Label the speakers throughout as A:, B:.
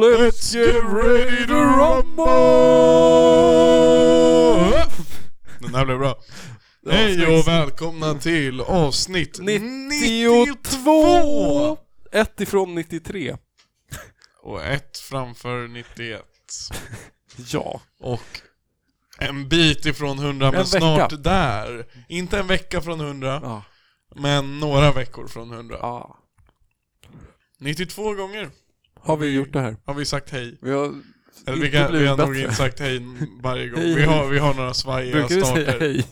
A: Let's get ready to rumble! Den här blev bra. Hej och välkomna till avsnitt 92!
B: 92! Ett ifrån 93.
A: Och ett framför 91.
B: Ja.
A: Och en bit ifrån 100, men
B: En vecka.
A: snart där. Inte en vecka från 100,
B: Ja.
A: men några veckor från 100.
B: ja.
A: 92 gånger
B: Har vi gjort det här?
A: har vi sagt hej.
B: Vi har
A: Eller
B: inte
A: vi, kan, vi
B: blivit
A: har nog
B: bättre.
A: inte sagt hej varje gång.
B: Hej,
A: Vi
B: hej.
A: har, vi har några svajiga
B: Brukar vi säga
A: starter.
B: hej?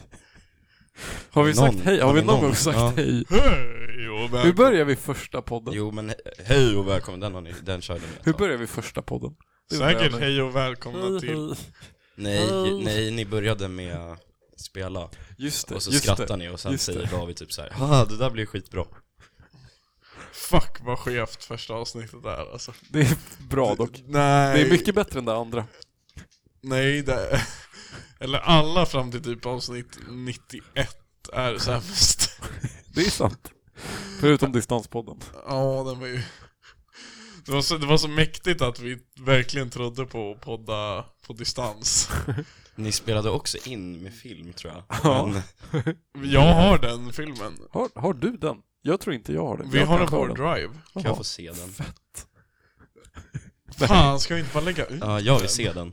B: Har vi
C: Någon.
B: sagt hej? Har vi
C: Ja,
B: någon
C: någon.
B: gång sagt
C: Ja.
B: hej?
A: Hej och
B: Hur
A: välkomna!
B: börjar vi första podden?
C: Jo men he- hej och välkommen, den, har ni, den körde ni ett
B: Hur
C: tag.
B: börjar vi första podden? Det undrar
A: Säkert
B: jag.
A: hej och välkomna
B: Hej,
A: till...
B: hej.
C: nej,
B: Hej.
C: nej, ni började med spela
B: Just det,
C: och så
B: just
C: skrattar
B: det.
C: ni och sen
B: just
C: säger
B: det.
C: David typ så här. Haha, det där blir skitbra.
A: Fuck vad skevt första avsnittet är alltså.
B: Det är bra dock.
A: Nej.
B: Det är mycket bättre än det andra.
A: Nej, det... Eller alla fram till typ avsnitt 91 är sämst.
B: Det är sant. Förutom distanspodden.
A: Ja, den var ju... Det var, så, det var så mäktigt att vi verkligen trodde på att podda på distans.
C: Ni spelade också in med film tror jag.
B: Ja.
C: Men
B: Mm.
A: Jag har den filmen.
B: Har, har du den? Jag tror inte jag har den.
A: Vi
B: jag
A: har den
B: kanske
A: på vår drive.
C: kan
B: Jaha.
C: jag få se den?
A: Fan, ska vi inte bara lägga ut?
C: Ja, jag vill se den.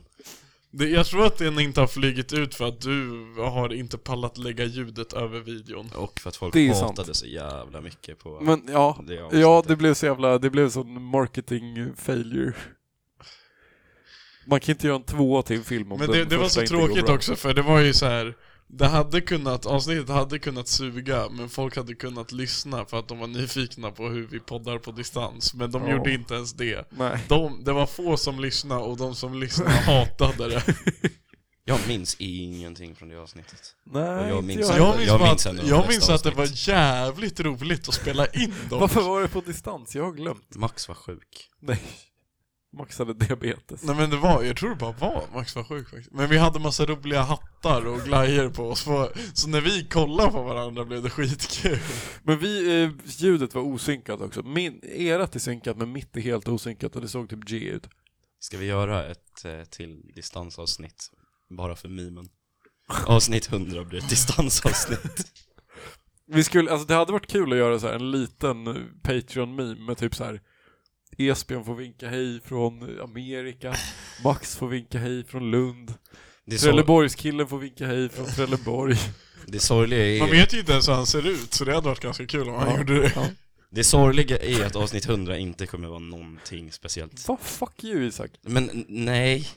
A: Det, jag tror att den inte har flugit ut för att du har inte pallat lägga ljudet över videon.
C: Och för att folk
B: Det är
C: hatade
B: sant.
C: så jävla mycket på
B: Men ja,
C: det avsnittet.
B: Ja, det blev så jävla, det blev sån marketing failure. Man kan inte göra en tvåa till en film om
A: Men
B: den
A: det, det var
B: första
A: så
B: inte går
A: tråkigt
B: bra.
A: också för det var ju så här. Det hade kunnat, avsnittet hade kunnat suga men folk hade kunnat lyssna för att de var nyfikna på hur vi poddar på distans Men de
B: Ja.
A: gjorde inte ens det
B: Nej.
A: de, Det var få som lyssnade och de som lyssnade hatade det
C: Jag minns ingenting från det avsnittet.
B: Nej,
C: jag
B: inte
C: minns-
B: jag.
A: Jag minns,
C: jag
A: bara
C: minns
A: att,
C: ändå de
A: jag
C: flesta
A: minns att det var
C: avsnitt.
A: jävligt roligt att spela in dem
B: Varför var det på distans? Jag har glömt.
C: Max var sjuk.
B: Nej. Maxade diabetes.
A: Nej men det var, jag tror det bara var Max var sjuk faktiskt Men vi hade massa roliga hattar och glajjor på oss på, Så när vi kollade på varandra blev det skitkul
B: Men vi, eh, ljudet var osynkat också. Min, erat är synkat men mitt är helt osynkat och det såg typ G ut.
C: Ska vi göra ett eh, till distansavsnitt? Bara för mimen. Avsnitt 100 blir ett distansavsnitt.
B: Vi skulle, alltså det hade varit kul att göra så här en liten eh, Patreon-meme med typ så här Esbjörn får vinka hej från Amerika, Max får vinka hej från Lund,
C: Det, är sor-
B: Trelleborgskillen får vinka hej från Trelleborg.
C: det, sorgliga
A: Man
C: är,
A: vet ju inte ens hur han ser ut så det hade varit ganska kul om han
B: Ja.
A: gjorde det
B: Ja.
C: det sorgliga är att avsnitt 100 inte kommer vara någonting speciellt.
B: Vad fuck you Isak?
C: Men n- nej.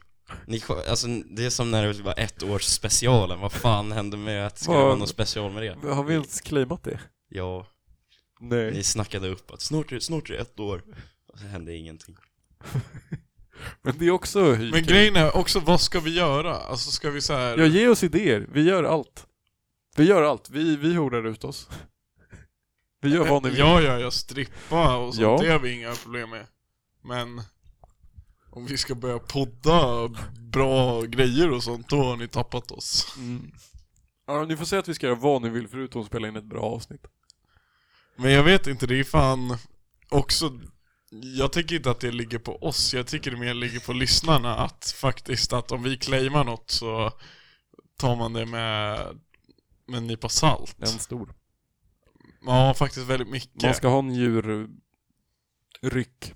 C: Ni, ko- alltså, det är som när det var ett års specialen. Vad fan hände med att ska det
B: Vad-
C: vara någon special med det?
B: Har vi ens claimat det?
C: Ja,
B: Nej.
C: ni snackade upp att snart, är- snart är det ett år. Och så hände ingenting.
B: Men det är också hyrkul.
A: Men grejen är också, vad ska vi göra? Alltså ska vi så här...
B: Ja, ge oss idéer. Vi gör allt. Vi gör allt. Vi, vi horar ut oss. Vi gör vad ni vill.
A: ja, ja, ja, strippa och sånt,
B: Ja.
A: det har vi inga problem med Men om vi ska börja podda bra grejer och sånt, då har ni tappat oss
B: Mm. Ja, ni får säga att vi ska göra vad ni vill förutom att spela in ett bra avsnitt.
A: Men jag vet inte, det är fan också jag tycker inte att det ligger på oss, jag tycker det mer ligger på lyssnarna att faktiskt att om vi claimar något så tar man det med, med en nypa salt.
B: En stor.
A: Ja, faktiskt väldigt mycket.
B: Man ska ha en djurryck.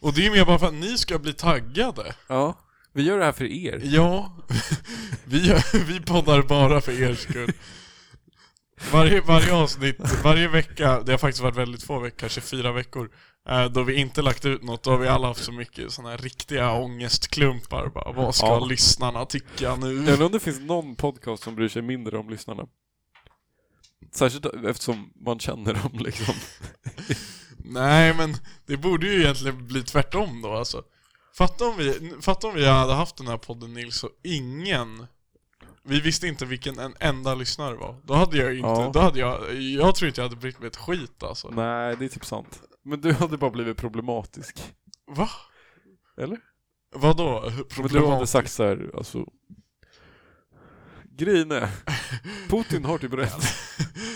A: Och det är mer bara för att ni ska bli taggade.
B: Ja. Vi gör det här för er.
A: Ja, vi, vi poddar bara för er skull. Varje, varje avsnitt, varje vecka, det har faktiskt varit väldigt få veckor, kanske fyra veckor, eh, då vi inte lagt ut något, då har vi alla haft så mycket sådana här riktiga ångestklumpar. Bara, vad ska
B: Ja.
A: lyssnarna tycka
B: Jag
A: nu?
B: undrar om det finns någon podcast som bryr sig mindre om lyssnarna. Särskilt eftersom man känner dem liksom.
A: Nej, men det borde ju egentligen bli tvärtom då alltså. Fatta om vi, fatta om vi hade haft den här podden Nils och ingen vi visste inte vilken en enda lyssnare var. Då hade jag ju inte,
B: Ja.
A: då hade jag, jag tror inte jag hade brytt mig ett skit alltså.
B: Nej, det är typ sant. Men du hade bara blivit problematisk.
A: Va?
B: Eller?
A: Vadå?
B: Men du hade sagt så här, alltså... Grejen är, Putin har typ rätt.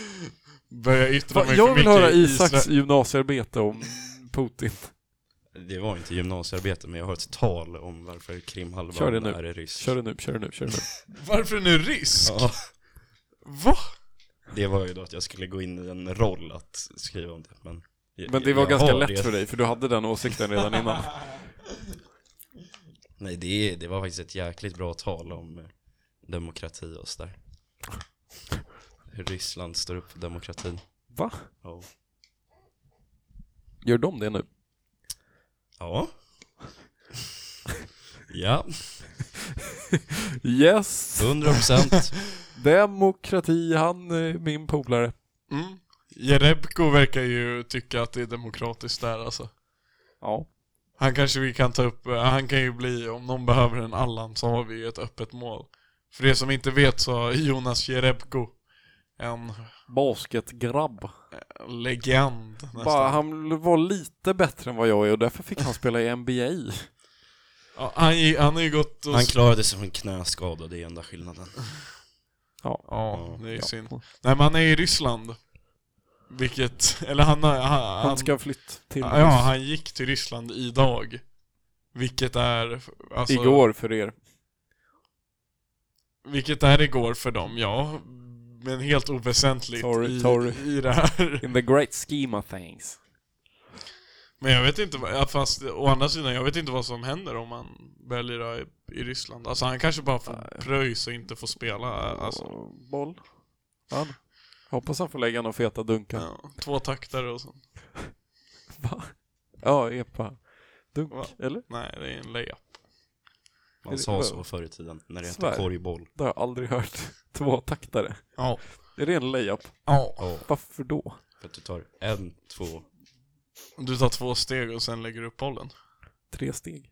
A: Börjar yttra
B: Va,
A: mig
B: jag
A: för
B: vill
A: mycket
B: höra
A: i
B: Isaks
A: Isra-
B: gymnasiearbete om Putin.
C: Det var inte gymnasiearbete, men jag har ett tal om varför
B: Kör det
C: krimhalvan
B: nu.
C: är rysk.
B: Kör det nu, kör det nu, kör det nu.
A: Varför en rysk?
C: Ja,
A: Va?
C: det var ju då att jag skulle gå in i en roll att skriva om det, men... jag-
B: Men det var
C: jag
B: ganska
C: har
B: lätt
C: det.
B: för dig, för du hade den åsikten redan innan.
C: Nej, det, det var faktiskt ett jäkligt bra tal om eh, demokrati och sådär. Hur Ryssland står upp för demokratin.
B: Va?
C: Ja.
B: Gör de det nu?
C: Ja. Ja,
B: Yes!
C: 100 procent.
B: Demokrati, han är min polare.
A: Mm. Jerebko verkar ju tycka att det är demokratiskt där alltså.
B: Ja.
A: Han kanske vi kan ta upp, eh, han kan ju bli, om någon behöver en Allan så har vi ju ett öppet mål. För er som inte vet så har Jonas Jerebko en
B: Basketgrabb.
A: legend nästan.
B: Bara, han var lite bättre än vad jag är och därför fick han spela i NBA.
A: Ja, han, gi- han har ju gått och...
C: Han klarade sig från knäskada, det är enda skillnaden.
A: ja, det är
B: Ja.
A: synd. Nej men han är i Ryssland. Vilket, eller han har... Han,
B: Han ska flytta till
A: Ja, han gick till Ryssland idag. Vilket är... Alltså,
B: igår för er.
A: Vilket är igår för dem, ja. Men helt oväsentligt
B: Sorry,
A: i,
B: sorry.
A: i det här.
B: In the great scheme of things.
A: Men jag vet inte, vad- ja, fast å andra sidan, jag vet inte vad som händer om han börjar lira i, i Ryssland. Alltså han kanske bara får pröjs och inte får spela. Alltså,
B: Boll. Han. Hoppas han får lägga några feta dunkar. Ja,
A: ja, två takter och sånt.
B: epa. Dunk,
A: Va?
B: eller?
A: Nej, det är en layup.
C: Man sa så förr i tiden, när det hette
B: Svär.
C: korgboll.
B: Det har jag aldrig hört. Tvåtaktare.
A: Ja.
B: Är det en layup?
A: ja.
C: Ja,
B: Varför då?
C: för att du tar en, två,
A: Du tar två steg och sen lägger du upp bollen.
B: Tre steg.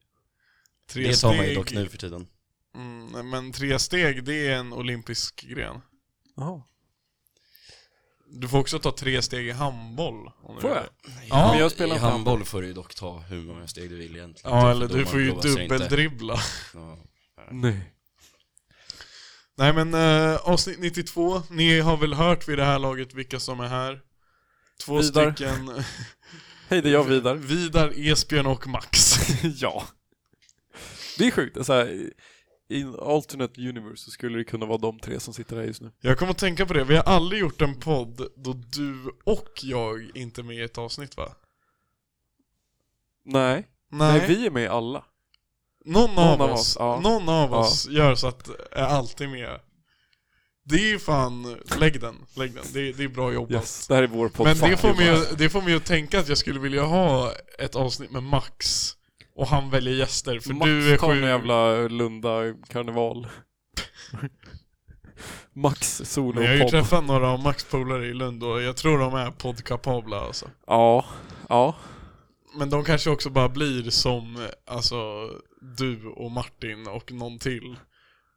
A: Tre
C: det tar
A: steg,
C: man ju dock nu för tiden.
A: Mm, men tre steg, det är en olympisk gren.
B: Jaha.
A: Du får också ta tre steg i handboll. Om du
B: Får
A: vill.
B: jag?
A: Ja,
C: I
B: men jag spelar
C: I
B: inte
C: handboll får du ju dock ta hur många steg du vill egentligen.
A: Ja,
C: För
A: eller du
C: domaren
A: får ju
C: lovar sig inte.
A: dubbeldribbla.
C: Ja.
B: Nej.
A: Nej men eh, avsnitt 92, ni har väl hört vid det här laget vilka som är här? Två
B: Vidar.
A: stycken,
B: Hej, det är jag Vidar.
A: Vidar, Esbjörn och Max.
B: ja. Det är sjukt. Så här, i- I en alternate universe så skulle det kunna vara de tre som sitter här just nu.
A: Jag kommer att tänka på det, vi har aldrig gjort en podd då du och jag inte är med i ett avsnitt va?
B: Nej, nej, vi är med i alla.
A: Någon, av oss,
B: ja.
A: någon av
B: Ja.
A: oss gör så att är alltid med. Det är ju fan, lägg den, lägg den. Det, det är bra jobbat.
B: Yes, det här är vår podd.
A: Men
B: Fuck
A: det får,
B: you,
A: mig,
B: man.
A: ju- det får mig att tänka att jag skulle vilja ha ett avsnitt med Max och han väljer gäster för
B: Max
A: du är
B: tar
A: sjuk.
B: en jävla Lunda karneval. Max
A: Men jag har ju
B: solopodd.
A: träffat några av Max polare i Lund och jag tror de är poddkapabla alltså.
B: Ja, ja.
A: Men de kanske också bara blir som alltså, du och Martin och någon till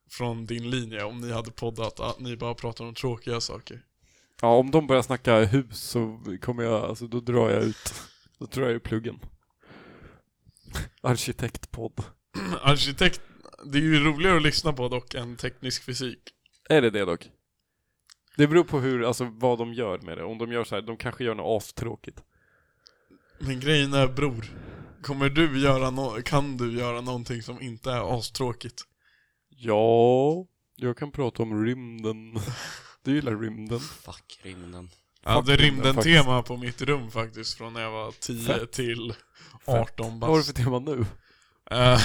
A: från din linje om ni hade poddat att ni bara pratar om tråkiga saker.
B: Ja, om de börjar snacka hus så kommer jag, alltså då drar jag ut. Då drar jag ur pluggen. Arkitektpodd.
A: Arkitekt, det är ju roligare att lyssna på dock än teknisk fysik.
B: Är det det dock? Det beror på hur, alltså vad de gör med det. Om de gör så här, de kanske gör något astråkigt.
A: Men grejen är bror, kommer du göra nå kan du göra någonting som inte är astråkigt?
B: Ja, jag kan prata om rymden. Du gillar rymden.
C: Fuck rymden.
A: Jag hade
B: Fuck,
A: rymden-tema på mitt rum faktiskt från när jag var 10
B: Fett.
A: till 18
B: Vad har du för
A: bast.
B: tema nu?
A: Eh,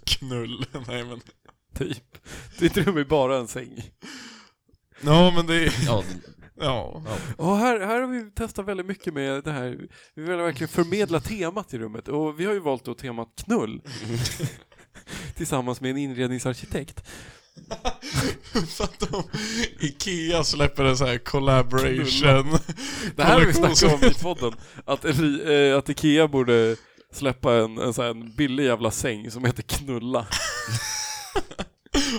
A: Knull, nej men.
B: Typ. Ditt rum är bara en säng.
A: Ja men det är,
C: Ja,
A: ja.
B: Ja, här, här har vi testat väldigt mycket med det här. Vi vill verkligen förmedla temat i rummet och vi har ju valt då temat knull. Tillsammans med en inredningsarkitekt.
A: Fatta om Ikea släpper en sån här collaboration.
B: Det här har vi
A: kollektion
B: snackat om i
A: som-
B: podden. Att, Eli- eh, att Ikea borde släppa en, en, så här, en billig jävla säng som heter knulla.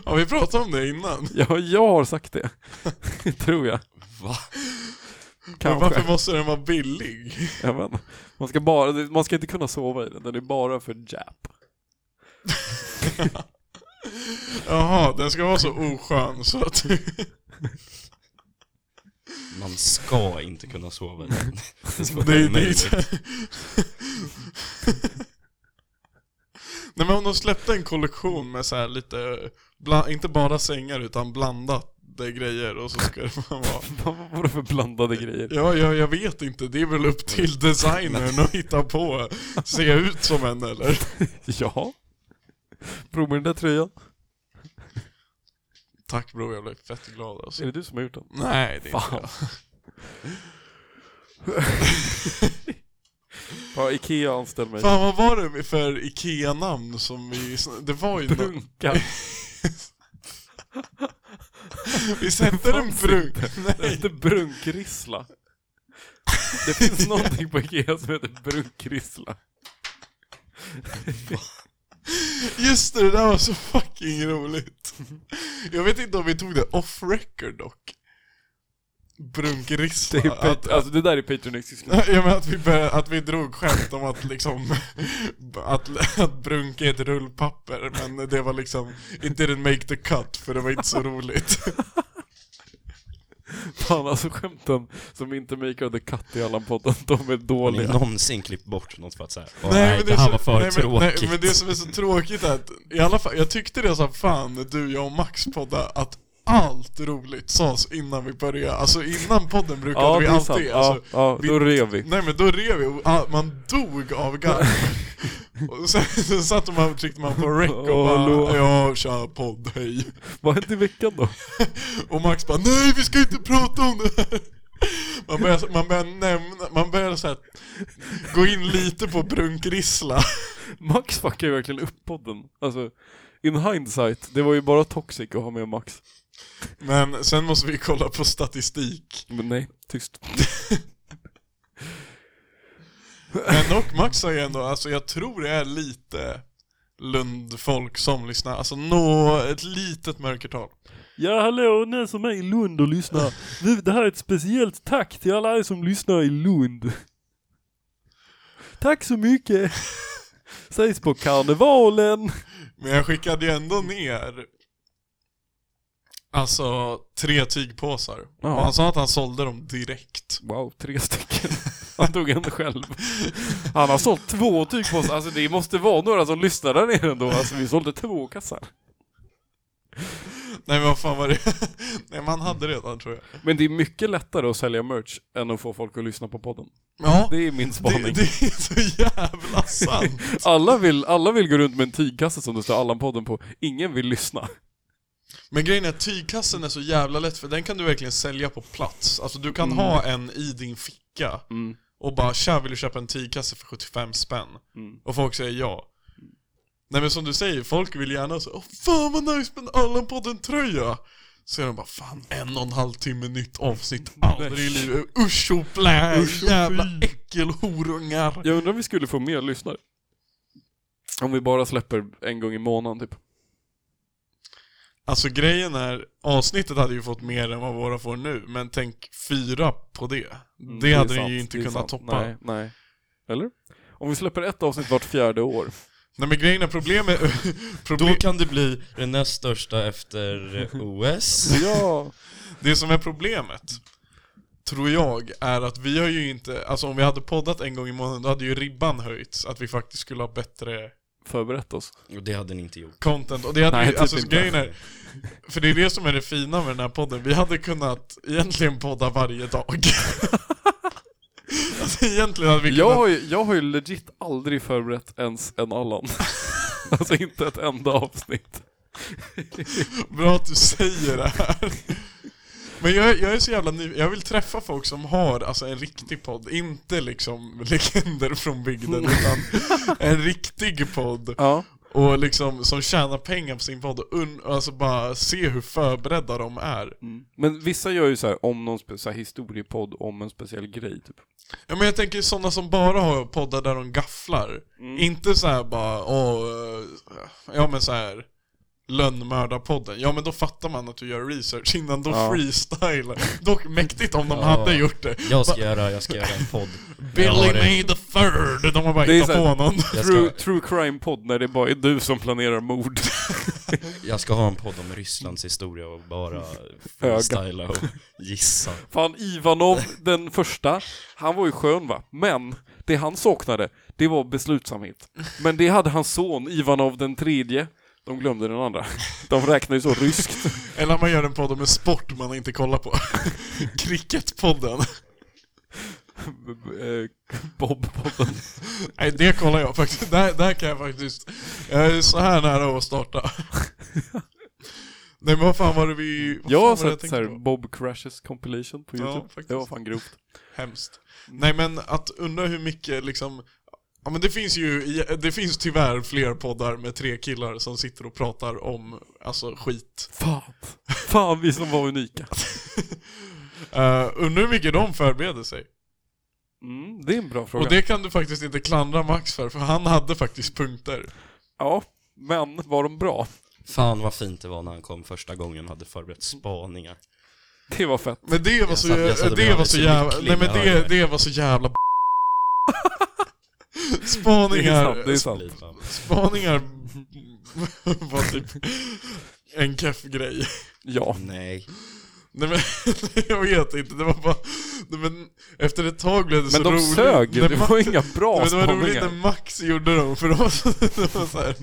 A: Ja vi pratade om det innan.
B: Ja, jag har sagt det. Tror jag.
C: va?
A: Men varför
B: Kanske.
A: måste den vara billig?
B: Ja, men, man, ska bara, man ska inte kunna sova i den, den är bara för jap.
A: Jaha, den ska vara så oskön så att
C: Man ska inte kunna sova i den. Det ska
A: Det,
C: vara
A: det, är
C: omöjligt.
A: så- Nej men om de släppte en kollektion med så här lite, bla, inte bara sängar utan blandade grejer och så ska det fan vara...
B: Vad var det för blandade grejer?
A: Ja, jag, jag vet inte, det är väl upp till designern att hitta på. Se ut som en eller?
B: Ja. Prova med den där tröjan.
A: Tack bror, jag blev fett glad alltså.
B: Är det du som har gjort den?
A: Nej, det är inte
B: Fan.
A: jag.
B: Ja, Ikea anställ mig.
A: Fan vad var det för IKEA-namn som vi... Det var ju nå-
B: Brunka.
A: Vi sätter en
B: fanns
A: brunk.
B: Det
A: Nej.
B: heter brunkrissla. Det finns någonting på Ikea som heter brunkrissla.
A: Just det, det där var så fucking roligt. Jag vet inte om vi tog det off record dock. Brunkrissla.
B: Det är
C: Typ.
A: att,
B: Pat- alltså det där är Patreon exklusivt.
A: ja, men att, vi började, att vi drog skämt om att liksom att, att brunk är ett rullpapper men det var liksom it didn't make the cut för det var inte så roligt.
B: Fan alltså skämten som inte makear the cut i Allan-podden, de är
C: Har ni
B: dåliga.
C: någonsin klippt bort något för att säga nej, nej, det här
A: så-
C: var för
A: nej, men,
C: tråkigt?
A: Nej, men det som är så tråkigt är att i alla fall, jag tyckte det som fan när du, jag och Max poddade att allt roligt sades innan vi började. Alltså innan podden brukade
B: Ja,
A: vi
B: det är sant.
A: alltid,
B: Ja,
A: alltså,
B: ja, då rev vi.
A: Nej men då rev vi och ah, man dog av garv. och sen, sen satt man och tryckte man på rec och
B: Åh,
A: bara
B: hallå.
A: ja tja podd, hej.
B: Vad hände i veckan då?
A: Och Max bara nej vi ska inte prata om det här. Man börjar, man börjar nämna, man börjar så här, gå in lite på brunkrissla.
B: Max fuckar ju verkligen upp podden. Alltså, in hindsight, det var ju bara toxic att ha med Max.
A: Men sen måste vi kolla på statistik.
B: Men nej, tyst.
A: Men dock Max har ju ändå, alltså jag tror det är lite Lundfolk som lyssnar, alltså nå ett litet mörkertal.
B: Ja hallå, ni som är i Lund och lyssnar. Nu, det här är ett speciellt tack till alla er som lyssnar i Lund. Tack så mycket. Ses på karnevalen.
A: Men jag skickade ju ändå ner Alltså tre tygpåsar.
B: Ja.
A: Och han sa att han sålde dem direkt.
B: Wow, tre stycken. Han tog en själv. Han har sålt två tygpåsar. Alltså det måste vara några som lyssnar där nere ändå. Alltså vi sålde två kassar.
A: Nej men vad fan var det? Nej men han hade redan tror jag.
B: Men det är mycket lättare att sälja merch än att få folk att lyssna på podden.
A: Ja,
B: Det är min
A: det,
B: spaning.
A: det är så jävla sant.
B: Alla, vill, alla vill gå runt med en tygkasse som det står Allan-podden på. Ingen vill lyssna.
A: Men grejen är att tygkassen är så jävla lätt för den kan du verkligen sälja på plats. Alltså du kan ha en i din ficka
B: Mm.
A: och bara tja vill du köpa en tygkasse för 75 spänn?
B: Mm.
A: Och folk säger ja. Nej men som du säger, folk vill gärna så Åh, fan vad nice med Allan på den tröja Så är de bara fan en och en halv timme nytt avsnitt aldrig i livet. Usch och blä,
B: Usch och
A: jävla
B: fy.
A: äckelhorungar.
B: Jag undrar om vi skulle få mer lyssnare. Om vi bara släpper en gång i månaden typ.
A: Alltså grejen är, avsnittet hade ju fått mer än vad våra får nu, men tänk fyra på det. Det,
B: är
A: hade den
B: sant,
A: ju inte
B: Mm, det är sant.
A: kunnat toppa.
B: Nej, nej. Eller? Om vi släpper ett avsnitt vart fjärde år.
A: Nej men grejen är problemet...
C: Då
A: problem,
C: kan det bli den näst största efter eh, OS.
B: Ja.
A: det som är problemet, tror jag, är att vi har ju inte... Alltså om vi hade poddat en gång i månaden då hade ju ribban höjts att vi faktiskt skulle ha bättre
B: Förberett oss.
C: Och det hade ni inte gjort.
A: content. Och det hade
B: Nej,
A: ju,
B: typ
A: alltså
B: inte.
A: grejen är... För det är det som är det fina med den här podden. Vi hade kunnat egentligen podda varje dag. alltså egentligen hade vi kunnat...
B: Jag har, ju, jag har ju legit aldrig förberett ens en Allan. alltså inte ett enda avsnitt.
A: Bra att du säger det här. Men jag, jag är så jävla ny, jag vill träffa folk som har alltså, en riktig podd, inte liksom legender från bygden utan en riktig podd
B: Ja.
A: och liksom som tjänar pengar på sin podd och un, alltså bara se hur förberedda de är.
B: Men vissa gör ju så här om någon spe- så här historiepodd om en speciell grej typ.
A: Ja, men jag tänker sådana som bara har poddar där de gafflar,
B: Mm.
A: inte så här bara åh, eh, ja men så här lönnmördarpodden, ja men då fattar man att du gör research innan, då
B: Ja.
A: freestylar. Dock mäktigt om de
C: Ja.
A: hade gjort det.
C: Jag ska göra, jag ska göra en podd. Jag har
A: Billy
C: en-
A: May the third! De har bara
B: Det är
A: hittat
B: så här-
A: på någon.
C: Jag
B: True,
C: ska,
B: true crime-podd när det bara är du som planerar mord.
C: jag ska ha en podd om Rysslands historia och bara freestyla och gissa.
B: Fan, Ivanov den första, han var ju skön va? Men det han saknade, det var beslutsamhet. Men det hade hans son Ivanov den tredje. De glömde den andra. De räknar ju så ryskt.
A: Eller om man gör en podd om en sport man inte kollar på. Cricketpodden.
B: Eh, Bob-podden.
A: Nej, det kollar jag faktiskt. Där, där kan jag faktiskt... Jag är så här nära att starta. Nej men vad fan var det vi... Vad
B: Jag
A: fan
B: har
A: var det
B: sett
A: tänkte
B: så här
A: på?
B: Bob Crashes compilation på
A: Ja,
B: Youtube.
A: faktiskt.
B: det var fan grovt.
A: Hemskt. Nej men att undra hur mycket liksom... Ja men det finns ju, i- det finns tyvärr fler poddar med tre killar som sitter och pratar om, alltså skit.
B: Fan. Fan vi som var unika.
A: Uh, undrar hur mycket de förbereder sig.
B: Mm, det är en bra fråga.
A: Och det kan du faktiskt inte klandra Max för, för han hade faktiskt punkter.
B: Ja, men var de bra?
C: Fan vad fint det var när han kom första gången och hade förberett spaningar.
B: Det var fett.
A: Men det var
C: Jag
A: så,
C: satt- jag satt och
A: det
C: blev
A: var så
C: alldeles
A: jävla...
C: lycklig
A: Nej men
C: när jag
A: det,
C: hörde
A: det var så jävla b-
B: Det är sant, det
A: Spaningar,
B: är sant.
C: Lite av-
A: spaningar var typ en keff grej.
B: Ja.
C: Nej.
A: Nej men, jag vet inte, det var bara... Nej, men, efter ett tag blev det så
B: Men de
A: roligt.
B: sög ju,
A: När
B: det
A: Ma-
B: var inga
A: Nej,
B: bra
A: men Det var roligt när
B: spaningar.
A: Max gjorde dem, för de var så, de var så här.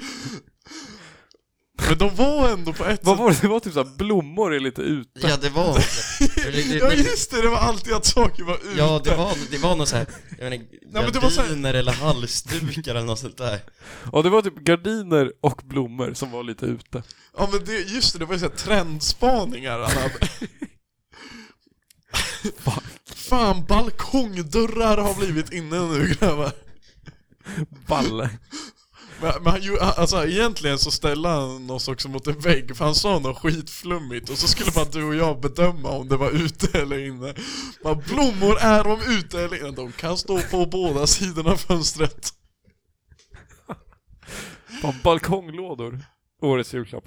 A: Men de var ändå på ett
B: Vad
A: sätt...
B: var det? Det var typ såhär blommor är lite ut.
C: Ja det var... det- det-
A: Ja
C: det-
A: just det, det var alltid att saker var ute.
C: Ja, det var, det var något såhär, jag vet inte,
A: men det var så här-
C: gardiner eller halsdukar eller något sånt där.
B: Ja, det var typ gardiner och blommor som var lite ute.
A: Ja men det, just det, det var ju såhär trendspaningar han hade. Fan, balkongdörrar har blivit inne nu grabbar.
B: Balle.
A: Men, men han, ju- alltså, egentligen så ställde han oss också mot en vägg för han sa något skitflummigt och så skulle bara du och jag bedöma om det var ute eller inne. Man, blommor är de ute eller inne? De kan stå på båda sidorna av fönstret.
B: Fan, balkonglådor. Årets julklapp.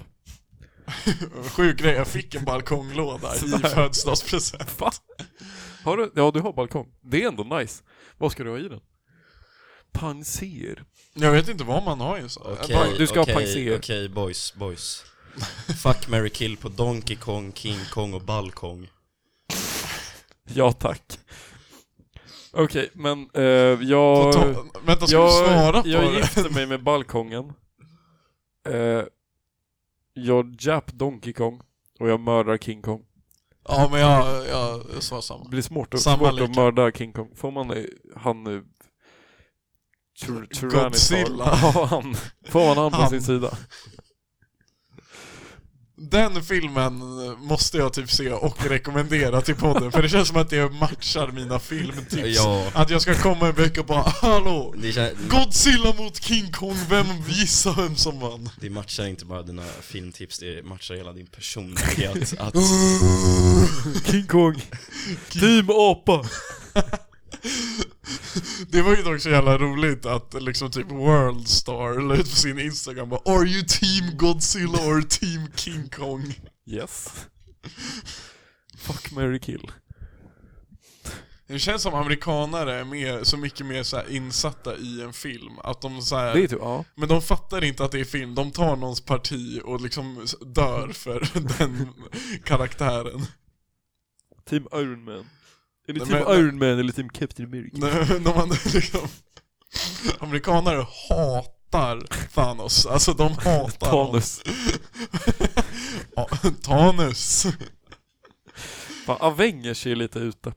A: Sjuk grej, jag fick en balkonglåda i födelsedagspresent.
B: Va? Har du? Ja, du har balkong. Det är ändå nice. Vad ska du ha i den? Panser.
A: Jag vet inte vad man har i en sån.
C: Okej,
B: du ska ha
C: okej,
B: pangseer.
C: Okej, boys, boys. Fuck, Mary kill på Donkey Kong, King Kong och Balkong.
B: Ja, tack. Okej, men eh, jag...
A: Ta, vänta, ska du
B: jag
A: svara på
B: jag
A: det?
B: gifte mig med balkongen. Eh, jag jap Donkey Kong och jag mördar King Kong.
A: Ja, men jag, jag, jag sa samma.
B: Det blir svårt att,
A: Samma
B: svårt
A: lika.
B: att mörda King Kong. Får man eh, han... eh, Tyr- Tyrannitar-
A: Godzilla.
B: Ja, han. Får man han på
A: Han.
B: sin sida?
A: Den filmen måste jag typ se och rekommendera till podden, för det känns som att det matchar mina filmtips.
C: Ja.
A: Att jag ska komma en vecka och bara ”Hallå!
C: Det, kän-
A: Godzilla mot King Kong, vem gissar vem som vann?”
C: det matchar inte bara dina filmtips, det matchar hela din personlighet. Att,
B: King Kong. Team apa.
A: Det var ju dock så jävla roligt att liksom typ Worldstar la ut på sin Instagram bara ”Are you team Godzilla or team King Kong?”
B: Yes. Fuck, marry, kill.
A: Det känns som amerikanare är mer, så mycket mer så här insatta i en film, att de så här,
B: Det är typ, ja.
A: Men de fattar inte att det är film, de tar någons parti och liksom s- dör för den karaktären.
B: Team Iron Man. Är det
A: Nej,
B: Team
A: men-
B: Iron Man eller Team Captain America?
A: När när man liksom... Amerikanare hatar Thanos, alltså de hatar honom.
B: Thanos.
A: Ja, Thanos.
B: Fan, Avengers är lite ute.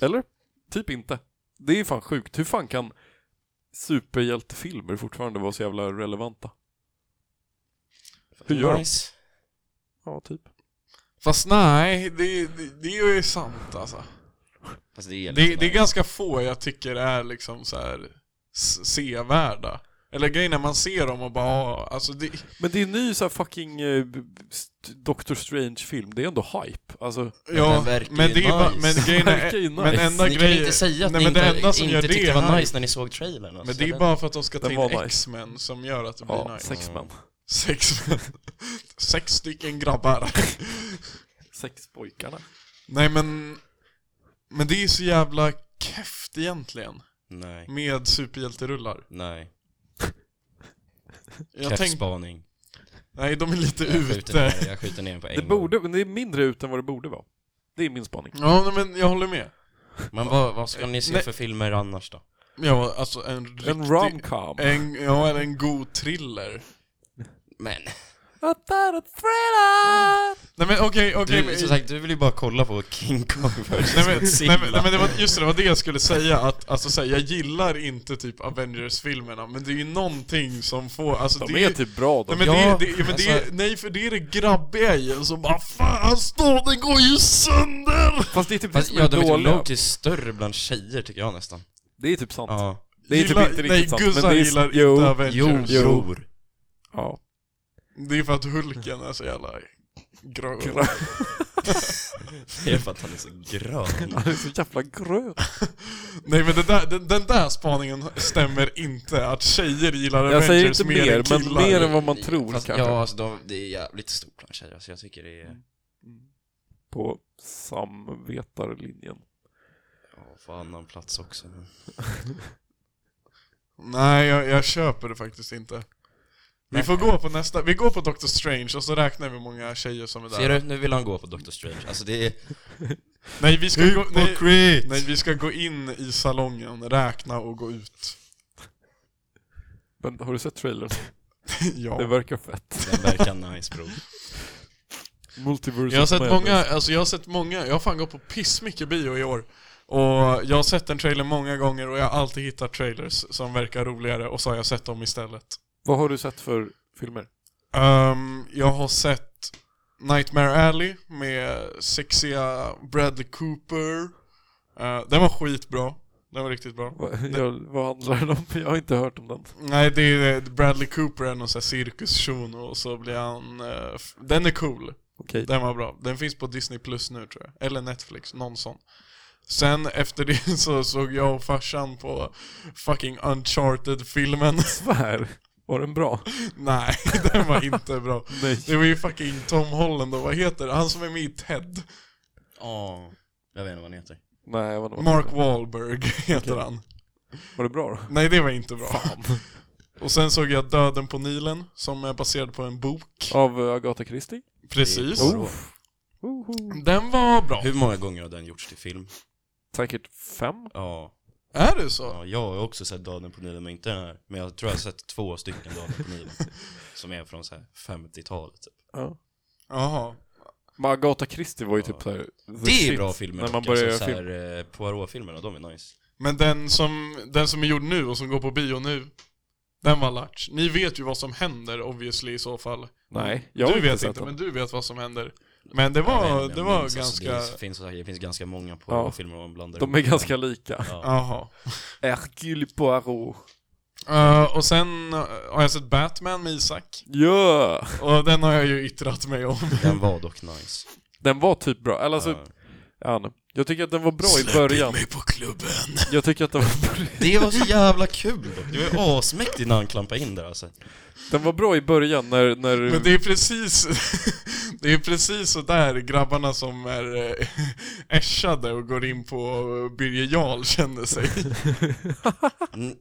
B: Eller? Typ inte. Det är fan sjukt. Hur fan kan superhjältefilmer fortfarande vara så jävla relevanta? Hur gör de?
C: nice.
B: Ja, typ.
A: Fast nej, det, det, det är ju sant alltså.
C: Fast det är, liksom lite
A: Det, det är
C: nice.
A: ganska få jag tycker är liksom så här s- sevärda. Eller grejen när man ser dem och bara, ja, alltså det,
B: Men det är en ny så här fucking eh, b- b- st- Doctor Strange-film. Det är ändå hype. Alltså,
A: Ja,
C: den verkar
A: men
C: ju
A: det är bara,
C: nice.
A: men grejen är,
B: Verkar ju
A: men
B: nice.
A: enda
C: ni kan
A: grejen,
C: inte säga att
A: nej,
C: ni
A: men
C: inte,
A: det enda som
C: inte
A: gör
C: tyckte
A: det
C: det var
A: här-
C: nice när ni såg trailern. Alltså.
A: men det är
C: Den-
A: bara för att de ska ta
B: Den
A: in
B: var nice.
A: X-Men som gör att det blir
B: ja,
A: nice.
B: sex
C: Mm.
B: män.
A: Sex, sex stycken grabbar.
B: Sex pojkarna.
A: nej men, men det är ju så jävla keft egentligen
C: Nej,
A: med superhjälterullar.
C: nej.
A: Jag
C: Keff
A: tänkte,
C: spaning.
A: nej de är lite
C: Jag skjuter, ner,
A: ute.
C: den, jag skjuter ner den på en
B: Det,
C: gång.
B: borde, men det är mindre ut än vad det borde vara. Det är min spaning.
A: Ja nej, men jag håller med.
C: Men vad, vad ska ni se
A: Nej.
C: för filmer annars då?
A: Ja, alltså en riktig...
B: En romcom.
A: en, ja, eller en god thriller.
C: Men, Mm.
A: Nej men okej, okej.
C: du,
A: men-
C: som sagt, du vill ju bara kolla på King Kong vs.
A: Nej men, nej,
C: Godzilla.
A: men, nej, men det var, just det, det var det jag skulle säga att, alltså så här, jag gillar inte typ Avengers-filmerna, men det är ju någonting som får, alltså
B: De
A: det
B: är typ bra de.
A: Nej, men
C: Ja,
A: det, det, ja, men det,
C: alltså-
A: nej för det är det grabbiga i en som bara 'Fan staden går ju sönder!'
B: Fast det är typ det
C: Fast,
B: som
C: ja,
B: är
C: de är typ
B: dåliga.
C: Loki större bland tjejer tycker jag nästan.
B: Det är typ sant.
C: Ja.
B: Det är typ
A: Gillar-
B: inte riktigt
A: nej,
B: sant.
A: gussar
B: men det är,
A: gillar
B: jo,
A: inte
C: Jo,
A: Avengers.
C: bror.
B: Ja.
A: Det är för att Hulken är så jävla grön.
C: Det är för att han är så grön.
B: Han är så jävla grön.
A: Nej men den där, den, den där spaningen stämmer inte, att tjejer gillar
B: Jag
A: Avengers
B: säger inte
A: mer än
B: mer, men
A: killar.
B: mer än vad man tror
C: Fast,
B: kanske.
C: Ja, alltså de, det är jävligt stort bland tjejer, så jag tycker det är...
B: På samvetarlinjen.
C: Ja, på annan plats också. Men...
A: Nej, jag, jag köper det faktiskt inte. Vi får gå på nästa, vi går på Doctor Strange och så räknar vi hur många tjejer som är där.
C: Ser du? Nu vill han gå på Doctor Strange. Alltså det är...
A: Nej, vi ska gå, nej,
C: Hypocrit!
A: nej, vi ska gå in i salongen, räkna och gå ut.
B: Men har du sett trailern?
A: ja.
B: Det verkar fett.
C: Den verkar nice bror.
B: Multiverse
A: Jag har
B: of
A: sett
B: Madness.
A: många, alltså jag har sett många, jag har fan gått på pissmycket bio i år. Och jag har sett en trailer många gånger och jag har alltid hittat trailers som verkar roligare och så har jag sett dem istället.
B: Vad har du sett för filmer?
A: Ehm, jag har sett Nightmare Alley med sexiga Bradley Cooper. Eh, den var skitbra. Den var riktigt bra.
B: Vad, jag, vad handlar den om? Jag har inte hört om den.
A: Nej, det är Bradley Cooper är någon sån här cirkusshuno och så blir han... eh, f- den är cool.
B: Okej.
A: Den var bra. Den finns på Disney Plus nu tror jag. Eller Netflix, någon sån. Sen efter det så såg jag och farsan på fucking Uncharted-filmen.
B: Svär. Var den bra?
A: Nej, den var inte bra.
B: Nej.
A: Det var ju fucking Tom Holland och vad heter det? Han som är med i Ted.
C: Ja, jag vet inte vad han heter.
B: Nej, vad var,
A: Mark Wahlberg heter han.
B: var det bra då?
A: Nej, det var inte bra. Och sen såg jag Döden på Nilen, som är baserad på en bok.
B: Av eh, Agatha Christie?
A: Precis.
C: Det är-
B: Woho.
A: Den var bra.
C: Hur många gånger har den gjorts till film?
B: Säkert fem?
C: Ja,
A: Är det så?
C: ja jag har också sett Döden på Nilen, men inte den här. Men jag tror jag har sett två stycken Döden på Nilen. som är från så här 50-talet typ.
B: Ja.
A: Jaha.
B: Men Agatha Christie var ju typ
C: Ja.
B: såhär... the
C: Det är
B: shit
C: bra filmer
B: När man
C: dock,
B: börjar
C: alltså,
B: göra
C: så här, eh, Poirot-filmerna, de är nice.
A: Men den som, den som är gjord nu och som går på bio nu, den var latch. Ni vet ju vad som händer obviously i så fall.
B: Nej, jag har
A: Mm.
B: inte
A: du vet
B: sett
A: inte,
B: den.
A: men du vet vad som händer. Men det
C: Jag vet inte,
A: var,
C: men
A: det
C: jag
A: var
C: minns, alltså,
A: ganska...
C: Det finns, det finns ganska många
B: Ja.
C: Poirot-filmer man blandar
B: De är
C: ihop.
B: ganska lika.
C: Ja.
A: Jaha.
B: Hercule Poirot.
A: Eh, och sen eh, har jag sett Batman med Isak.
B: Ja!
A: Och den har jag ju yttrat mig om.
C: Den var dock nice.
B: Den var typ bra, eller alltså,
C: Ja.
B: ja. nej. jag tycker att den var bra i början. Mm.
A: mig på klubben.
B: Jag tycker att den var,
C: Det var så jävla kul dock. Det var ju asmäktigt när han klampade in där alltså.
B: den var bra i början när, när
A: Men det är precis Det är precis så där grabbarna som är eh, äschade och går in på Birger Jarl känner sig.
C: Mm.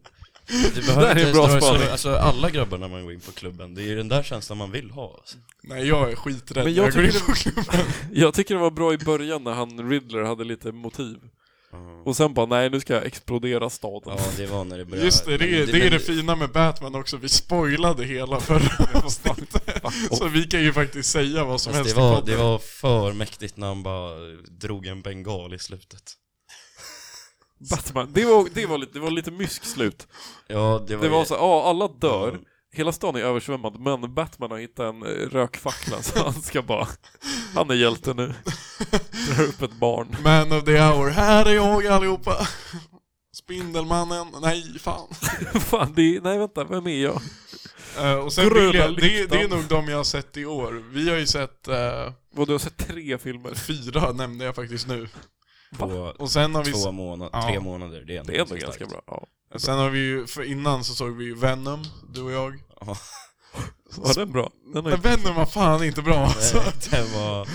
C: Du
B: Det
C: behöver
B: här är
C: inte
B: en bra
C: ens dra
B: spaning.
C: så, alltså, alla grabbar när man går in på klubben, det är ju den där känslan man vill ha. Alltså.
A: Nej, jag är skiträdd.
B: Men
A: jag
B: jag
A: jag går in
B: tycker
A: på klubben.
B: jag tycker den var bra i början när han Riddler hade lite motiv. Och sen bara, nej nu ska jag explodera staden.
C: Ja, det var när det började.
A: Just det, det, är-
C: Men
A: det är
C: men-
A: det fina med Batman också. Vi spoilade hela förra avsnittet. Så vi kan ju faktiskt säga vad som
C: Fast det,
A: helst i
C: var,
A: podden.
C: det var för mäktigt när han bara drog en bengal i slutet.
B: Batman, det var, det var lite, det var lite mysk slut.
C: Ja, det var,
B: Det var
C: ju-
B: så, ja alla dör.
C: Ja.
B: Hela stan är översvämmad, men Batman har hittat en eh, rökfackla så han ska bara, han är hjälte nu. Drar upp ett barn.
A: Man of the hour, här är jag allihopa. Spindelmannen, nej fan.
B: Fan, det är, nej vänta, vem är jag?
A: Eh, och sen
B: Gröna
A: vill jag, det,
B: lyktan.
A: det är nog de jag har sett i år. Vi har ju sett eh,
B: Vad du har sett tre filmer?
A: fyra nämnde jag faktiskt nu.
C: på
A: Och sen har vi,
C: två månader,
A: Ja.
C: tre månader. Det är ändå,
B: Det är ändå
C: starkt.
B: ganska bra. Ja.
A: sen har vi ju, för innan så såg vi ju Venom, du och jag.
C: Ja,
B: Var den bra? Den har
A: Men
B: ju...
A: Venom var fan inte bra alltså.
C: den var,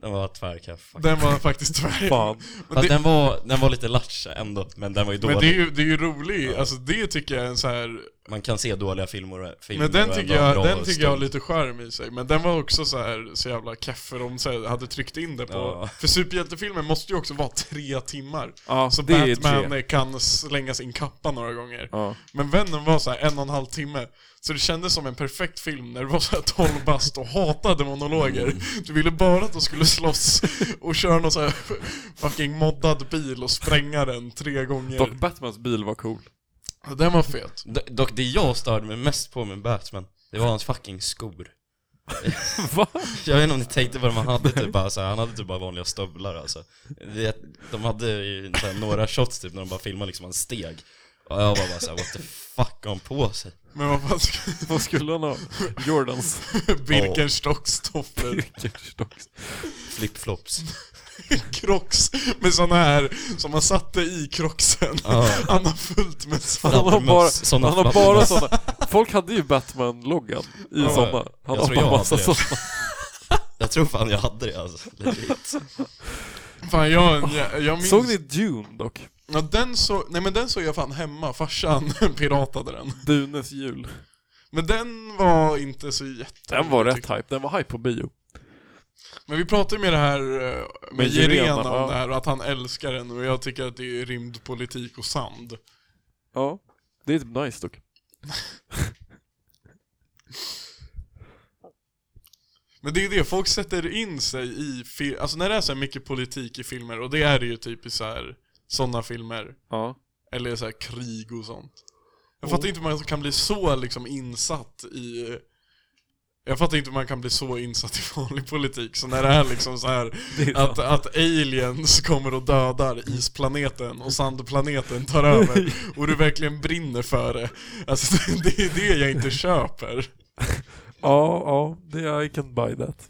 C: den var tvärkaff faktiskt.
A: Den var faktiskt tvär.
B: Fan.
A: Men
C: Fast
A: det,
C: den var, den var lite lattja ändå, men den var ju
A: men det är
C: dålig.
A: ju, det är ju rolig, alltså det tycker jag är en så här
C: Man kan se dåliga filmer, filmer
A: Men den
C: och
A: tycker
C: ändå ha
A: jag,
C: bra
A: den tycker jag har
C: stund.
A: lite skärm i sig, men den var också så här så jävla kaffe de så här, hade tryckt in det på.
C: Ja.
A: För superhjältefilmen måste ju också vara tre timmar.
B: Ja,
A: Så
B: det är
A: Batman
B: tre.
A: kan slänga sin kappa några gånger.
B: Ja.
A: Men vännen var så här en och en halv timme, så det kändes som en perfekt film när det var så här 12 bast och hatade monologer. Du ville bara att de skulle slåss och köra någon så här fucking moddad bil och spränga den tre gånger.
B: Dock Batmans bil var cool.
A: Den var fet.
C: Do- Dock det jag störde mig mest på med Batman, det var hans fucking skor.
B: Va?
C: Jag vet inte om ni tänkte på det, man hade typ bara så här, han hade typ bara vanliga stövlar alltså. Det, de hade ju så här, några shots typ när de bara filmade liksom hans steg. Och jag var bara såhär, what the fuck har han på sig?
A: Men vad fan ska...
B: Vad skulle han ha? Jordans
A: Birkenstockstoffer.
B: Birkenstocks.
C: Flip-flops.
A: Crocs med såna här som man satte i crocksen.
C: Ja.
A: Han har fullt med såna.
B: Han har
C: Flattermöss,
B: bara,
C: såna
B: han har bara
C: flattermöss.
B: sådana. Folk hade ju Batman-loggan i
C: Ja,
B: sådana. Han
C: jag
B: har
C: tror jag
B: bara massa
C: hade det.
B: sådana.
C: Jag tror fan jag hade det alltså, legit.
A: Fan jag, jag, jag minns...
B: Såg ni Dune dock?
A: Ja, den så... Nej men den såg jag fan hemma, farsan piratade den.
B: Dunes jul.
A: Men den var inte så jätte...
B: Den var rätt
A: tyckte-
B: hype, den var hype på bio.
A: Men vi pratade ju med det här eh, med,
B: Med Jirena,
A: Jirena
B: ja.
A: om det här och att han älskar den och jag tycker att det är rymdpolitik och sand.
B: Ja, det är typ nice dock.
A: Men det är det, folk sätter in sig i film, alltså när det är så här mycket politik i filmer, och det är det ju typ i så här sådana filmer,
B: Ja.
A: eller så här krig och sånt. Jag
C: Mm.
A: fattar inte hur man kan bli så liksom insatt i jag fattar inte hur man kan bli så insatt i vanlig politik, så när det är liksom så här
B: Det är
A: att, att aliens kommer och dödar isplaneten och sandplaneten tar över och du verkligen brinner för det. Alltså det är det jag inte köper.
B: Ja, ja, det, I can buy that.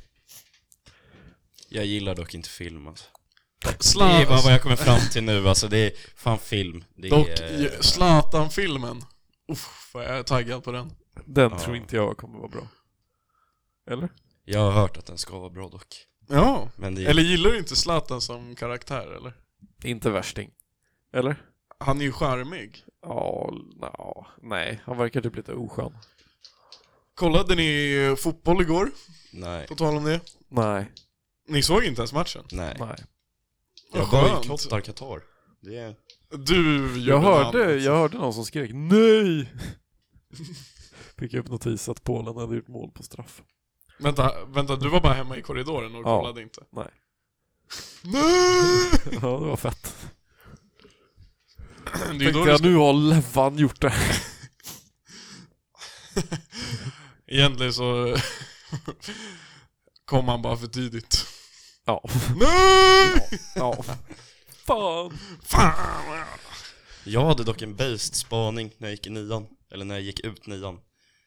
C: Jag gillar dock inte film alltså. Det
A: Sla-
C: är bara vad jag kommer fram till nu alltså, det är fan film. Det är,
A: Dock, ju- Zlatan-filmen. Uff, vad jag är taggad på den.
B: Den
C: Ja.
B: tror inte jag kommer vara bra. Eller?
C: Jag har hört att den ska vara bra dock.
A: Ja.
C: Men det är,
A: Eller gillar du inte Zlatan som karaktär eller?
B: Inte värsting. Eller?
A: Han är ju charmig.
B: Ja, nja, nej. Han verkar typ lite oskön.
A: Kollade ni eh, fotboll igår?
C: nej,
A: På tal om det.
B: Nej,
A: Ni såg inte ens matchen?
C: nej.
B: nej.
C: Jag
A: Vad
C: bojkottar Qatar. Det är...
A: Du gjorde
B: Jag
A: något
B: hörde,
A: annat.
B: jag hörde någon som skrek NEJ! Fick upp notis att Polen hade gjort mål på straff.
A: Vänta, vänta, du var bara hemma i korridoren och
B: Ja.
A: kollade inte?
B: Nej.
A: Nej!
B: Ja, det var fett.
A: Det är ju
B: Tänkte
A: då du
B: jag,
A: ska...
B: nu har Levan gjort det.
A: Egentligen så kom han bara för tidigt.
B: Ja.
A: Nej!
B: ja. Fan!
A: Fan!
C: Jag hade dock en based spaning när jag gick i nian, eller när jag gick ut nian.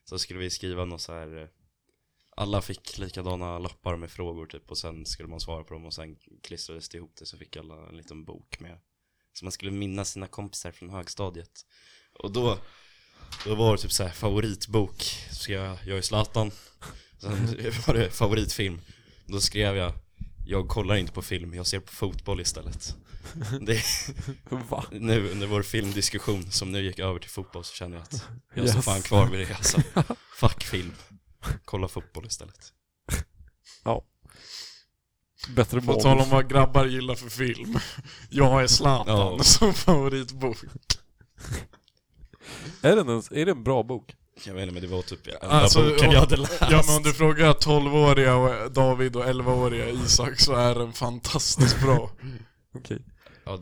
C: Så skulle vi skriva något så här. eh, alla fick likadana lappar med frågor typ och sen skulle man svara på dem och sen klistrades det ihop det så fick alla en liten bok med. Så man skulle minnas sina kompisar från högstadiet. Och då, då var det typ så här favoritbok, så jag, jag är Zlatan. Sen var det favoritfilm. Då skrev jag, jag kollar inte på film, jag ser på fotboll istället. Det,
B: Va?
C: nu under vår filmdiskussion som nu gick över till fotboll så känner jag att jag står
B: Yes.
C: fan kvar vid det alltså. Fuck film. Kolla fotboll istället.
B: Bättre
A: På
B: mål.
A: tal om vad grabbar gillar för film. Jag är Zlatan
C: Ja.
A: som favoritbok.
B: Är den ens, är det en bra bok?
C: Jag vet inte men det var typ enda
A: Alltså,
C: boken
A: och-
C: jag hade läst.
A: Ja men om du frågar 12-åriga och David och 11-åriga Isak så är den fantastiskt bra.
B: Okej.
C: Ja,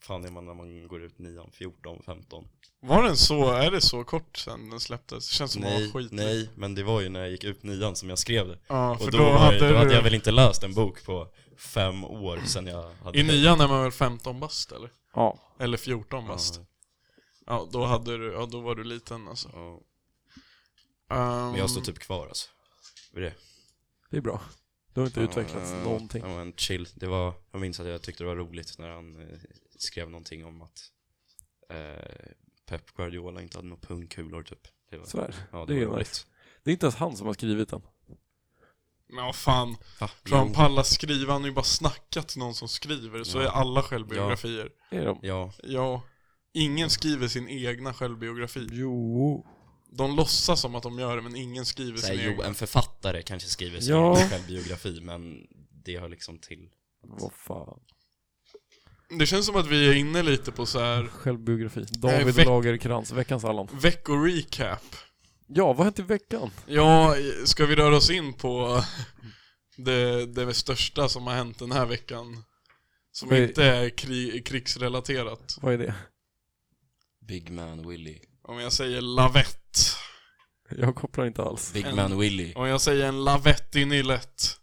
C: fan är man när man går ut nian, 14, 15?
A: Var den så, är det så kort sen den släpptes? Det känns som att
C: Nej,
A: den var skit.
C: nej, men det var ju när jag gick ut nian som jag skrev det.
A: Ja, för
C: Och
A: då,
C: då, var
A: hade,
C: jag, då hade
A: du...
C: jag väl inte läst en bok på fem år sedan jag hade...
A: I nian är man väl 15 bast eller?
B: Ja.
A: Eller 14
C: Ja,
A: bast. Ja, då hade du, ja då var du liten alltså. Ehm,
C: ja.
A: Um,
C: Men jag står typ kvar alltså. Vid det.
B: Det är bra. Du har inte utvecklats
C: Ja,
B: någonting.
C: Det var en chill. Det var, jag minns att jag tyckte det var roligt när han eh, skrev någonting om att eh, Pep Guardiola inte hade några pungkulor typ. Det var,
B: Så är det.
C: ja,
B: det
C: det,
B: är nice.
C: var roligt.
B: Det är inte ens han som har skrivit den.
A: Ja fan,
C: Va?
A: tror han
C: Jo.
A: pallar skriva? Han har ju bara snackat till någon som skriver, så
C: Ja.
A: är alla självbiografier.
B: Är de?
C: Ja,
A: Ja. Ingen skriver sin egna självbiografi.
B: Jo.
A: De låtsas som att de gör det, men ingen skriver
C: Såhär,
A: sin
C: jo,
A: egen.
C: en författare kanske skriver sin
B: Ja.
C: egen självbiografi, men det hör liksom till.
B: Vad fan.
A: Det känns som att vi är inne lite på så här
B: Självbiografi. David
A: veck-
B: Lagerkrans, veckans Allan.
A: veckorecap.
B: Ja, vad har hänt i veckan?
A: Ja, ska vi röra oss in på det, det största som har hänt den här veckan? Som
B: Vad är-
A: inte är kri, krigsrelaterat.
B: Vad är det?
C: Big Man Willy.
A: Om jag säger lavett.
B: Jag kopplar inte alls.
C: Big
A: En-
C: Man Willy.
A: Om jag säger en lavett i Nillett.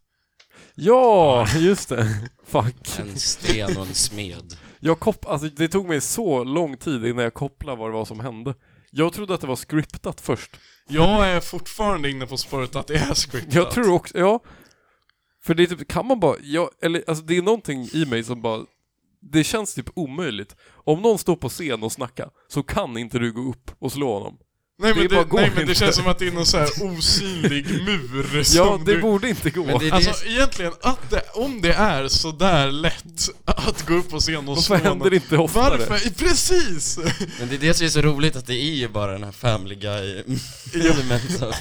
B: Ja, just det. Fuck.
C: En sten och en smed.
B: Jag kop- alltså, det tog mig så lång tid innan jag kopplade vad det var som hände. Jag trodde att det var scriptat först.
A: Jag är fortfarande inne på spåret att det är scriptat.
B: Jag tror också, ja. För det är typ, kan man bara, jag, eller alltså det är någonting i mig som bara, det känns typ omöjligt. Om någon står på scen och snackar så kan inte du gå upp och slå honom.
A: nej, men
B: det
A: det,
B: bara går
A: nej men det
B: inte.
A: känns som att det är någon så här osynlig mur som
B: Ja, det
A: du...
B: borde inte gå.
C: Men det är
A: Alltså egentligen, att det, om det är så där lätt att gå upp på scen och slå
B: Varför händer
A: någon-
B: det inte oftare?
A: Varför? Precis!
C: Men det är det som är så roligt att det är ju bara den här family guy filmen så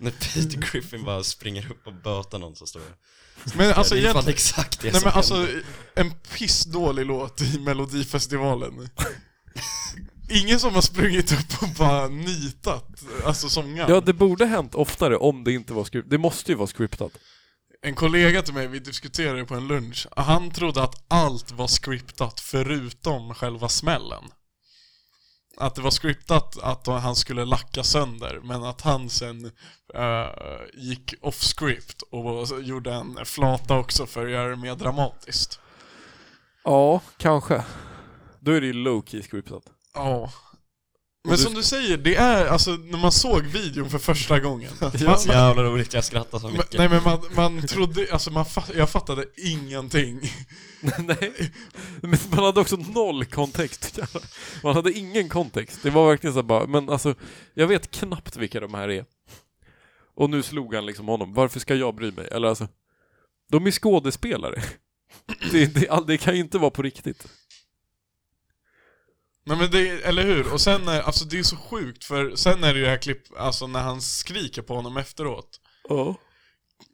C: När Peter Griffin bara springer upp och bötar någon så står det
A: Men alltså
C: Det är fan
A: egentligen...
C: exakt det
A: Nej
C: som
A: men alltså,
C: händer.
A: en pissdålig låt i Melodifestivalen. Ingen som har sprungit upp och bara nitat, alltså sångaren.
B: Ja, det borde hänt oftare om det inte var scriptat. Det måste ju vara scriptat.
A: En kollega till mig, vi diskuterade det på en lunch, han trodde att allt var scriptat förutom själva smällen. Att det var scriptat att han skulle lacka sönder, men att han sen eh, gick off script och gjorde en flata också för att göra det mer dramatiskt.
B: Ja, kanske. Då är det ju low-key scriptat.
A: Ja.
B: Och
A: Men
B: du-
A: som du säger, det är alltså när man såg videon för första gången.
C: Det var
A: Man,
C: så jävla roligt, jag skrattar så
A: man,
C: mycket
A: nej men man, man trodde, alltså man fa- jag fattade ingenting.
B: Nej, men man hade också noll kontext. Man hade ingen kontext. Det var verkligen så här bara, men alltså, jag vet knappt vilka de här är. Och nu slog han liksom honom, varför ska jag bry mig? Eller alltså, de är skådespelare. Det, det, all- det kan ju inte vara på riktigt.
A: Nej men det, eller hur? Och sen, är, alltså det är så sjukt för sen är det ju det här klipp, alltså när han skriker på honom efteråt.
B: Ja.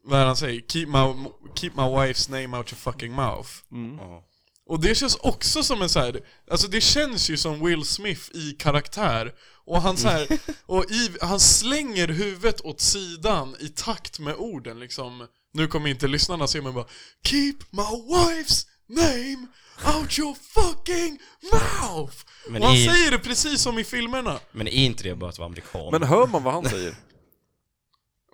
A: När han säger 'Keep my, keep my wife's name out your fucking mouth'
B: Mm.
C: Ja.
A: Och det känns också som en så här, alltså det känns ju som Will Smith i karaktär. Och han så här, och i, han slänger huvudet åt sidan i takt med orden liksom. Nu kommer inte lyssnarna se men bara 'Keep my wife's name out your fucking mouth'
C: Men
A: Och han
C: i-
A: säger det precis som i filmerna.
C: Men är inte det bara att vara amerikan?
B: Men hör man vad han säger?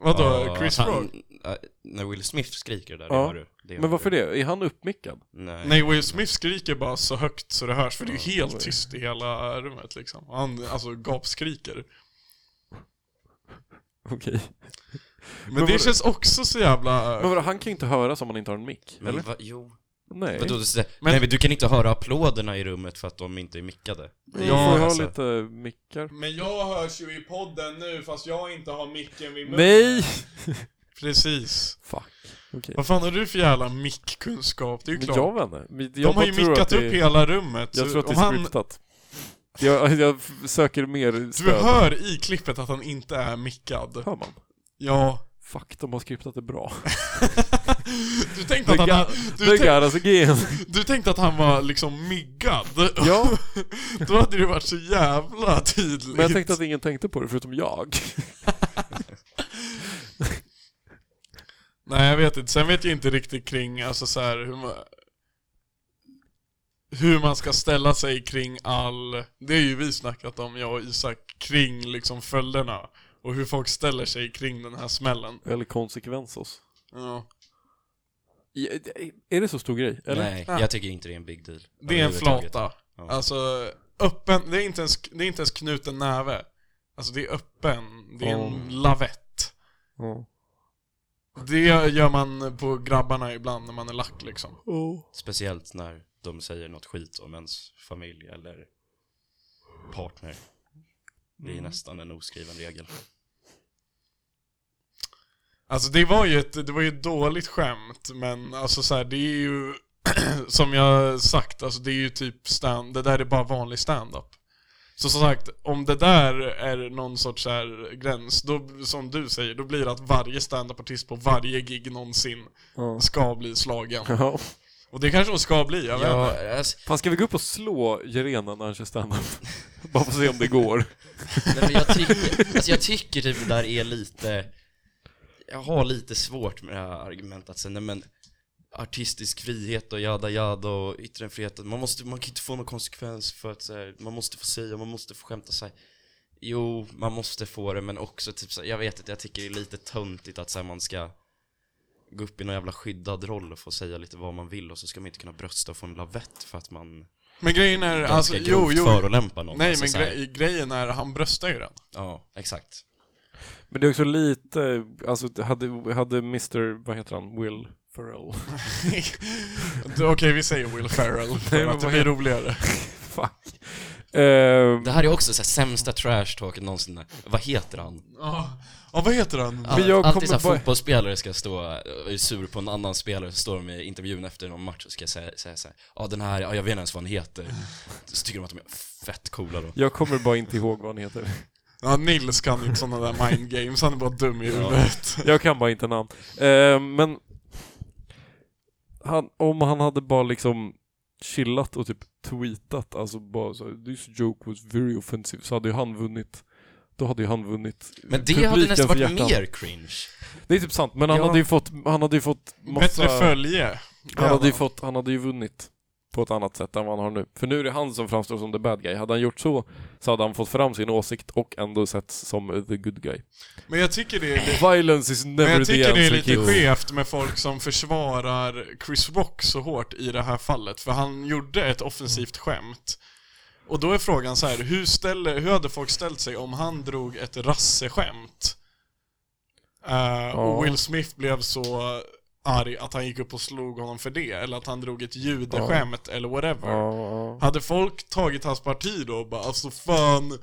A: Vadå,
C: Ja,
A: Chris
C: han-
A: Rock?
C: ja, När Will Smith skriker där, det
B: Ja.
C: har du det har
B: Men varför
C: du.
B: det? Är han uppmickad?
C: Nej,
A: Nej, Will Smith skriker bara så högt så det hörs, för det är ju helt tyst i hela rummet liksom. Han alltså gapskriker.
B: Okej.
A: Men,
B: vadå?
A: det känns också så jävla...
B: Men vadå, han kan ju inte höras om han inte har en mick,
C: men
B: eller?
C: va, jo
B: Nej.
C: Vadå, du, säger-
A: Men-
C: nej, Mm. men du kan inte höra applåderna i rummet för att de inte är mickade
B: Vi
A: Ja,
B: får ju
C: alltså.
B: ha lite mickar.
A: Men jag hörs ju i podden nu fast jag inte har micken vid
B: Nej!
A: Precis.
B: Fuck. Okej.
A: Vad fan har du för jävla mickkunskap? Det är ju
B: Men
A: klart.
B: jag vet inte. Men
A: De
B: jag
A: har
B: bara
A: ju
B: tror
A: mickat
B: att det-
A: upp hela rummet.
B: Jag
A: så
B: tror att det
A: om
B: är
A: han,
B: scriptat. Jag, jag f- söker mer
A: Du
B: stöd.
A: hör i klippet att han inte är mickad.
B: Hör man?
A: Ja.
B: Fuck, de har scriptat det bra.
A: Du
B: The,
A: tänkte att han,
B: ga-
A: du
B: the
A: tänk-
B: got us again.
A: du tänkte att han var liksom myggad.
B: ja,
A: Då hade det varit så jävla tydligt.
B: men jag tänkte att ingen tänkte på det förutom jag.
A: Nej, jag vet inte. Sen vet jag inte riktigt kring alltså, så här, hur, man, hur man ska ställa sig kring all... Det är ju vi snackat om, jag och Isak, kring liksom följderna. Och hur folk ställer sig kring den här smällen.
B: Eller konsekvensos.
A: Ja.
B: I- i- Är det så stor grej? Eller?
C: Nej,
A: Ah.
C: jag tycker inte det är en big deal
A: Det är en
C: Överhuvudtaget.
A: flata.
C: Ja.
A: Alltså, öppen... Det är inte ens, det är inte ens knuten näve. Alltså, det är öppen. Det är en
B: Mm.
A: lavett.
B: Ja.
A: Det gör man på grabbarna ibland när man är lack liksom.
C: Speciellt när de säger något skit om ens familj eller partner. Det är
A: Mm.
C: nästan en oskriven regel.
A: Alltså det var ju ett, det var ju ett dåligt skämt, men alltså så här, det är ju som jag sagt, alltså det är ju typ stand, det där är bara vanlig stand-up. Så som sagt, om det där är någon sorts så här gräns, då, som du säger, då blir det att varje standup-artist på varje gig någonsin
B: Ja.
A: ska bli slagen.
B: Ja.
A: Och det kanske hon ska bli, jag vet inte.
C: Ja, alltså,
B: Fan, ska vi gå upp och slå Jerena när han kör standup? Bara för att se om det går.
C: nej, men jag, tycker, alltså jag tycker typ det där är lite, jag har lite svårt med det här argumentet att säga, nej men artistisk frihet och jada jada och yttrandefriheten, man, måste, man kan inte få någon konsekvens för att så här, man måste få säga, man måste få skämta sig. Jo, man måste få det men också typ så här, jag vet inte, jag tycker det är lite töntigt att så här, man ska gå upp i någon jävla skyddad roll och få säga lite vad man vill och så ska man inte kunna brösta och få en lavett för att man
A: Men grejen är,
C: ganska
A: alltså jo,
C: grovt
A: jo.
C: förolämpar någon.
A: Nej
C: alltså,
A: men
C: så här.
A: gre- grejen är, han bröstar ju den.
C: Ja, exakt.
B: Men det är också lite, alltså hade, hade Mr, vad heter han, Will Ferrell?
A: Okej, vi säger Will Ferrell för
B: men
A: att det
B: vad
A: blir
B: heter-
A: roligare.
B: Fuck. Eh,
C: Det här är också så här, sämsta trash-talket någonsin. Vad heter han?
A: Ja, ja, vad heter han?
B: Men jag
C: Alltid
B: kommer
C: såhär
B: bara-
C: fotbollsspelare ska stå och är sur på en annan spelare, så står de i intervjun efter någon match och ska säga, säga såhär Ja den här, ja, jag vet inte ens vad han heter. Så tycker de att de är fett coola då.
B: jag kommer bara inte ihåg vad han heter.
A: Ja, Nils kan inte sådana där mind games, han är bara dum i huvudet.
B: Jag kan bara inte namn. Eh, men han, om han hade bara liksom chillat och typ tweetat, alltså bara så här, this joke was very offensive, så hade ju han vunnit. Då hade ju han vunnit
C: Men det hade
B: publikens
C: nästan varit
B: hjärtan.
C: mer cringe.
B: Det är typ sant, men han
C: Ja.
B: hade ju fått, han hade ju fått massa...
A: Bättre följe.
B: Han hade ju fått, han hade ju vunnit på ett annat sätt än vad han har nu. För nu är det han som framstår som the bad guy. Hade han gjort så, så hade han fått fram sin åsikt och ändå sett som the good guy.
A: Men jag tycker det är,
B: Violence is
A: men
B: never
A: jag
B: the
A: tycker det är
B: answer,
A: lite
B: kids.
A: skevt med folk som försvarar Chris Rock så hårt i det här fallet, för han gjorde ett offensivt skämt. Och då är frågan så här, hur, ställer, hur hade folk ställt sig om han drog ett rasseskämt? Eh, Och Will Smith blev så arg att han gick upp och slog honom för det, eller att han drog ett judeskämt eller whatever.
B: Ja,
A: Hade folk tagit hans parti då och bara alltså fan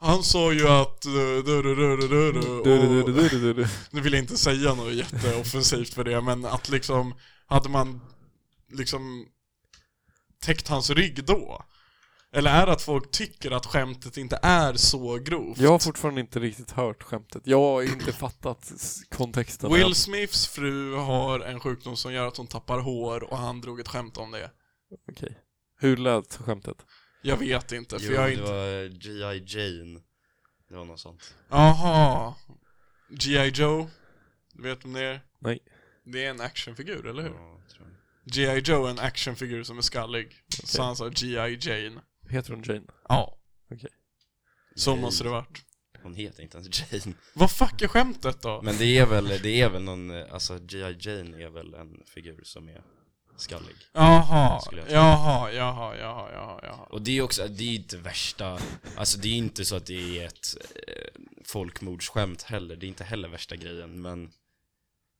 A: han sa ju att... eh, dö, dö, dö, dö, dö, dö,
B: Du, du,
A: och-
B: du, du, du, du.
A: Nu vill jag inte säga något jätteoffensivt för det, men att liksom... Hade man liksom täckt hans rygg då? Eller är det att folk tycker att skämtet inte är så grovt?
B: Jag har fortfarande inte riktigt hört skämtet. Jag har inte fattat s- kontexten.
A: Will Smiths fru har en sjukdom som gör att hon tappar hår och han drog ett skämt om det.
B: Okej. Hur lät skämtet?
A: Jag vet inte, för
C: Jo,
A: jag är
C: det
A: inte...
C: var G.I. Jane. Det var något sånt.
A: Aha. G.I. Joe? Du vet om det är?
B: Nej.
A: Det är en actionfigur, eller
C: Ja,
A: hur?
B: Mm.
C: tror jag.
A: G.I. Joe är en actionfigur som är skallig. Så han sa G.I. Jane.
B: Heter hon Jane?
A: Ja.
B: Okej.
A: Så
C: Jane.
A: måste det varit.
C: Hon heter inte ens Jane.
A: Vad fuck är skämtet då?
C: Men det är väl, det är väl någon, eh, alltså G.I. Jane är väl en figur som är skallig.
A: Jaha,
C: Skulle jag säga.
A: jaha, jaha, jaha, jaha, jaha.
C: Och det är också, det är ju inte värsta, alltså det är inte så att det är ett eh, folkmordsskämt heller, det är inte heller värsta grejen men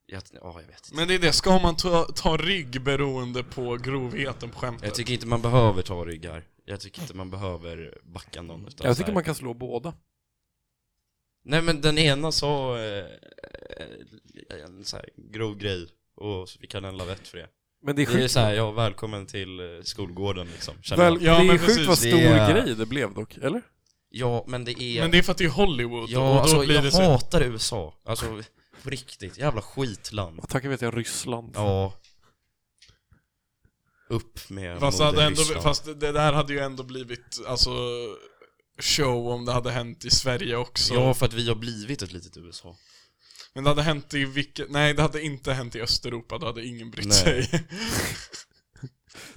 C: jag, ja, jag vet inte.
A: Men det är det, ska man ta, ta rygg beroende på grovheten på skämtet?
C: Jag tycker inte man behöver ta ryggar, jag tycker inte man behöver backa någon utan
B: Jag
C: så
B: tycker
C: här-
B: man kan slå båda.
C: Nej men den ena sa eh, eh, en så här grov grej och så fick han en lavett för det.
B: Men det är
C: Det är
B: sjukt.
C: så här, ja välkommen till eh, skolgården liksom, känner
B: Väl,
C: man.
A: Ja,
B: det är
A: men
B: sjukt
A: precis,
B: vad
C: det
B: stor
C: är-
B: grej det blev dock, eller?
C: Ja men det är
A: Men det är för att det är Hollywood och
C: Ja,
A: då
C: alltså
A: blir
C: jag
A: det så...
C: hatar USA, alltså på riktigt, jävla skitland
B: Och Tackar vet jag Ryssland.
C: Ja. Upp med
A: Fast, det
C: moder
A: hade ändå,
C: Ryssland.
A: fast det det där hade ju ändå blivit alltså, show om det hade hänt i Sverige också.
C: Ja, för att vi har blivit ett litet USA.
A: Men det hade hänt i vilket... Nej, det hade inte hänt i Östeuropa, då hade ingen brytt
C: Nej.
A: sig.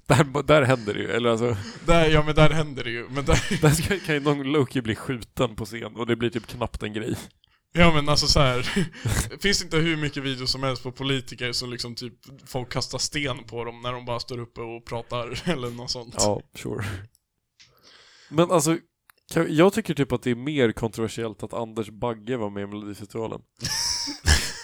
B: Där, där händer det ju, eller alltså,
A: Där, ja, men där händer det ju. Men där,
B: där ska, kan ju någon Loki bli skjuten på scen och det blir typ knappt en grej.
A: ja, men alltså så här. finns det inte hur mycket videos som helst på politiker som liksom typ folk kastar sten på dem när de bara står uppe och pratar eller något sånt.
B: Ja, sure. Men alltså, kan, jag tycker typ att det är mer kontroversiellt att Anders Bagge var med i Melodifestivalen.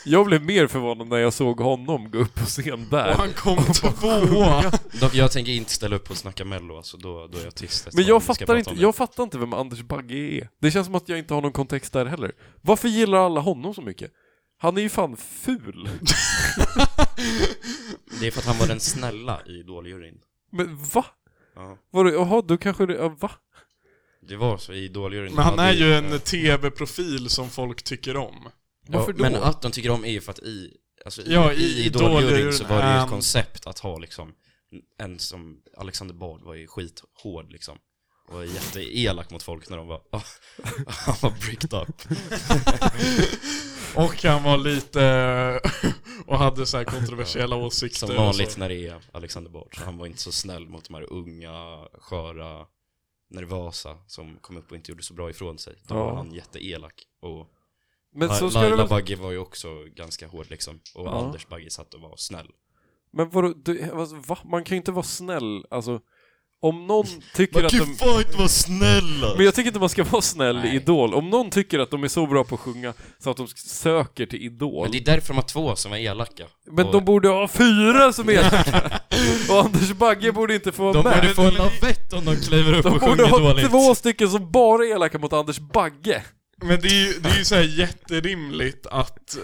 B: jag blev mer förvånad när jag såg honom gå upp på scen
A: Och
B: där.
A: han kom tvåa!
C: Dock, jag tänker inte ställa upp och snacka mello, alltså då, då är jag tyst. efter
B: Men
C: vad
B: jag
C: vi ska
B: fattar,
C: prata
B: inte,
C: om.
B: jag fattar inte vem Anders Bagge är. Det känns som att jag inte har någon kontext där heller. Varför gillar alla honom så mycket? Han är ju fan ful.
C: Det är för att han var den snälla i Idoljuryn.
B: Men va?
C: Ja.
B: Vadå, jaha, då kanske det, ja, va?
C: Det var så i Idoljuryn.
A: Men han är ju
C: Ja.
A: en tv-profil som folk tycker om.
B: Varför då?
C: Men att de tycker om är ju för att i, alltså i,
A: Ja,
C: ja,
A: i
C: i
A: Idol-
C: Idoljuryn så var det ju
A: ehm.
C: ett koncept att ha liksom en som, Alexander Bard var ju skithård liksom. Och var jätteelak mot folk när de var, han var bricked up.
A: Och han var lite... och hade så här kontroversiella åsikter.
C: Som
A: och
C: vanligt
A: så.
C: när det är Alexander Bard. Så han var inte så snäll mot de här unga, sköra, nervösa som kom upp och inte gjorde så bra ifrån sig. Då
B: Ja.
C: var han jätteelak. Och
B: Men så ska det
C: Laila
B: väl...
C: Bagge var ju också ganska hård liksom. Och
B: Ja.
C: Anders Bagge satt och var snäll.
B: Men vadå, du, alltså, va? Man kan ju inte vara snäll, alltså. Om någon tycker
C: Man
B: att
C: kan
B: de...
C: ju fan inte vara snäll!
B: Men jag tycker inte man ska vara snäll i
C: Nej.
B: Idol. Om någon tycker att de är så bra på att sjunga så att de söker till Idol.
C: Men det är därför de har två som är elaka.
B: Men
C: Och
B: de borde ha fyra som är Och Anders Bagge borde inte få vara
C: de
B: med.
C: borde få en lavett om de kliver upp
B: De
C: och
B: borde
C: sjunger
B: ha
C: dåligt.
B: två stycken som bara är elaka mot Anders Bagge.
A: Men det är ju, det är ju så här jätterimligt att...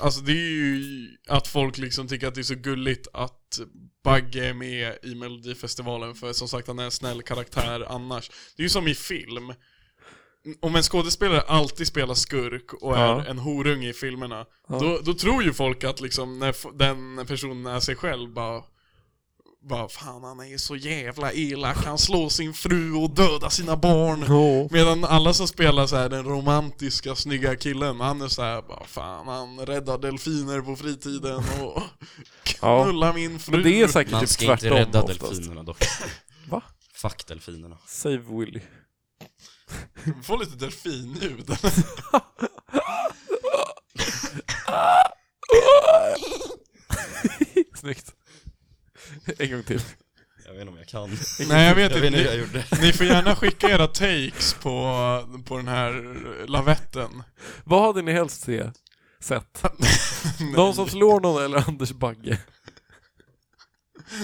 A: Alltså det är ju att folk liksom tycker att det är så gulligt att Bagge är med i Melodifestivalen för som sagt han är en snäll karaktär annars. Det är ju som i film. Om en skådespelare alltid spelar skurk och är
B: Ja.
A: en horunge i filmerna, då, då tror ju folk att liksom när f- den personen är sig själv bara bara fan han är så jävla elak, han slår sin fru och dödar sina barn. Medan alla som spelar så här den romantiska snygga killen, han är så här bara fan han räddar delfiner på fritiden och
B: Ja.
A: knullar min fru.
B: Men det är säkert
C: Man
B: typ
C: ska inte
B: tvärtom
C: rädda
B: oftast.
C: delfinerna dock.
B: Va?
C: Fuck delfinerna.
B: Save Willy.
A: Få lite delfinljud.
B: Snyggt. En gång till.
C: Jag vet inte om jag kan.
A: Nej jag vet
C: Jag
A: inte,
C: vet inte hur jag
A: ni,
C: gjorde.
A: ni får gärna skicka era takes på, på den här lavetten.
B: Vad hade ni helst se? sett? Någon som slår någon eller Anders Bagge?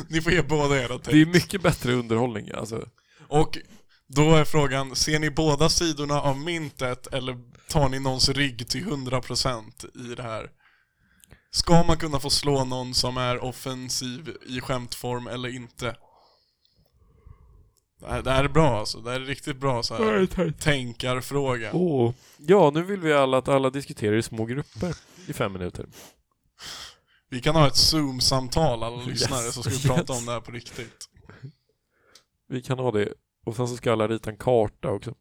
A: Ni får ge båda era
B: Det
A: takes.
B: är mycket bättre underhållning alltså.
A: Och då är frågan, ser ni båda sidorna av myntet eller tar ni någons rygg till 100% i det här? Ska man kunna få slå någon som är offensiv i skämtform eller inte? Det här, det här är bra alltså, det här är riktigt bra så
B: Mm.
A: här tänkarfråga.
B: Åh. Ja, nu vill vi alla att alla diskuterar i små grupper i fem minuter.
A: Vi kan ha ett zoom-samtal alla lyssnare
B: Yes,
A: så ska vi prata
B: yes.
A: om det här på riktigt.
B: Vi kan ha det. Och sen så ska alla rita en karta också.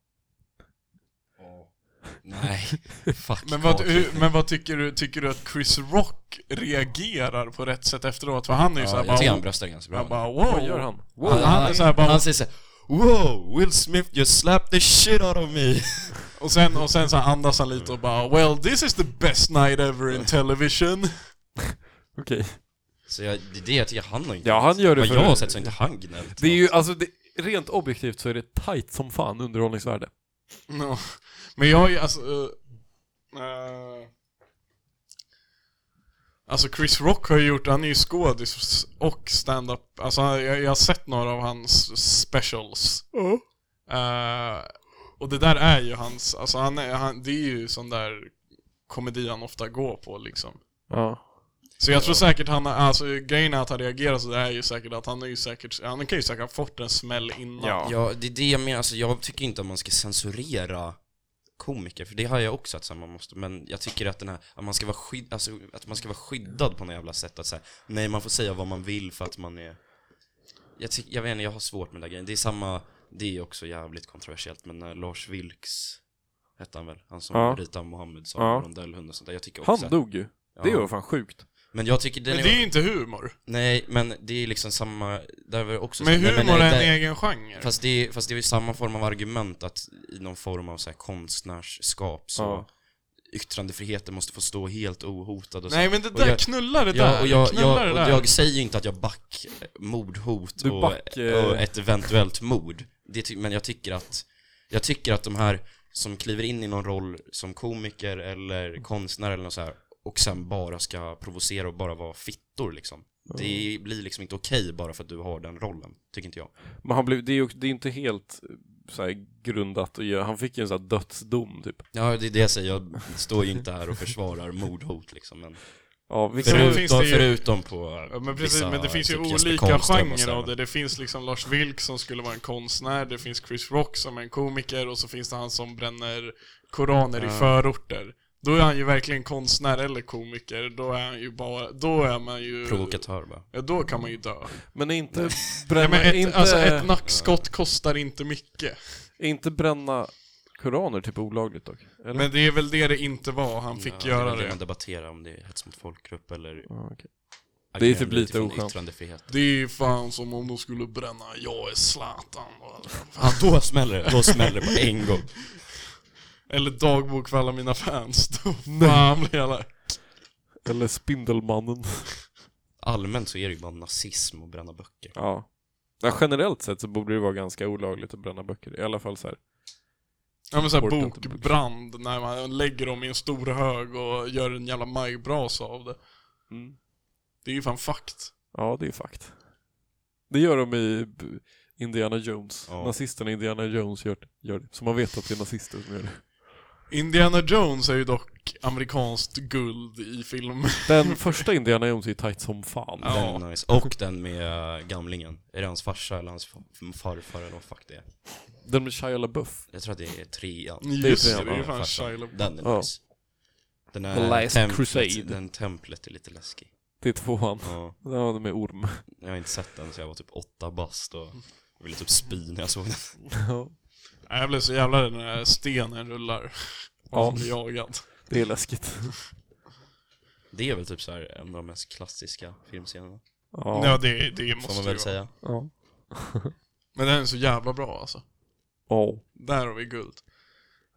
C: Nej, fuck
A: Men vad,
C: Patrik.
A: hur, men vad tycker du, tycker du att Chris Rock reagerar på rätt sätt efteråt? För han är ju
C: Ja,
A: såhär
C: jag tycker
A: bara,
C: han bröstar ganska bra.
A: han bara wow.
B: Vad gör han?
A: Wow. Han är så här bara-
C: han säger såhär Wow, Will Smith just slapped the shit out of me!
A: Och sen, och sen så andas han lite och bara Well this is the best night ever in television
B: Okej.
C: Så jag, det är det jag tycker han har inte
B: Ja, han gör det
C: Vad
B: för...
C: jag har sett så har inte han gnällt.
B: Det är ju, alltså, det, rent objektivt så är det tight som fan underhållningsvärde.
A: no. Men jag är ju alltså eh, eh, Alltså Chris Rock har ju gjort, han är ju skådis och stand-up Alltså han- jag, jag har sett några av hans specials Eh, Och det där är ju hans, alltså han är, han, det är ju sån där komedi han ofta går på liksom
B: Ja.
A: Så jag tror säkert han, alltså grejen är att han reagerar så det är ju säkert att han är ju säkert, han kan ju säkert ha fått en smäll innan.
B: Ja.
C: Ja, det är det jag menar. Alltså, jag tycker inte att man ska censurera komiker, för det har jag också att så här, man måste, men jag tycker att, den här, att, man ska vara skydd, alltså, att man ska vara skyddad på något jävla sätt. Att så här, nej, man får säga vad man vill för att man är... Jag, tyck, jag vet inte, jag har svårt med den där grejen. Det är samma, det är också jävligt kontroversiellt, men när Lars Vilks hette han väl? Han som
B: Ja.
C: ritar Mohammed som
B: Ja.
C: rondellhund och sånt där. Jag tycker också...
B: Han dog ju. Det var fan sjukt.
C: Men jag tycker den
A: Men
C: är...
A: det är ju inte humor.
C: Nej, men det är liksom samma... Där var det också
A: Men
C: så- nej,
A: humor är
C: där-
A: en egen genre.
C: Fast det, är- fast det är ju samma form av argument att i någon form av så här konstnärsskap så
B: Ja.
C: yttrandefriheten måste få stå helt ohotad och så.
A: Nej men det
C: och
A: där,
C: jag-
A: knullar det där.
C: Ja, och jag,
A: knullar
C: jag,
A: det där.
C: och jag säger ju inte att jag back eh, mordhot
B: Du
C: och,
B: back, eh.
C: och ett eventuellt mord. Det, ty- men jag tycker att, jag tycker att de här som kliver in i någon roll som komiker eller konstnär eller något så här och sen bara ska provocera och bara vara fittor liksom. Det blir liksom inte okej bara för att du har den rollen, tycker inte jag.
B: Men han blev, det är ju det är inte helt eh, så här, grundat att göra. Han fick ju en sån här dödsdom typ.
C: Ja, det är det jag säger. Jag står ju inte här och försvarar mordhot liksom, men
B: Ja, vilka
A: Sen
B: var...
A: finns det ju-
C: förutom på
A: Ja, men precis,
C: vissa,
A: men det finns ju
C: typ,
A: olika
C: Jesper
A: genrer
C: Karlsson och
A: av det. Det finns liksom Lars Vilks som skulle vara en konstnär, det finns Chris Rock som är en komiker och så finns det han som bränner koraner i förorter. Då är han ju verkligen konstnär eller komiker, då är han ju bara, då är man ju...
C: Provokatör bara.
A: Ja, då kan man ju dö.
B: Men inte
A: Ja,
B: bränna,
A: men ett,
B: inte,
A: alltså, ett nackskott kostar inte mycket.
B: inte bränna koraner typ olagligt dock? Eller?
A: Men det är väl det det inte var, han fick
C: Ja,
A: göra
C: Det
A: det.
C: kan man debattera om det är hets mot folkgrupp eller
B: Ja, okej. Det är typ
C: agenda
B: lite
C: utifrån
B: oskönt.
C: yttrandefrihet.
A: Det är fan som om de skulle bränna 'Jag är Zlatan'
C: Ja, då smäller det. Då smäller det på en gång.
A: Eller dagbok för alla mina fans. Då fan blir jag lack.
B: Eller Spindelmannen.
C: Allmänt så är det ju bara nazism att bränna böcker.
B: Ja. ja. Generellt sett så borde det vara ganska olagligt att bränna böcker. I alla fall så här.
A: Ja men såhär
B: Orkar inte bli-
A: bokbrand, när man lägger dem i en stor hög och gör en jävla majbrasa av det.
B: Mm.
A: Det är ju fan fakt.
B: Ja, det är fakt. Det gör de i b- Indiana Jones.
C: Ja.
B: Nazisterna i Indiana Jones gör, gör det. Så man vet att det är nazister som gör det.
A: Indiana Jones är ju dock amerikanskt guld i film.
B: Den första Indiana Jones är ju tight som fan.
A: Ja.
C: Den är nice. Och den med äh, gamlingen. Är det hans farsa eller hans fa- farfar eller vad fuck det är?
B: Den med Shia LaBeouf.
C: Jag tror att det är trean.
A: Just
B: det,
A: det, det är ju
C: Ja,
A: fan
C: farsan.
A: Shia LaBeouf.
C: Den
B: Ja.
C: är nice. Den är
B: The Last
C: templet-
B: Crusade.
C: Den templet är lite läskig.
B: Det är tvåan.
C: Ja,
B: Ja, den med orm.
C: jag har inte sett den så jag var typ åtta bast och ville typ spy när jag såg den.
B: Ja.
A: Nej, Jag blev så jävla rädd när stenen rullar. Och
B: Ja.
A: man blir jagad.
B: Det är läskigt.
C: Det är väl typ så här en av de mest klassiska filmscenerna,
B: Ja.
A: Ja,
B: Ja.
A: det, det måste
C: får man
A: ju
C: väl
A: vara.
C: säga.
B: Ja.
A: Men den är så jävla bra alltså. Där har vi guld.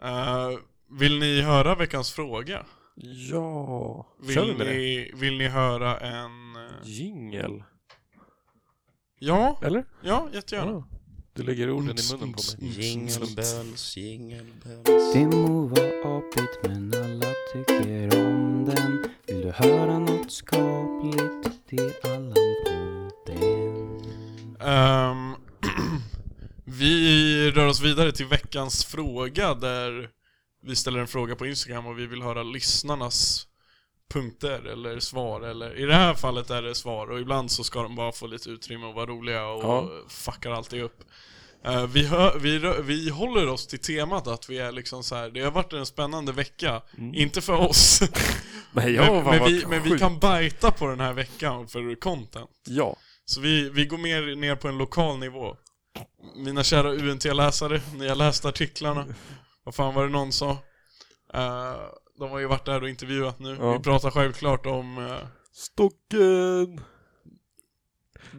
A: Eh, vill ni höra veckans fråga?
B: Ja. Kör vi
A: Vill
B: med det?
A: ni, vill ni höra en... eh,
B: Jingel.
A: Ja,
B: Eller?
A: ja jättegärna.
B: Ja. Du lägger orden i munnen på mig.
A: Mm.
C: Jingle bells, jingle bells.
D: Det må vara apigt men alla tycker om den Vill du höra något skapligt? Det är Allan på den
A: Ehm, vi rör oss vidare till veckans fråga där vi ställer en fråga på Instagram och vi vill höra lyssnarnas punkter eller svar. Eller, I det här fallet är det svar och ibland så ska de bara få lite utrymme och vara roliga och
B: Ja.
A: fuckar alltid upp. Eh, vi, hö- vi, rö- vi håller oss till temat att vi är liksom så här. det har varit en spännande vecka. Inte för oss,
B: Nej, Mm. jag
A: men,
B: har
A: men,
B: varit
A: vi, men vi
B: sjuk.
A: kan bajta på den här veckan för content.
B: Ja.
A: Så vi, vi går mer ner på en lokal nivå. Mina kära UNT-läsare, ni har läst artiklarna. Vad fan var det någon sa? Eh, de har ju varit där och intervjuat nu.
B: Ja.
A: Vi pratar självklart om... eh,
B: Stocken!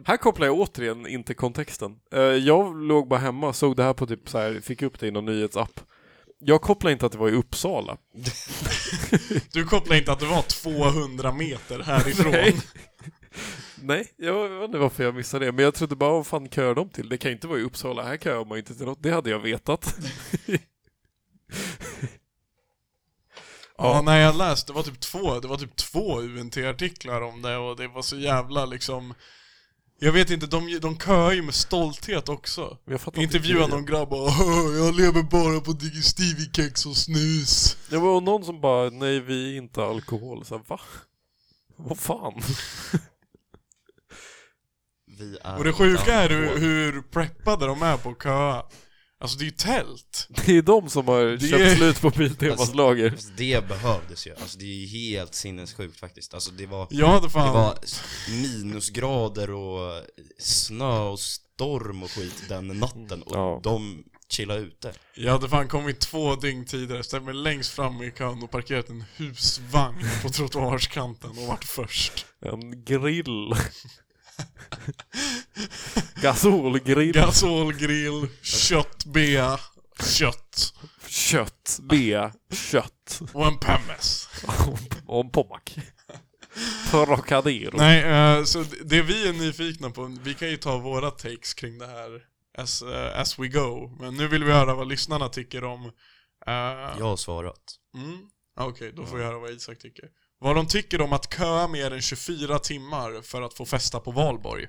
B: Här kopplar jag återigen in till kontexten. Eh, Jag låg bara hemma och såg det här på typ så här, fick upp det i någon nyhetsapp. Jag kopplar inte att det var i Uppsala.
A: du kopplar inte att det var 200 meter härifrån?
B: Nej. Nej, jag vet inte varför jag missade det, men jag trodde bara vad fan köar de till? Det kan ju inte vara i Uppsala, här köar man ju inte till något. Det hade jag vetat.
A: Ja, när jag läste, det var typ två, det var typ två UNT-artiklar om det och det var så jävla liksom... Jag vet inte, de, de köar ju med stolthet också.
B: Men Jag fattar inte
A: Intervjuade
B: grejen.
A: någon grabb och "Åh, jag lever bara på digestivi-kex och snus.
B: Det var någon som bara, nej vi är inte alkohol. Så här, va? Vad fan?
C: Vi är
A: Och det sjuka är
C: utanför.
A: hur, hur preppade de är på att köa. Alltså det är ju tält.
B: Det är de som har köpt slut på Biltemas
C: Alltså,
B: lager.
C: Fast det behövdes ju, alltså det är ju helt sinnessjukt faktiskt. Alltså det var,
A: Jag hade
C: det
A: fan...
C: var minusgrader och snö och storm och skit den natten och
B: Ja.
C: de chillade ute.
A: Jag hade fan kommit två dygn tidigare, ställt mig längst fram i kön och parkerat en husvagn på trottoarskanten och varit först.
B: En grill. Gasolgrill.
A: Gasolgrill, köttbea, kött
B: kött. B. Kött.
A: och en pommes.
B: Och en pommack. Trocadero.
A: Nej, eh, så det- det vi är nyfikna på, vi kan ju ta våra takes kring det här as, eh, as we go. Men nu vill vi höra vad lyssnarna tycker om eh,
C: Jag har svarat.
A: Mm. Ah, Okej, då får jag höra vad Isak tycker. Vad de tycker om att köa mer än 24 timmar för att få festa på valborg.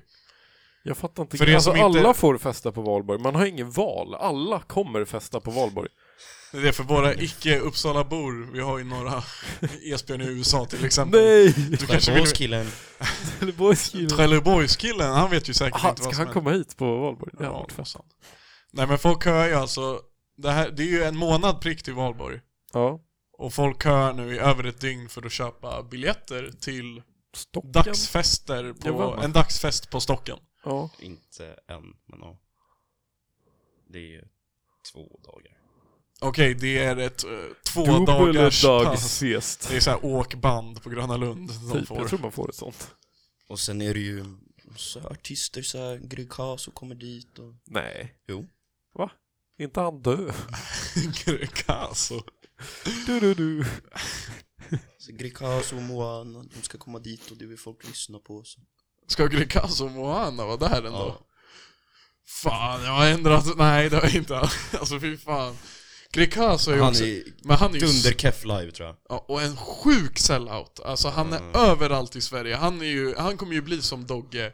B: Jag fattar inte.
A: För er
B: alltså,
A: som inte-
B: alla får festa på valborg. Man har ingen val. Alla kommer festa på valborg.
A: Det är för våra
B: Mm.
A: icke-Uppsala-bor, vi har ju några Esbjörn i USA till exempel.
B: Nej!
A: Du kanske vill...
C: Trelleborgskillen.
B: Trelleborgskillen.
A: Trelleborgskillen, han vet ju säkert
B: Aha,
A: inte vad
B: ska
A: som
B: han
A: händer.
B: komma hit på valborg? Det hade
A: Ja,
B: varit
A: det var
B: fett.
A: sant. Nej men folk hör ju alltså, det, här, det är ju en månad prick till valborg.
B: Ja.
A: Och folk hör nu i över ett dygn för att köpa biljetter till
B: Stocken.
A: dagsfester på,
B: Jajamän.
A: en dagsfest på Stocken.
B: Ja.
C: Inte än, men ja. Det är ju två dagar.
A: Okej, det är ett eh, två dagars pass.
B: Dubbeldagsfest.
A: Det är så här åkband på Gröna Lund de
B: Typ, jag
A: får.
B: tror man får ett sånt.
C: Och sen är det ju så här artister så här, Gry Kaso kommer dit och...
B: Nej.
C: Jo.
B: Va? Inte han dö?
A: Alltså.
B: Du, du, du.
C: Så Gry Kaso och Moana, de ska komma dit och det vill folk lyssna på. Så.
A: Ska Greekazo och Moana vara där ändå? Fan, jag har ändrat... Nej, det har jag inte. Alltså fy fan. Greekazo är ju
C: Han
A: också...
C: är
A: Men han är ju...
C: dunderkeff live tror jag.
A: Ja, och en sjuk sellout. Alltså han är överallt i Sverige. Han, är ju, han kommer ju bli som Dogge.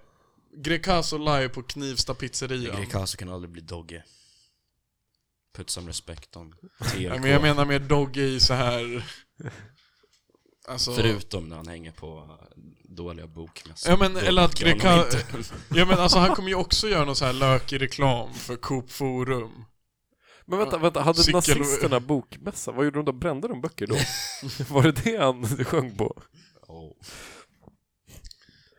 A: Greekazo live på Knivsta pizzeria.
C: Gry Kaso kan aldrig bli Dogge. Put some respect on
A: Ja,
C: TLK.
A: men jag menar mer Dogge i så här... Alltså...
C: Förutom när han hänger på äh, dåliga bokmässor.
A: Ja, men-
C: Då
A: eller att
C: gör
A: Gry
C: de
A: Ka-
C: inte.
A: Ja men alltså han kommer ju också göra någon så här lökig reklam för Coop Forum.
B: Men vänta, vänta. Hade
A: Cykel-
B: nazisterna bokmässa? Vad gjorde de då? Brände de böcker då? Var det det han sjöng på?
C: Åh.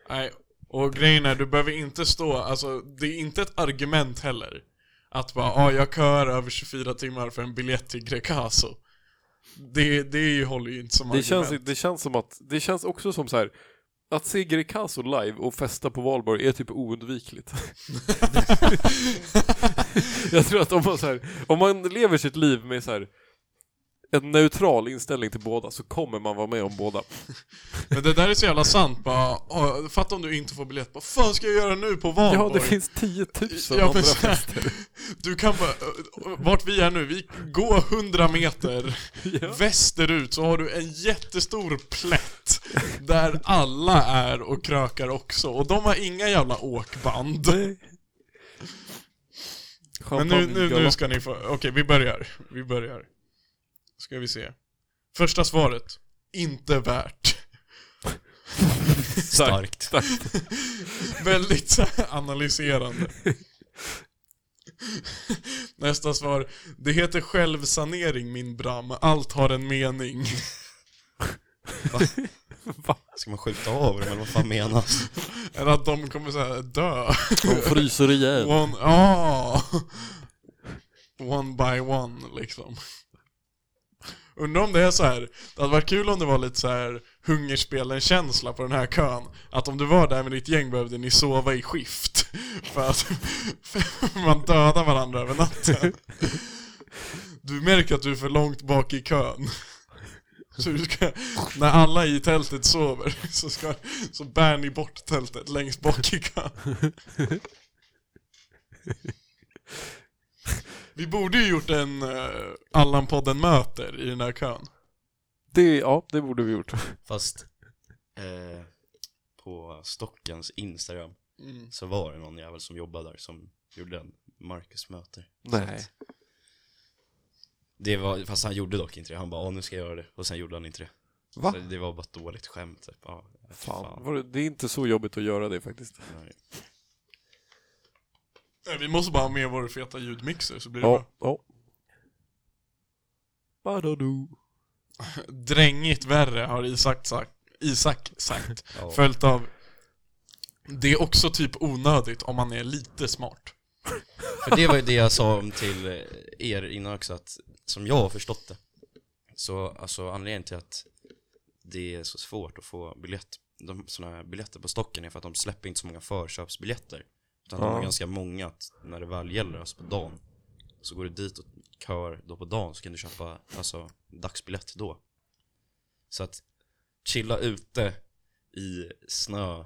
A: Nej, och grejen är, du behöver inte stå, alltså det är inte ett argument heller. Att bara,
B: Mm-hmm.
A: ah, jag kör över 24 timmar för en biljett till Greekazo. Det, det är ju, håller ju inte som
B: Det
A: argument.
B: känns, det känns som att, det känns också som så här. Att se Greekazo live och festa på valborg är typ oundvikligt. jag tror att om man, så här, om man lever sitt liv med så här, en neutral inställning till båda så kommer man vara med om båda.
A: Men det där är så jävla sant, bara, ah, fatta om du inte får biljett, vad fan ska jag göra nu på valborg?
B: Ja, det finns 10 000
A: Ja,
B: andra
A: men så här,
B: fester.
A: du kan bara, vart vi är nu, vi går 100 meter
B: Ja.
A: västerut så har du en jättestor plätt där alla är och krökar också. Och de har inga jävla åkband. Men nu, nu, nu ska ni få, okej vi börjar. Vi börjar. Ska vi se. Första svaret. Inte värt.
C: Starkt.
A: Väldigt så här analyserande. Nästa svar. Det heter självsanering min Bram. Allt har en mening.
C: Ska man skjuta av dem eller vad fan menas?
A: Eller att de kommer så här dö.
B: De fryser ihjäl.
A: One, ja. One by one liksom. Undrar om det är så här. det hade varit kul om det var lite så här hungerspelen-känsla på den här kön. Att om du var där med ditt gäng behövde ni sova i skift. För att för man dödar varandra över natten. Du märker att du är för långt bak i kön. Så du ska, när alla i tältet sover så, ska, så bär ni bort tältet längst bak i kön. Vi borde ju gjort en eh, Allan-podden möter i den här kön.
B: Det, ja, det borde vi gjort.
C: Fast eh, på Stockens Instagram så var det någon jävel som jobbade där som gjorde en Marcus möter.
B: Nej.
C: Det var, fast han gjorde dock inte det. Han bara, "Ja, nu ska jag göra det. Och sen gjorde han inte det.
B: Va?
C: Så det var bara ett dåligt skämt typ. Ja,
B: Fan. Var det, det är inte så jobbigt att göra det faktiskt.
C: Nej.
A: Nej, Vi måste bara ha med vår feta ljudmixer så blir det
B: Ja,
A: bra.
B: ja. Badadu.
A: Drängigt värre har Isak sagt. Isak sagt.
C: Ja.
A: Följt av Det är också typ onödigt om man är lite smart.
C: För det var ju det jag sa om till eh, er innan också, att som jag har förstått det, så alltså anledningen till att det är så svårt att få biljett, de, såna här biljetter på stocken är för att de släpper inte så många förköpsbiljetter. Utan de
B: Ja.
C: har ganska många att, när det väl gäller, alltså på dagen. Så går du dit och kör då på dagen så kan du köpa alltså, dagsbiljett då. Så att chilla ute i snö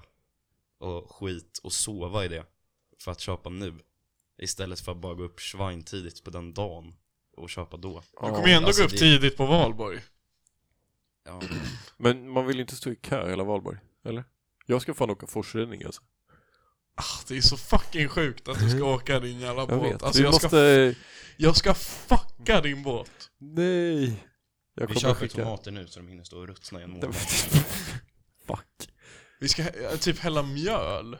C: och skit och sova i det för att köpa nu. Istället för att bara gå upp svintidigt på den dagen och köpa då.
A: Du
B: Ja,
A: kommer ju ändå
C: alltså
A: gå upp
C: det-
A: tidigt på valborg.
C: Ja,
B: Men man vill ju inte stå i kö hela valborg, eller? Jag ska fan åka forsränning alltså.
A: Ah, Det är så fucking sjukt att du ska åka din jävla
B: Mm. Jag
A: båt.
B: vet.
A: Alltså,
B: vi
A: jag, ska,
B: måste...
A: jag ska fucka din båt.
B: Nej. Jag
C: Vi
B: kommer
C: köper
B: skicka...
C: tomater nu så de hinner stå och ruttna i en månad.
B: Fuck.
A: Vi ska eh, typ hälla mjöl.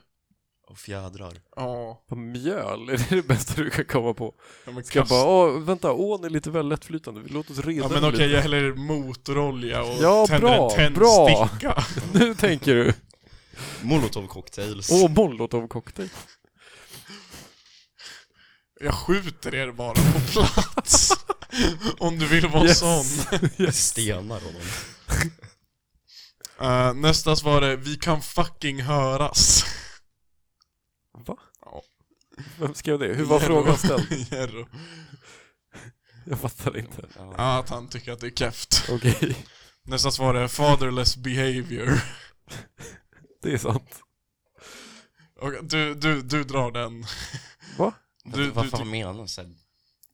C: Och fjädrar.
A: Ja.
B: Vad Mjöl, är det det bästa du kan komma på?
A: Ja, men
B: Ska jag
A: kast-
B: bara, åh, vänta, ån är lite väl lättflytande, låt oss reda
A: Ja
B: den
A: men okej,
B: lite.
A: jag häller motorolja och
B: Ja,
A: tänder
B: bra,
A: en tändsticka.
B: Nu tänker du,
C: Molotov cocktails.
B: åh, molotovcocktail.
A: Jag skjuter er bara på plats. Om du vill vara
B: Yes.
A: sån.
C: Stenar och dem.
A: Eh, nästa svar är Vi kan fucking höras.
B: Va?
A: Ja.
B: Vem skrev det? Hur var
A: Jerro.
B: frågan ställd?
A: Jerro.
B: Jag fattar inte.
C: Ja.
A: Ja, att han tycker att det är keft.
B: Okej,
A: Nästa svar är fatherless behavior.
B: det är sant.
A: Och du, du, du drar den.
B: Va?
A: Du, du,
C: Vad fan
A: tycker
C: menar Seb?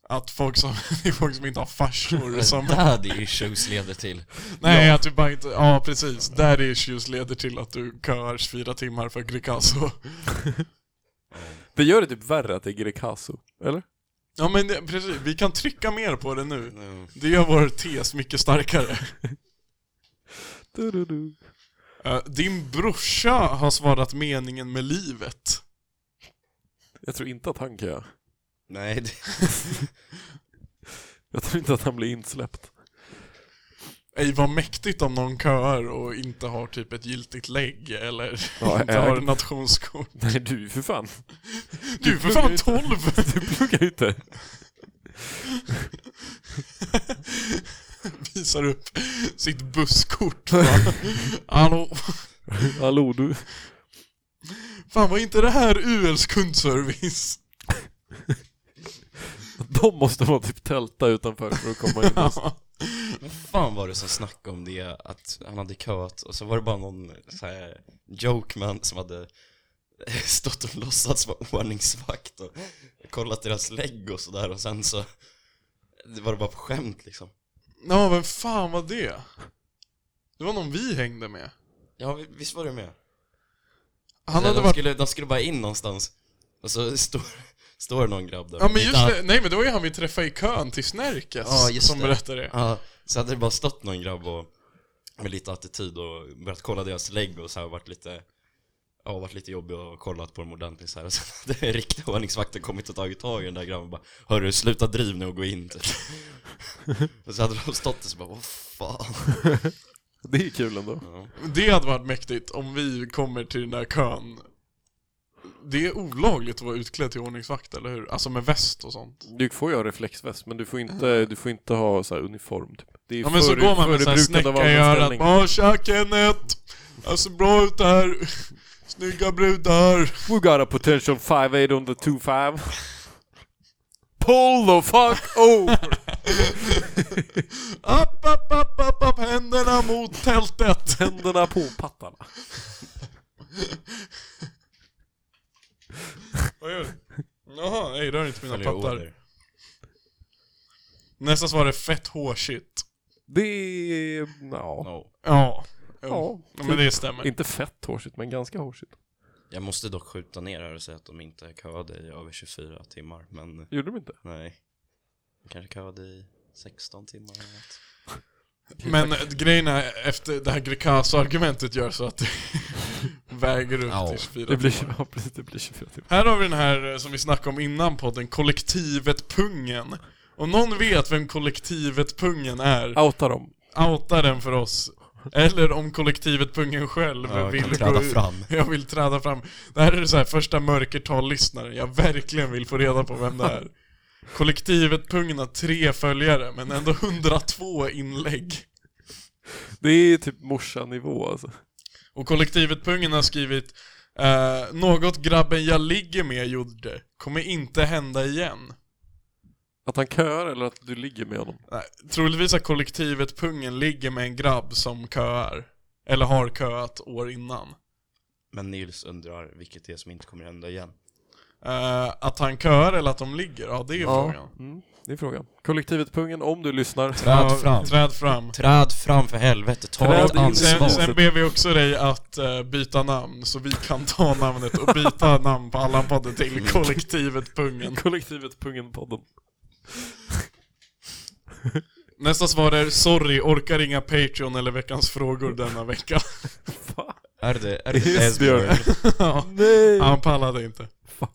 A: att folk som, det är folk som inte har farsor som...
C: Daddy issues leder till.
A: Nej, att du bara inte... Ja, precis. Daddy issues leder till att du kör fyra timmar för Greekazo.
B: Det gör det typ värre att det är Greekazo, eller?
A: Ja, men det, precis. Vi kan trycka mer på det nu.
C: Mm.
A: Det gör vår tes mycket starkare.
B: Du, du, du.
A: Eh, din brorsa har svarat meningen med livet.
B: Jag tror inte att han kan göra.
C: Nej, det...
B: Jag tror inte att han blir insläppt.
A: Ej, vad mäktigt om någon kör och inte har typ ett giltigt lägg eller
B: Ja,
A: inte
B: jag-
A: har en nationskort.
B: Nej, du är ju för fan.
A: Du är för
B: pluggar
A: fan
B: ju
A: 12!
B: Du pluggar ju inte.
A: Visar upp sitt busskort. va? Hallå,
B: Hallå du.
A: fan var inte det här ULs kundservice?
B: De måste vara typ tälta utanför för att komma in.
C: Vad fan var det som snackade om det, att han hade köat och så var det bara någon så här jokeman som hade stått och låtsats vara ordningsvakt och kollat deras lägg och sådär och sen så det var det bara på skämt liksom.
A: Ja, vem fan var det? Det var någon vi hängde med.
C: Ja, vi- visst var du med?
A: Han
C: Så
A: hade
C: de,
A: varit...
C: skulle, de skulle bara in någonstans och så står, står någon grabb där.
A: Ja men
C: Lite
A: just
C: an-
A: det, nej men det var ju han vi träffade i kön till Snärkes
C: Ja, just
A: som
C: det.
A: berättade det.
C: Ja, så hade det bara stått någon grabb och med lite attityd och börjat kolla deras lägg och så här varit lite Ja, varit lite jobbig och kollat på dem ordentligt så här. Och sen hade riktiga ordningsvakten kommit och tagit tag i den där grabben och bara Hörru, sluta driv nu och gå in typ. Och så hade de stått där så bara Vad fan?
B: Det är kul ändå.
C: Ja.
A: Det hade varit mäktigt om vi kommer till den där kön. Det är olagligt att vara utklädd till ordningsvakt, eller hur? Alltså med väst och sånt.
B: Du får ju ha reflexväst, men du får inte, du får inte ha så här uniform typ. Det är
A: Ja men så
B: före-
A: går man med såhär
B: förebrukande av
A: snäcka i
B: allmän
A: örat.
B: ställning.
A: Bara tja Kenneth! Jag ser bra ut här. Snygga brudar.
B: We got a potential 5-8 on the 2-5. Pull the fuck over!
A: App, app, app, app, app, händerna mot tältet.
B: Tänderna på pattarna.
A: Vad gör du? Jaha, nej rör inte mina
C: Följer
A: pattar.
C: order.
A: Nästa svar är fett hårshit.
B: Det är... Ja.
C: No.
A: Ja.
B: Ja,
A: Jo. Ja, men det stämmer.
B: Inte fett hårsigt, men ganska hårsigt.
C: Jag måste dock skjuta ner här och säga att de inte köade i över 24 timmar, men
B: Gjorde de inte?
C: nej. De kanske köade i 16 timmar eller något. Typ.
A: Men eh, grejen är, efter det här Greekazo-argumentet gör så att det väger upp
C: Ja.
A: till 24
B: Det blir, ja, precis, det blir 24 timmar.
A: Här har vi den här eh, som vi snackade om innan podden, kollektivet Pungen. Om någon vet vem kollektivet Pungen är,
B: Outa dem.
A: outa den för oss. Eller om kollektivet Pungen själv
C: Ja,
A: vill
C: kan träda
A: ut-
C: fram.
A: Jag vill träda fram. Det här är det så här första mörkertal-lyssnaren, jag verkligen vill få reda på vem det är. Kollektivet Pungen har tre följare, men ändå 102 inlägg.
B: Det är typ morsanivå alltså.
A: Och kollektivet Pungen har skrivit eh, Något grabben jag ligger med gjorde kommer inte hända igen.
B: Att han köar eller att du ligger med honom?
A: Nej, troligtvis att kollektivet Pungen ligger med en grabb som köar. Eller har köat år innan.
C: Men Nils undrar vilket det är som inte kommer hända igen.
A: Eh, att han köar eller att de ligger, ja det är frågan.
B: Mm. Det är frågan. Kollektivet Pungen, om du lyssnar.
A: Ja,
C: Träd fram.
A: Träd fram.
C: Träd fram för helvete, ta
B: Träd
C: ditt
B: in.
A: Sen,
C: ansvar.
A: sen ber vi också dig att eh, byta namn, så vi kan ta namnet och byta namn på alla podden till kollektivet Pungen.
B: Kollektivet Pungen-podden.
A: Nästa svar är sorry, orkar inga Patreon eller veckans frågor denna vecka.
B: Fan.
C: Är det, är
B: Just det.
C: det Esbjörn?
A: Ja,
B: Nej!
A: Han pallade inte.
B: Fuck.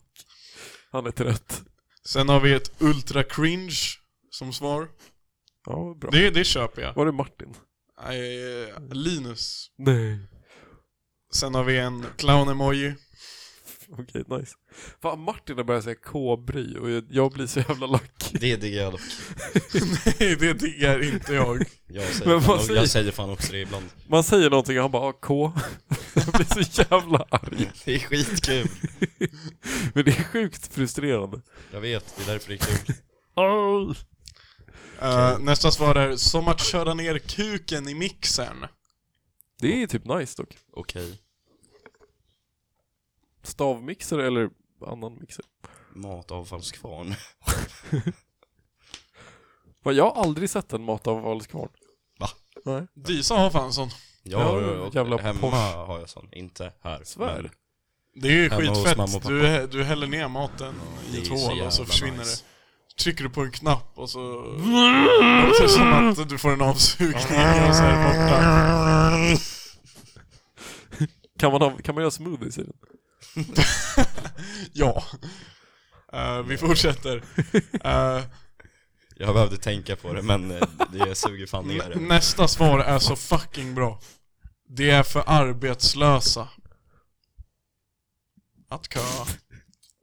B: Han är trött.
A: Sen har vi ett ultra cringe som svar.
B: Ja, bra.
A: Det, det köper jag.
B: Var det Martin?
A: Eh, Linus.
B: Nej.
A: Sen har vi en clown-emoji.
B: Okej, nice. Fan, Martin har börjat säga kobry och jag- jag blir så jävla lack.
C: Det diggar jag dock.
A: Nej, det diggar inte jag.
C: Jag
B: Men
C: säger,
B: vad
C: fan,
B: säger-
C: jag säger fan också det ibland.
B: Man säger någonting och han bara ah, K. Jag blir så jävla arg.
C: Det är skitkul.
B: Men det är sjukt frustrerande.
C: Jag vet, det är därför det är kul.
B: Arr.
A: Eh, nästa svar är som att köra ner kuken i mixern.
B: Det är typ nice dock.
C: Okej.
B: Stavmixer eller annan mixer.
C: Matavfallskvarn.
B: Fan, Jag har aldrig sett en matavfallskvarn.
C: Va?
B: Nej.
A: Disa har fan sån.
C: Jag
B: Ja,
C: har, och
B: jävla
C: hemma
B: Porsche.
C: har jag sån. Inte här.
B: Svär.
C: men
A: Det är ju
C: Hemma hos mamma och
A: skitfett.
C: pappa.
A: Du, du häller ner maten i ett
C: ju
A: hål och så
C: jävla
A: försvinner
C: nice.
A: det. Trycker du på en knapp och så... Och så är det som att du får en avsugning och så är det borta.
B: Kan man, ha, kan man göra smoothies i den?
A: Ja. Eh, vi fortsätter. Eh,
C: Jag behövde tänka på det, men eh, det suger fan ner det.
A: nästa svar är så fucking bra. Det är för arbetslösa. Att köa.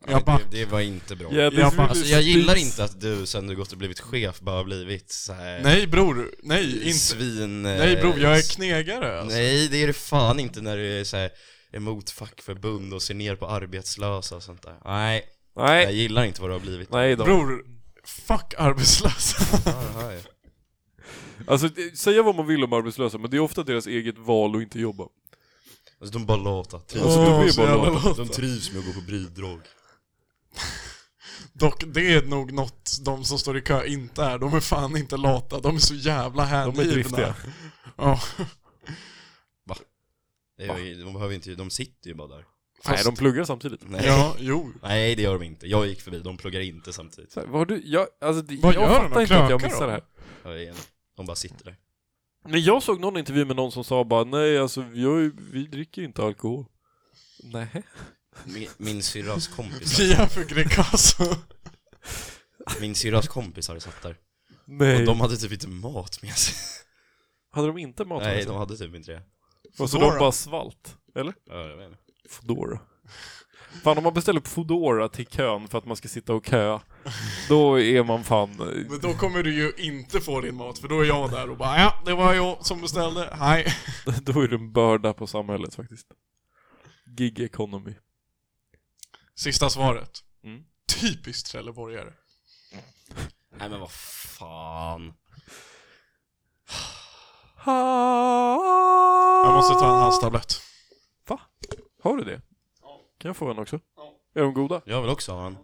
A: Jag
C: det,
A: backar.
C: det var inte bra.
B: Yeah,
A: Jag bara-
C: Alltså jag gillar inte att du sen du gått och blivit chef bara har blivit så här
A: Nej bror, nej inte.
C: svin...
A: Nej bror, jag är
C: knäpp
A: knegare alltså.
C: Nej, det är det fan inte när du är så här emot fackförbund och ser ner på arbetslösa och sånt där. Nej, jag
B: Nej,
C: gillar inte vad du har blivit.
B: nej då.
A: Bror, fuck arbetslösa.
C: Ah, ja.
B: Alltså, det- säga vad man vill om arbetslösa, men det är ofta deras eget val att inte jobba.
C: Alltså de bara låta. Trivs.
B: Alltså, de är
A: så
B: bara
A: jävla
B: lata.
A: lata.
C: De trivs med att gå på bridrog.
A: Dock, det är nog något de som står i kö inte är. De är fan inte lata, de är så jävla
B: De
A: hängivna.
B: är driftiga.
A: Ja,
C: Det är ju- De behöver inte, de sitter ju bara där.
B: Nej,
A: fast,
B: de pluggar samtidigt.
C: Nej.
A: Ja, jo.
C: Nej, det gör de inte. Jag gick förbi, de pluggar inte samtidigt.
B: Så här, vad har du, jag, alltså, det,
A: Vad
B: jag
A: gör de?
B: fattar inte att jag
A: Krökar
B: missar
A: de?
B: det här.
C: Jag är enig. De bara sitter där.
B: Men jag såg någon intervju med någon som sa bara nej alltså jag, vi dricker inte alkohol. Nej.
C: Min, min syrras kompisar,
A: Vi är för Grecaso.
C: min syrras kompisar satt där.
B: Nej.
C: Och de hade typ inte mat med sig.
B: Hade de inte mat
C: Nej,
B: med sig?
C: de hade typ inte det.
B: Och så de
A: Foodora.
B: bara svalt? Eller?
C: Ja, jag vet inte.
B: Foodora. Fan om man beställer på Foodora till kön för att man ska sitta och köa, då är man fan...
A: Men då kommer du ju inte få din mat, för då är jag där och bara ja, det var jag som beställde, hej.
B: Då är det en börda på samhället faktiskt. Gig economy.
A: Sista svaret.
B: Mm.
A: Typiskt trelleborgare.
C: Nej men vad fan.
A: Jag måste ta en halstablett.
B: Va? Har du det? Kan jag få en också? Är de goda?
C: Jag vill också ha en.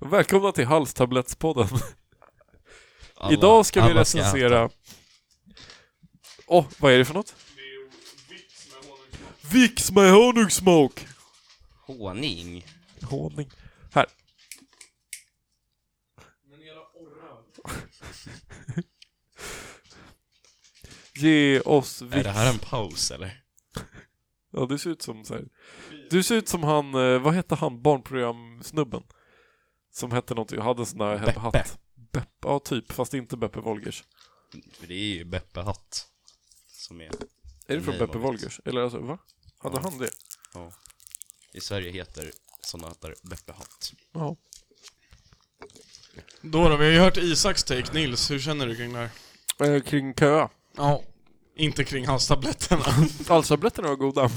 B: Välkomna till Halstablettspodden.
C: Alla-
B: Idag ska vi
C: alla äta.
B: recensera... Åh, oh, vad är det för något? Vicks med honungssmak!
C: Honung.
B: Honung. Här. Ge oss
C: Är
B: Vicks.
C: det här en paus eller?
B: Ja, du ser ut som så här. Du ser ut som han, eh, vad hette han, barnprogramsnubben? Som hette någonting, och hade en sån där
C: Beppe.
B: hatt. Beppe. Ja, typ, fast inte Beppe Wolgers.
C: För det är ju Beppe Hatt. Som är,
B: Är det från
C: Nej,
B: Beppe
C: vad vet.
B: Wolgers? Eller alltså, va? Hade han det?
C: ja. I Sverige heter sådana hattar Beppe Hatt.
B: Ja.
A: Då då, vi har ju hört Isaks take. Nils, hur känner du kring det här?
B: Eh, kring köa.
A: Ja. Inte kring halstabletterna.
B: Halstabletterna var goda.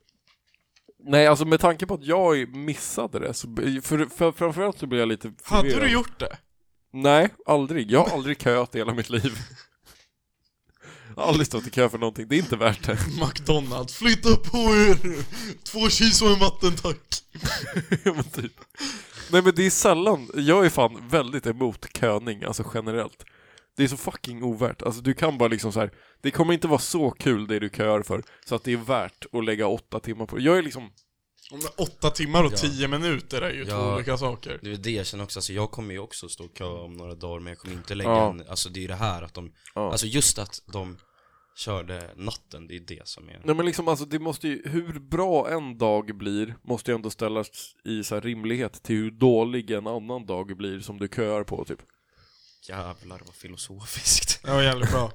B: Nej, alltså med tanke på att jag missade det, så, för, för, framförallt så blev jag lite
A: Hade
B: förvirrad.
A: du gjort det?
B: Nej, aldrig. Jag har aldrig köat i hela mitt liv. Jag har aldrig stått i kö för någonting, det är inte värt det.
A: McDonalds, flytta på er! Två cheese och en vatten tack!
B: Ja, men typ. Nej men det är sällan, jag är fan väldigt emot köning, alltså generellt. Det är så fucking ovärt. Alltså du kan bara liksom så här. det kommer inte vara så kul det du köar för, så att det är värt att lägga åtta timmar på det. Jag är liksom,
A: Om det är åtta timmar och
C: Ja.
A: tio minuter är ju två
C: Ja.
A: olika saker.
C: Det är det jag känner också, alltså jag kommer ju också stå och köa om några dagar men jag kommer inte lägga
B: Ja.
C: en, alltså det är ju det här att de,
B: Ja.
C: alltså just att de körde natten, det är det som är
B: nej men liksom alltså det måste ju, hur bra en dag blir, måste ju ändå ställas i så här rimlighet till hur dålig en annan dag blir som du köar på typ.
C: jävlar vad filosofiskt.
A: Ja, jävligt bra.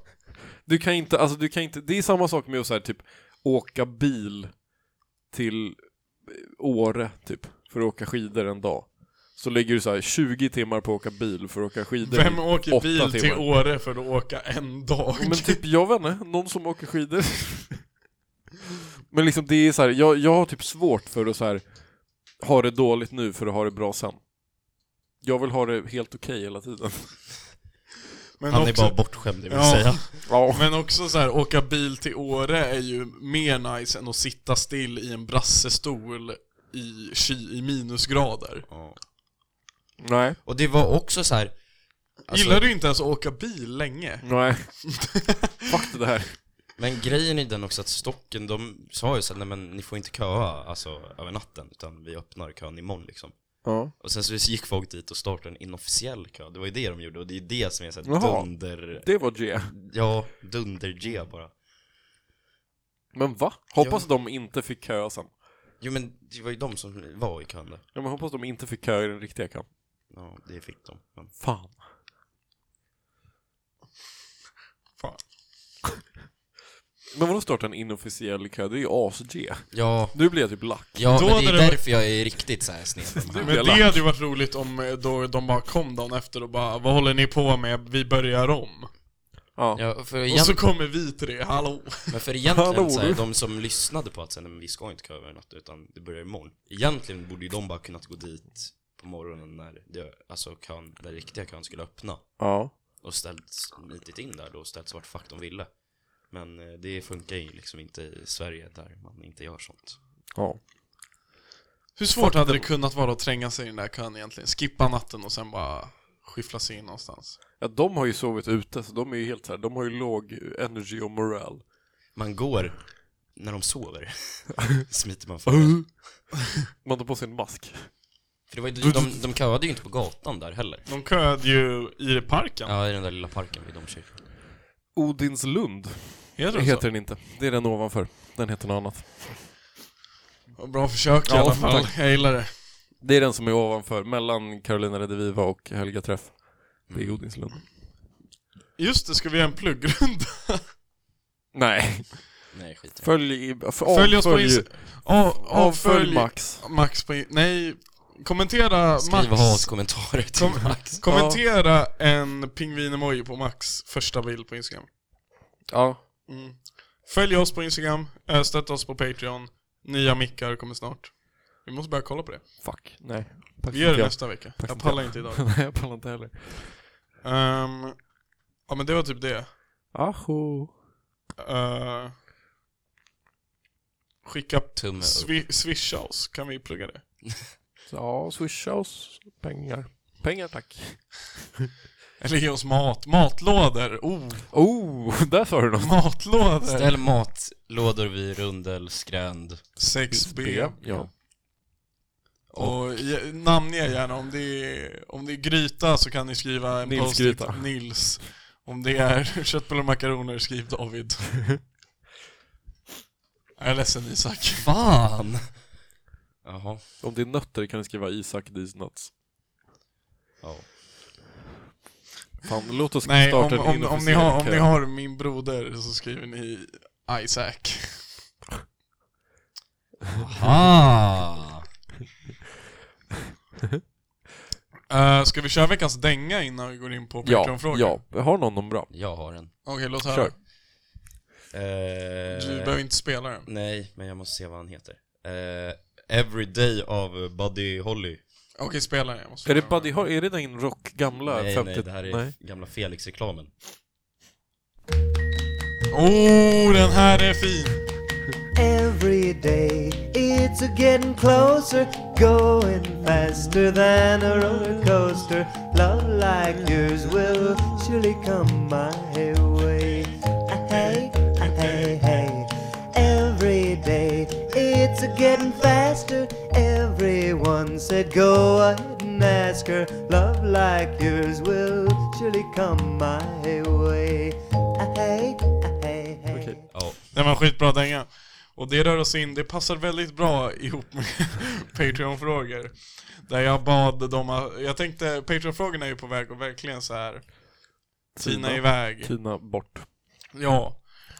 B: Du kan inte, alltså du kan inte, det är samma sak med att så här, typ åka bil till eh, Åre typ, för att åka skidor en dag. Så lägger du så här 20 timmar på att åka bil för att åka skidor
A: Vem
B: i
A: åker
B: åtta
A: bil
B: timmar.
A: till Åre för att åka en dag?
B: Men typ, jag vet inte, någon som åker skidor. Men liksom det är så här, jag, jag har typ svårt för att så här ha det dåligt nu för att ha det bra sen. Jag vill ha det helt okej hela tiden.
A: Men
C: Han är
A: också-
C: bara bortskämd det vill
A: Ja.
C: säga.
B: Ja.
A: Men också så här, åka bil till Åre är ju mer nice än att sitta still i en brassestol i, ky- i minusgrader.
C: Ja.
B: Nej.
C: Och det var också så här. alltså-
A: Gillar du inte ens att åka bil länge?
B: Nej. Fuck det här.
C: Men grejen är den också att stocken, de sa ju så här, nej men ni får inte köa alltså, över natten utan vi öppnar kön imorgon liksom.
B: Ja.
C: Och sen så gick folk dit och startade en inofficiell kö, det var ju det de gjorde och det är det som är såhär
B: Jaha.
C: dunder,
B: Det var G.
C: ja dunder-G bara.
B: Men va? Hoppas de inte fick köa sen.
C: Jo men det var ju de som var i kön där.
B: Ja, men hoppas de inte fick köa i den riktiga kön.
C: Ja, det fick de. Men,
B: Fan.
A: Fan.
B: Men vadå starta en inofficiell kö? Det är ju as-G.
C: ja,
B: Nu blir jag typ lack.
C: ja
A: Då
C: men det
A: hade
C: är
A: det-
C: därför jag är riktigt såhär sned.
B: Du-
A: Men
B: Hela.
A: det hade ju varit roligt om eh, då de bara kom dagen efter och bara Vad håller ni på med? Vi börjar om.
B: Ja.
C: Ja, för
A: Och så
C: egent...
A: kommer vi tre, hallå!
C: Men för egentligen
B: Hallå,
C: så här,
B: du.
C: de som lyssnade på att säga, nej, men vi ska inte köa över natt utan det börjar imorgon. Egentligen borde ju de bara kunnat gå dit på morgonen när det, alltså kön, den riktiga kön skulle öppna
B: Ja.
C: och ställts nitigt in där då och ställts vart fuck de ville. Men eh, det funkar ju liksom inte i Sverige där man inte gör sånt.
B: Ja.
A: Hur svårt hade det kunnat vara att tränga sig i den där kön egentligen? Skippa natten och sen bara skyffla sig in någonstans.
B: ja. De har ju sovit ute, så de är ju helt så här. De har ju låg energy och moral.
C: Man går när de sover, smiter man före.
B: Man tar på sig en mask.
C: För det var ju, de, de köade ju inte på gatan där heller.
A: De köade ju i parken.
C: Ja, i den där lilla parken vid domkyrkan.
B: Odinslund
A: Heter
B: det
A: det så?
B: heter den inte. Det är den ovanför. Den heter något annat.
A: Bra försök i
B: Ja,
A: alla fall.
B: tack.
A: Jag gillar det.
B: Det är den som är ovanför, mellan Carolina Rediviva och Helga Träff. Det är
A: Mm.
B: Odinslund.
A: Just det, ska vi göra en pluggrunda?
B: Nej.
C: Nej, skit i det.
B: Följ, i- för,
A: Följ oss på
B: avfölj-
A: Instagram. Av,
B: Avfölj
A: avfölj
B: Max.
A: Max på in- Nej, kommentera
C: Skriv
A: Max.
C: hatkommentarer till
A: Kom,
C: Max.
A: kommentera en pingvin-emoji på Max första bild på Instagram.
B: Ja.
A: Mm. Följ oss på Instagram, eh, stötta oss på Patreon. Nya mickar kommer snart. Vi måste börja kolla på det.
B: Fuck. Nej.
A: Vi gör det nästa vecka.
B: Tack så
A: Jag
B: mycket.
A: pallar inte idag.
B: Nej, jag pallar inte heller.
A: Ehm, ja men det var typ det.
B: Ajo.
A: Eh, skicka...
C: Tumme upp.
A: Swi- swisha oss, kan vi plugga det?
B: Ja, swisha oss pengar. Pengar tack.
A: Eller ge oss mat. Matlådor! Oh,
B: Oh, där sa du något.
A: matlådor!
C: Ställ matlådor vid rundel, skränd.
A: 6B.
B: Ja.
A: Och ge- namnge gärna. Om det, är, om det är gryta så kan ni skriva en
B: Nils
A: post-it.
B: gryta.
A: Nils. Om det är köttbullar och makaroner, skriv David. Jag är ledsen Isak.
C: Fan! Jaha,
B: Om det är nötter kan du skriva Isak these nuts.
C: ja.
B: Fan, låt oss
A: Nej, om,
B: starta en
A: om, om, ni
B: inofficiell
A: har, om
B: kö.
A: ni har min broder så skriver ni Isaac.
C: Aha!
A: Uh, ska vi köra veckans dänga innan vi går in på
B: Ja,
A: Patreon-frågor?
B: ja. Har någon någon bra?
C: Jag har en.
A: Okej, låt höra.
B: Kör.
C: Eh,
A: Du behöver inte spela den.
C: Nej, men jag måste se vad han heter. Eh, Everyday av Buddy Holly.
A: Okej, spela den. Jag måste
B: Är det
A: spela
B: Buddy Holly? Är det den rock, gamla
C: nej,
B: 50...
C: nej, det här är
B: Nej.
C: gamla Felix-reklamen.
A: den. Oh, den här är fin!
E: Every day it's a getting closer Going faster than a roller coaster. Love like yours will surely come my way. Ah, Hey, ah, hey, hey. Every day it's a getting faster. Everyone said go ahead and ask her. Love like yours will surely come my way. Ah, Hey, ah, hey, hey.
B: Okej.
C: Ja.
A: Den var skitbra dänga. Och det rör oss in, det passar väldigt bra ihop med Patreon-frågor. Där jag bad dem att, jag tänkte, Patreon-frågorna är ju på väg att verkligen så här tina iväg.
B: Tina bort.
A: Ja.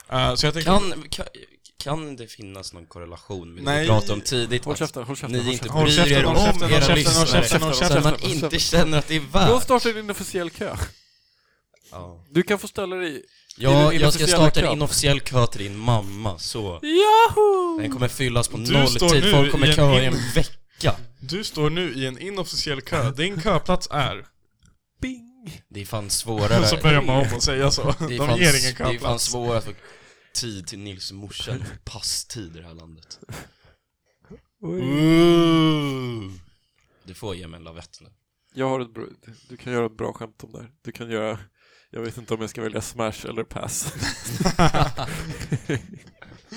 A: Eh, så jag tänkte,
C: Kan, kan, kan det finnas någon korrelation med det
A: Nej.
C: vi pratade om tidigt?
B: Håll
C: Mats?
B: käften, håll käften,
C: Ni
B: håll
C: inte
B: käften.
A: Håll
C: bryr
A: käften,
C: er
A: håll käften,
C: om
A: håll
C: era
A: käften, håll
C: lyssnare.
A: käften, håll
C: Så
A: käften.
C: att man inte känner att det är
B: Du har
C: värt.
B: startat en inofficiell kö.
C: Ja,
B: Du kan få ställa dig Är
C: ja
B: det
C: jag ska
B: inofficiella
C: starta
B: kö?
C: en inofficiell kö till din mamma, så.
B: Yahoo!
C: Den kommer fyllas på
A: Du
C: noll
A: står nu
C: tid, folk
A: i
C: kommer
A: en
C: köa i
A: in-
C: en vecka.
A: du står nu i en inofficiell kö. Din köplats är...
B: Bing!
C: Det är fan
A: Så
C: svårare.
A: börjar man om och säga så.
C: Det
A: De
C: är fan,
A: ger ingen
C: det är fan
A: köplats.
C: svårare att få tid till Nils morsa än passtid i det här landet. Du får ge mig en lavett nu.
B: Jag har ett bra, du kan göra ett bra skämt om det här. Du kan göra, jag vet inte om jag ska välja smash eller pass.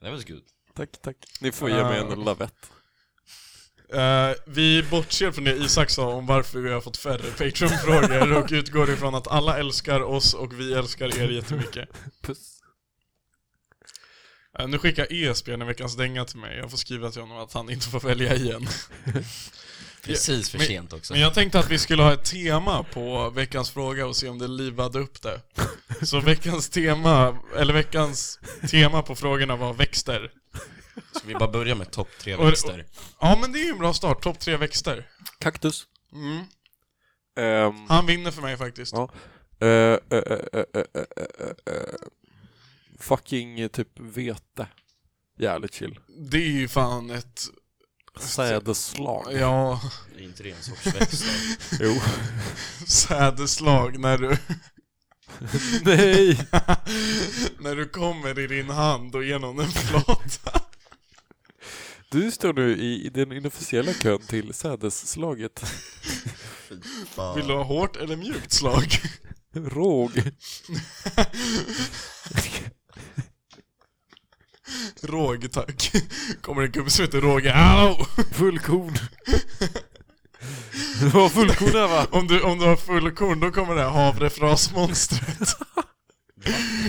C: Det var så gud.
B: tack, tack. Ni får ge mig en lavett.
A: Eh, vi bortser från det Isak sa om varför vi har fått färre Patreon-frågor och utgår ifrån att alla älskar oss och vi älskar er jättemycket.
B: Puss.
A: Eh, nu skickar ESP en veckans dänga till mig. Jag får skriva till honom att han inte får välja igen.
C: Precis för
A: men-
C: sent också.
A: Men jag tänkte att vi skulle ha ett tema på veckans fråga och se om det livade upp det. Så veckans tema, eller veckans tema på frågorna var växter.
C: Ska vi bara börja med topp tre
A: Och-
C: växter?
A: Ja men det är ju en bra start, topp tre växter.
B: Kaktus.
A: Mm.
B: Ehm,
A: Han vinner för mig faktiskt.
B: Ja. eh, eh, eh, eh, eh, eh, eh, eh. Fucking eh, typ vete. Jävligt chill.
A: Det är ju fan ett,
B: Sädeslag.
A: ja,
C: Det är inte det en sorts växt?
B: Jo.
A: sädeslag när du
B: Nej!
A: När du kommer i din hand och genom en flata.
B: Du står nu i i den inofficiella kön till sädesslaget.
A: Vill du ha hårt eller mjukt slag?
B: Råg.
A: Råg, tack. Kommer en gubbe som heter Råge. Au!
B: Fullkorn. Det var fullkorn där va?
A: Om du, om du har fullkorn, då kommer det här havrefrasmonstret.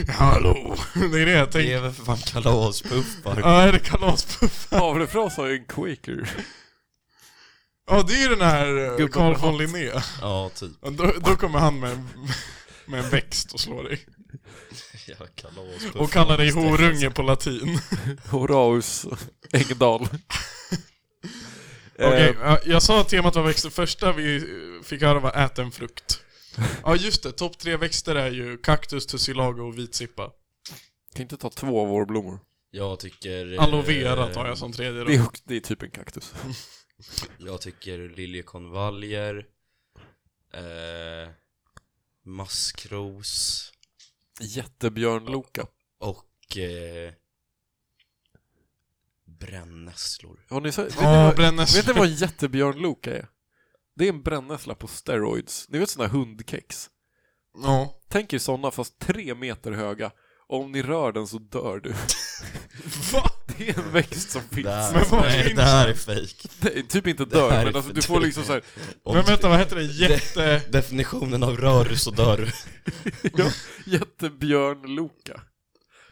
A: Hallå! Det är det jag
C: Det är
A: tänker.
C: väl för fan kalaspuffar?
A: Ja, är det kalaspuff?
B: Havrefras har ju en quaker.
A: Ja, det är ju den här eh,
B: Gubben
A: Carl
B: med
A: von
B: hatt.
A: Linné.
C: Ja, typ.
A: Ja, Då, då kommer han med, en- med en växt och slår dig.
C: Ja, kalaspuffar.
A: Och kallar dig horunge på latin.
B: Horaus Engdahl.
A: Okej,
B: Eh,
A: ja, jag sa att temat var växter. Första vi eh, fick höra var ät en frukt. Ja just det, topp tre växter är ju kaktus, tussilago och vitsippa.
B: kan inte ta två av vårblommor.
C: Jag tycker... eh,
A: Aloe vera tar jag som tredje
B: Det
A: då.
B: är, också- det är typ en kaktus.
C: Jag tycker liljekonvaljer, eh, maskros
B: Jättebjörnloka.
C: och eh, brännässlor.
B: Har ni sett? Vet, ni
A: Ja,
B: vad- vet ni
A: brännässlor.
B: vad en jättebjörnloka är? Det är en brännässla på steroids. Ni vet såna här hundkex?
A: Ja.
B: Tänk er såna fast tre meter höga. Och om ni rör den så dör du.
A: Va?
B: Det är en växt som finns.
A: Men vad
C: nej,
A: finns
C: det här är fejk.
B: Det är typ inte
C: Det här
B: dör,
C: är
B: men alltså,
C: för
B: du får
C: dumt.
B: liksom såhär,
C: Om
A: Men vänta, vad heter det? Jätte...
C: Definitionen av rör du så dör du.
B: ja, jättebjörnloka.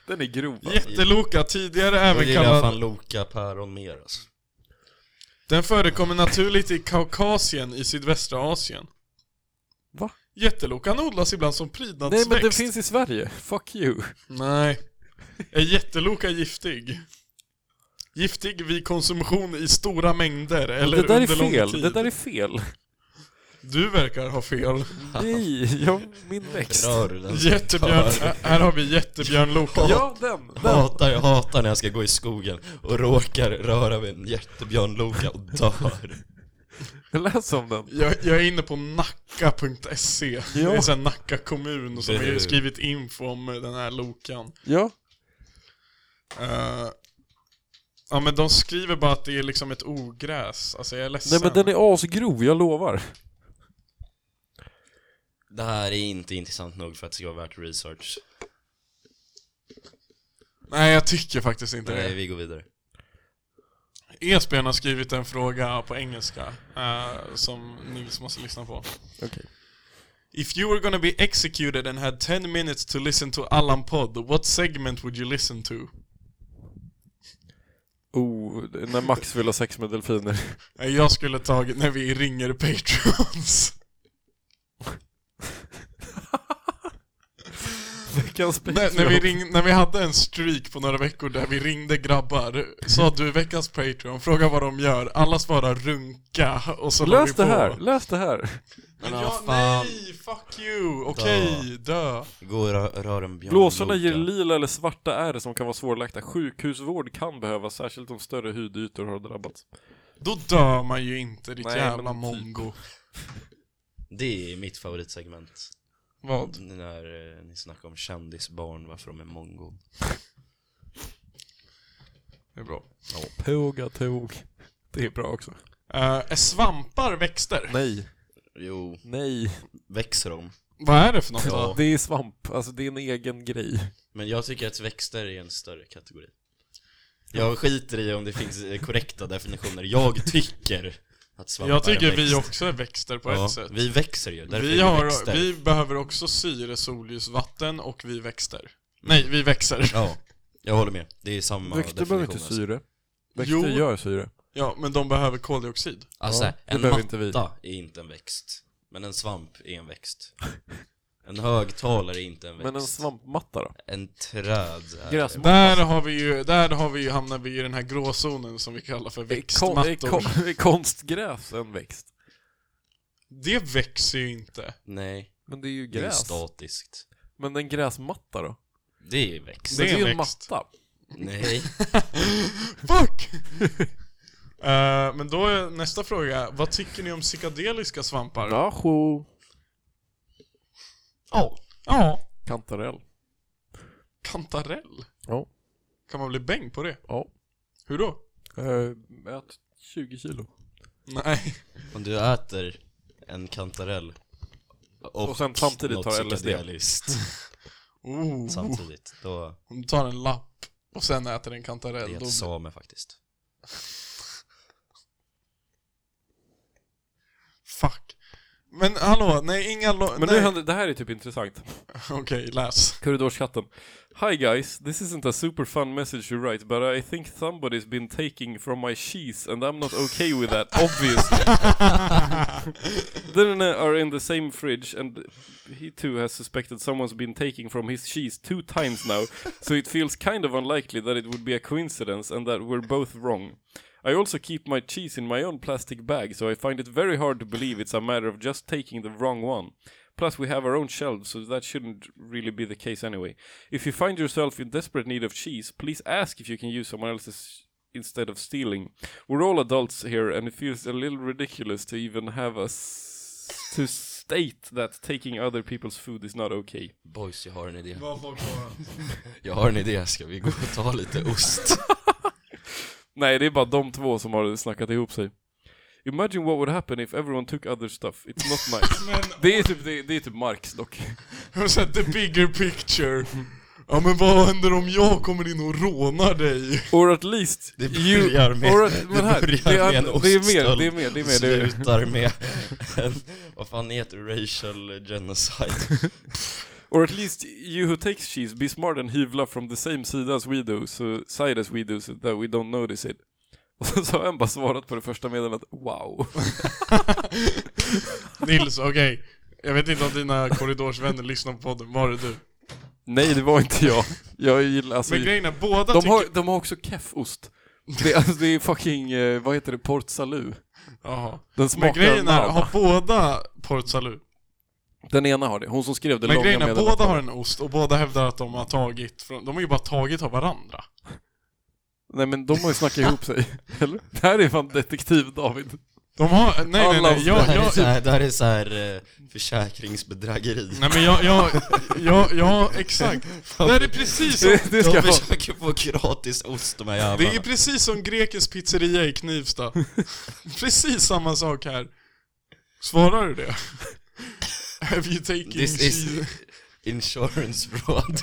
B: Den är grov. va?
A: Jätteloka, tidigare
C: Då
A: även
C: gillar jag fan
A: kallad...
C: Loka päron mer alltså.
A: Den förekommer naturligt i Kaukasien i sydvästra Asien.
B: Va?
A: Jättelokan odlas ibland som
B: Nej
A: prydnadsväxt.
B: men den finns i Sverige, fuck you.
A: Nej. Är jätteloka giftig? Giftig vid konsumtion i stora mängder eller
B: det där är
A: under lång
B: fel,
A: tid.
B: det där är fel.
A: Du verkar ha fel.
B: Nej, ja, min växt.
C: Rör du den så
A: Jättebjörn...
C: dör du.
A: Ä- Här har vi jättebjörnloka.
B: Ja, den, den.
C: Hatar, jag hatar när jag ska gå i skogen och råkar röra vid en jättebjörnloka och dör.
B: Läs om den.
A: Jag, jag är inne på nacka.se. Det är
B: Ja.
A: en Nacka kommun som har
C: Det-
A: skrivit info om den här lokan.
B: Ja,
A: Eh, Ja men de skriver bara att det är liksom ett ogräs, alltså jag är ledsen.
B: Nej men den är asgrov, jag lovar.
C: Det här är inte intressant nog för att det ska vara värt research.
A: Nej jag tycker faktiskt inte
C: Nej,
A: det.
C: vi går vidare.
A: Esbjörn har skrivit en fråga på engelska eh, som Nils måste lyssna på.
B: Okej.
A: If you were gonna be executed and had 10 minutes to listen to Allan Podd, what segment would you listen to?
B: Oh, när Max vill ha sex med delfiner.
A: Eh, Jag skulle tagit när vi ringer Patrons.
B: Veckans
A: när, när, vi ring, när vi hade en streak på några veckor där vi ringde grabbar, sa du veckans Patreon, fråga vad de gör, alla svarar runka och så la vi
B: Läs
A: på.
B: det här, läs det här.
A: Men
C: Men
A: jag,
C: vad fan.
A: nej, fuck you, okej, dö.
C: Gå och rö- rör en björn.
B: Blåsorna ger
C: Loka.
B: lila eller svarta ärr som kan vara svårläkta. Sjukhusvård kan behövas, särskilt om större hudytor har drabbats.
A: Då dör man ju inte, ditt
B: Nej,
A: jävla
B: men typ.
A: mongo.
C: Det är mitt favoritsegment.
A: Vad?
C: När eh, ni snackar om kändisbarn, varför de är mongo.
A: Det är bra.
B: Tåga tåg. Det är bra också.
A: Eh, är svampar växter?
B: Nej,
C: Jo,
B: nej.
C: växer de?
A: Vad är det för något
C: Ja.
A: då?
B: Det är svamp, alltså det är en egen grej.
C: Men jag tycker att växter är en större kategori. Jag skiter i om det finns eh, korrekta definitioner. Jag tycker att svampar
A: Jag tycker
C: är växt.
A: vi också är växter på
C: Ja,
A: ett sätt.
C: Vi växer ju, därför
A: Vi,
C: är vi
A: har,
C: växter.
A: vi behöver också syre, solljus, vatten och vi växter. Nej, vi växer.
C: Ja, jag håller med. Det är samma alltså.
B: Växter behöver inte syre. Växter
A: Jo.
B: gör syre.
A: Ja, men de behöver koldioxid.
C: Alltså,
B: Ja, det
C: en
B: behöver
C: matta
B: inte vi.
C: är inte en växt. Men en svamp är en växt. En högtalare är inte en växt.
B: Men en svampmatta då?
C: En träd är
B: Gräs-
C: en...
A: Där har vi ju, där har vi ju, hamnar vi i den här gråzonen som vi kallar för
B: Är kon- är
A: växtmattor.
B: kon- är konstgräs en växt?
A: Det växer ju inte.
C: Nej,
B: Men det är ju
C: det är
B: gräs.
C: statiskt.
B: Men en gräsmatta då?
C: Det är växt.
A: Det är
B: Men
A: en
B: ju
A: växt.
B: matta.
C: Nej.
A: Fuck! Eh, men då är nästa fråga, vad tycker ni om psykedeliska svampar?
B: Ja, jo.
A: Ja. ja.
B: Kantarell.
A: Kantarell?
B: Ja.
A: Kan man bli bäng på det?
B: Ja.
A: Hur då?
B: Eh, Ät 20 kilo.
A: Nej.
C: Om du äter en kantarell och,
B: Och sen samtidigt
C: något
B: tar LSD.
C: psykedeliskt
A: Oh.
C: samtidigt, då
A: Om du tar en lapp och sen äter en
C: det
A: kantarell,
C: är
A: då,
C: ett same faktiskt.
A: Fuck. Men hallå, nej inga lo-
B: Men
A: nej.
B: nu händer, det här är typ intressant.
A: Okej, läs.
B: Korridorschatten. Hi guys, this isn't a super fun message you write, but I think somebody's been taking from my cheese and I'm not okay with that, obviously. Then are in the same fridge and he too has suspected someone's been taking from his cheese two times now, so it feels kind of unlikely that it would be a coincidence and that we're both wrong. I also keep my cheese in my own plastic bag, so I find it very hard to believe it's a matter of just taking the wrong one. Plus, we have our own shelves, so that shouldn't really be the case anyway. If you find yourself in desperate need of cheese, please ask if you can use someone else's instead of stealing. We're all adults here, and it feels a little ridiculous to even have us to state that taking other people's food is not okay.
C: Boys, jag har en idé.
A: Vad folk har-
C: Jag har en idé, ska vi gå och ta lite ost?
B: Nej, det är bara de två som har snackat ihop sig. Imagine what would happen if everyone took other stuff. It's not nice. det, är typ, det, är, det är typ Marx dock.
A: Jag har sett the bigger picture. Ja men vad händer om jag kommer in och rånar dig?
B: Or at least
C: Det börjar med,
B: or at, men här,
C: det
B: det, är,
C: börjar med en
B: det är mer,
C: oststöld
B: det är mer, det är mer.
C: och
B: Det är,
C: slutar med en, vad fan heter det? Racial genocide.
B: Or at least you who takes cheese be smart and hyvla from the same side as we do, so side as we do so that we don't notice it. Och sen så har en bara svarat på det första meddelandet, wow.
A: Nils, okej. Jag vet inte om dina korridorsvänner lyssnar på podden, var det du?
B: Nej, det var inte jag. Jag gillar, alltså,
A: Men grejen är, båda
B: de
A: tycker...
B: har, de har också keffost. Det, är- alltså, det är fucking, eh, vad heter det, Port Salut.
A: Jaha.
B: Den
A: Men
B: smakar
A: grejen är,
B: namn.
A: har båda Port Salut?
B: Den ena har det, hon som skrev det
A: Men
B: långa
A: grejen är,
B: meddelandet.
A: båda har en ost och båda hävdar att de har tagit från... De har ju bara tagit av varandra.
B: Nej men de har ju snackat ihop sig, eller? Det här är fan detektiv David.
A: De har, nej nej nej,
C: det,
A: jag,
C: här är
A: jag,
C: så här, det här är så här eh, försäkringsbedrägeri.
A: nej men jag, jag, jag, jag, exakt. Det här är precis som,
B: Det, det ska
C: De
B: vara.
C: försöker få gratis ost de här
A: det
C: jävlarna.
A: är precis som Grekens pizzeria i Knivsta. Precis samma sak här. Svarar du det? Have you taken
C: This is-
A: cheese?
C: Insurance fraud.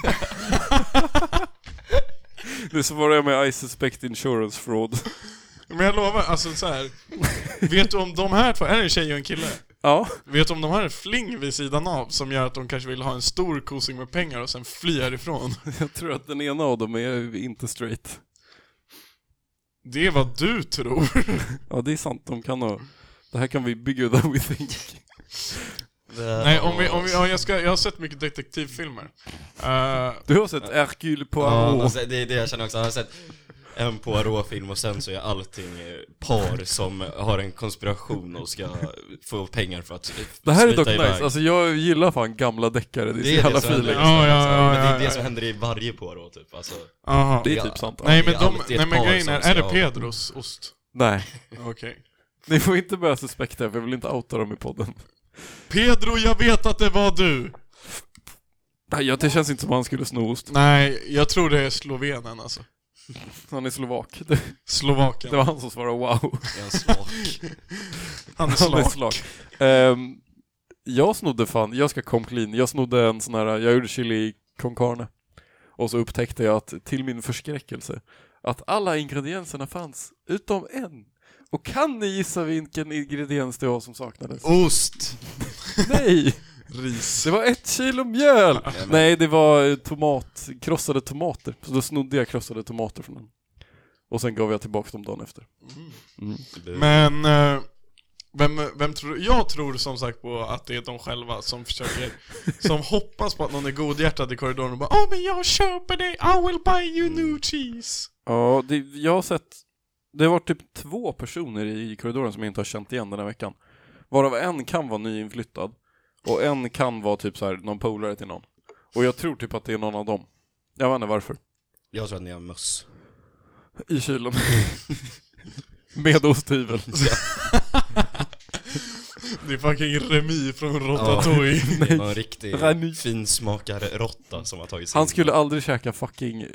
B: Nu svarar jag med I suspect insurance fraud.
A: Men jag lovar, alltså så här. Vet du om de här två, är det en tjej och en kille?
B: Ja,
A: Vet du om de har en fling vid sidan av som gör att de kanske vill ha en stor kosing med pengar och sen fly härifrån?
B: jag tror att den ena av dem är inte straight.
A: Det är vad du tror.
B: Ja, det är sant. De kan ha... Det här kan vi bigger than we think.
A: Nej, om vi, om vi, ja, jag, ska, jag har sett mycket detektivfilmer. Eh,
B: Du har sett Hercule
C: Ja,
B: Poirot?
C: alltså, det är det jag känner också. Jag har sett en Poirot-film och sen så är allting eh, par som har en konspiration och ska få pengar för att eh,
B: Det här är
C: smita
B: dock nice. Alltså jag gillar fan gamla deckare. Det är så
C: det
B: jävla
C: som händer
B: feeling.
C: i
A: Ja, ja,
C: Sverige,
A: ja,
C: Men det
A: ja,
C: är
A: ja.
C: det som händer i varje Poirot typ. Alltså,
A: aha.
B: Det är
C: Ja.
B: typ sant.
A: nej,
C: det
A: men
C: är
A: de,
C: alltid ett
A: nej men
C: par
A: grejen
C: som
A: är, är det
C: ska-
A: Pedros ost?
B: Nej.
A: Okej.
B: Ni får inte börja suspekta för jag vill inte outa dem i podden.
A: Pedro, jag vet att det var du!
B: Nej, jag- det känns inte som att han skulle sno ost.
A: Nej, jag tror det är slovenen alltså.
B: Han är slovak. Det,
A: Slovaken.
B: det var han som svarade wow.
C: det är en svag.
A: Han är
B: Han är
A: slovak.
B: slak. Ehm, jag snodde fan, jag ska kom clean. Jag snodde en sån här, jag gjorde chili con carne. Och så upptäckte jag att, till min förskräckelse, att alla ingredienserna fanns, utom en. Och kan ni gissa vilken ingrediens det var som saknades?
A: Ost!
B: Nej!
A: Ris.
B: Det var ett kilo mjöl! Nej, det var eh, tomat, krossade tomater. Så då snodde jag krossade tomater från den. Och sen gav jag tillbaka dem dagen efter.
A: Men, eh, vem, vem tror Jag tror som sagt på att det är de själva som försöker, som hoppas på att någon är godhjärtad i korridoren och bara Åh men jag köper dig, I will buy you new cheese!
B: Ja, det, jag har sett Det har varit typ två personer i korridoren som jag inte har känt igen den här veckan Varav en kan vara nyinflyttad Och en kan vara typ så här någon polare till någon Och jag tror typ att det är någon av dem Jag vet inte varför
C: Jag tror att ni har möss.
B: I kylen Med osthyvel
A: Det är fucking Remi från Ratatouille.
C: Ratatouille. Det var en
B: Rani.
C: riktig finsmakare-råtta som har tagit sig
B: Han
C: in.
B: skulle aldrig käka fucking eh,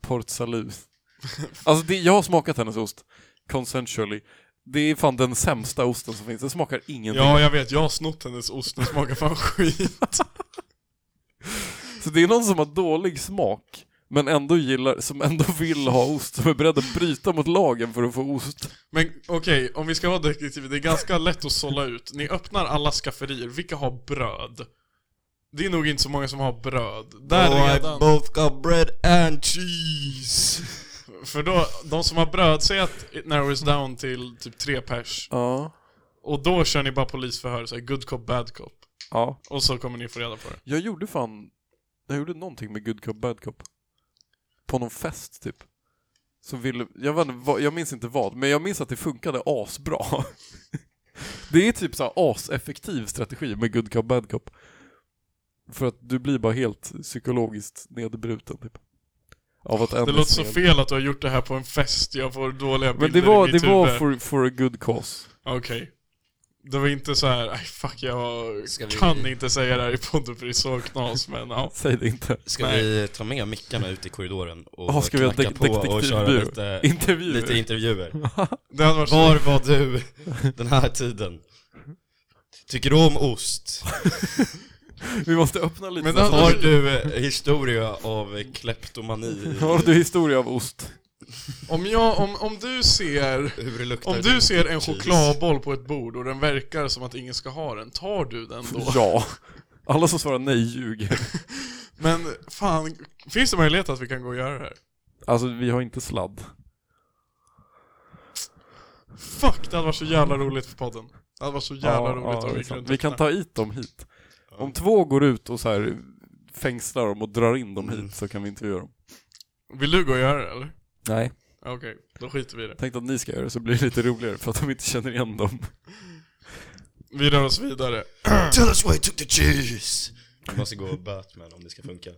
B: Port Salut Alltså det, jag har smakat hennes ost Consensually Det är fan den sämsta osten som finns Den smakar ingenting
A: Ja, jag vet, jag har snott hennes ost, den smakar fan skit.
B: Så det är någon som har dålig smak men ändå gillar, som ändå vill ha ost, som är beredd att bryta mot lagen för att få ost.
A: Men okej, om vi ska vara detektiv, det är ganska lätt att sålla ut. Ni öppnar alla skafferier, vilka har bröd? Det är nog inte så många som har bröd. Där
C: Oh, I
A: redan.
C: both got bread and cheese.
A: För då, de som har bröd, säg att it narrows down till typ tre pers.
B: Ja.
A: Och då kör ni bara polisförhör, såhär good cop, bad cop.
B: Ja.
A: Och så kommer ni få reda på det.
B: Jag gjorde fan, jag gjorde någonting med good cop bad cop. På någon fest typ. Så ville, jag vet inte, vad- jag minns inte vad, men jag minns att det funkade asbra. Det är typ så här aseffektiv strategi med good cop bad cop. För att du blir bara helt psykologiskt nedbruten typ. Av att en
A: Det
B: är
A: låter så
B: snäll.
A: fel att du har gjort det här på en fest, jag får dåliga
B: Men
A: bilder
B: det var,
A: i mitt
B: det var
A: huvud.
B: for, for a good cause.
A: Okej. Det var inte så här, "Aj, fuck jag
C: Ska vi-
A: kan inte säga det här i podden för det är så knas men ja.
B: Säg det inte.
C: Ska
A: Nej.
C: vi ta med mickarna ut i korridoren och
B: Ja, ska vi ha
C: knacka
B: dek-
C: på och köra
B: detektivbyrå?
C: lite,
B: Intervjuer.
C: lite intervjuer?
A: Det hade varit
C: Var var du den här tiden? Tycker du om ost?
B: Vi måste öppna lite.
A: Men alltså-
B: så här.
A: då-
C: Har du eh, historia av eh, kleptomani?
B: Har du historia av ost?
A: Om jag, om, om du ser
C: Hur det luktar
A: om du ser en
C: cheese?
A: chokladboll på ett bord och den verkar som att ingen ska ha den, tar du den då?
B: Ja. Alla som svarar nej ljuger.
A: Men fan, finns det möjlighet att vi kan gå och göra det här?
B: Alltså vi har inte sladd.
A: Fuck, det hade varit så jävla roligt för podden. Det hade varit så jävla
B: Ja, ja,
A: roligt om
B: det är
A: vi
B: sant.
A: kunde
B: vi kan ta hit dem hit. Om två går ut och så här fängslar dem och drar in dem
A: Mm.
B: hit så kan vi intervjua dem.
A: Vill du gå och göra det eller?
B: Nej.
A: Okej, då skiter vi i det.
B: Tänkte att ni ska göra det så blir det lite roligare för att de inte känner igen dem.
A: Vi rör oss vidare.
C: Tell us why you took the cheese! Vi måste gå Batman om det ska funka.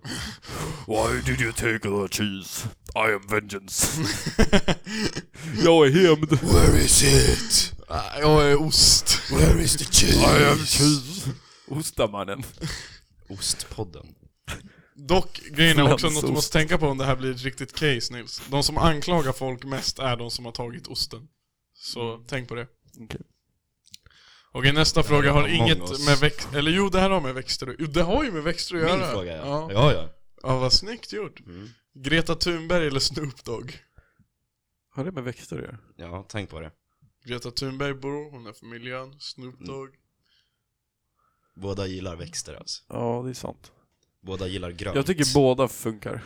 B: Why did you take the cheese? I am vengeance. Jag är hämnd.
C: Where is it?
A: Jag är ost.
C: Where is the cheese?
B: Ostamannen.
C: Ostpodden.
A: Dock, grejen är också något du
B: Flänsost.
A: måste tänka på om det här blir ett riktigt case Nils. De som anklagar folk mest är de som har tagit osten. Så
C: Mm.
A: tänk på det.
B: Okej.
A: Okej, nästa fråga har
C: Among
A: inget
C: Us.
A: med växter... Eller jo, det här har med växter Jo, det har ju med växter att göra.
C: Min fråga ja.
A: Ja,
C: Ja, ja.
A: ja vad snyggt gjort.
C: Mm.
A: Greta Thunberg eller Snoop Dogg?
B: Har det med växter att göra?
C: Ja, tänk på det.
A: Greta Thunberg bor, hon är för miljön. Snoop
C: Mm.
A: Dogg.
C: Båda gillar växter alltså.
B: Ja, det är sant.
C: Båda gillar grönt.
B: Jag tycker båda funkar.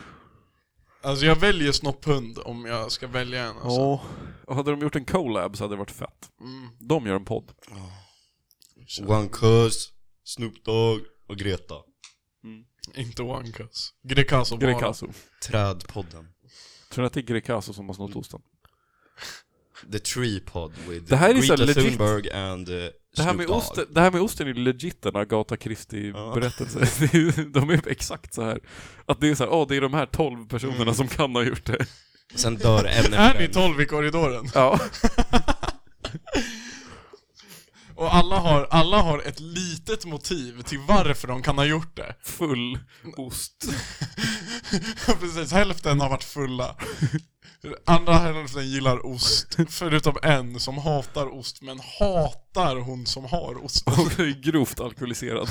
A: Alltså jag väljer snopphund om jag ska välja en alltså.
B: Ja. Och hade de gjort en collab så hade det varit fett.
A: Mm.
B: De gör en podd.
C: One Cuss, Snoop Dogg och Greta.
A: Inte Wankas. Grecaso bara.
B: Grecaso.
C: Trädpodden.
B: Tror ni att det är Grecaso som har snott osten?
C: The Tree Pod with
B: Det här är så
C: Greta
B: legit.
C: Thunberg and uh,
B: Det här, med
C: Snoop Dogg.
B: osten, det här med osten är legit en Agatha Christie-berättelse. Det är ju- de är exakt så här. Att det är så här, åh det är de här 12 personerna som kan ha gjort det.
C: Sen dör en
A: Är
C: efter
A: ni
C: en.
A: tolv i korridoren?
B: Ja.
A: Och alla har, alla har ett litet motiv till varför de kan ha gjort det.
B: Full ost.
A: Precis, hälften har varit fulla. Andra hälften gillar ost, förutom en som hatar ost, men hatar hon som har ost.
B: Och är grovt alkoholiserad.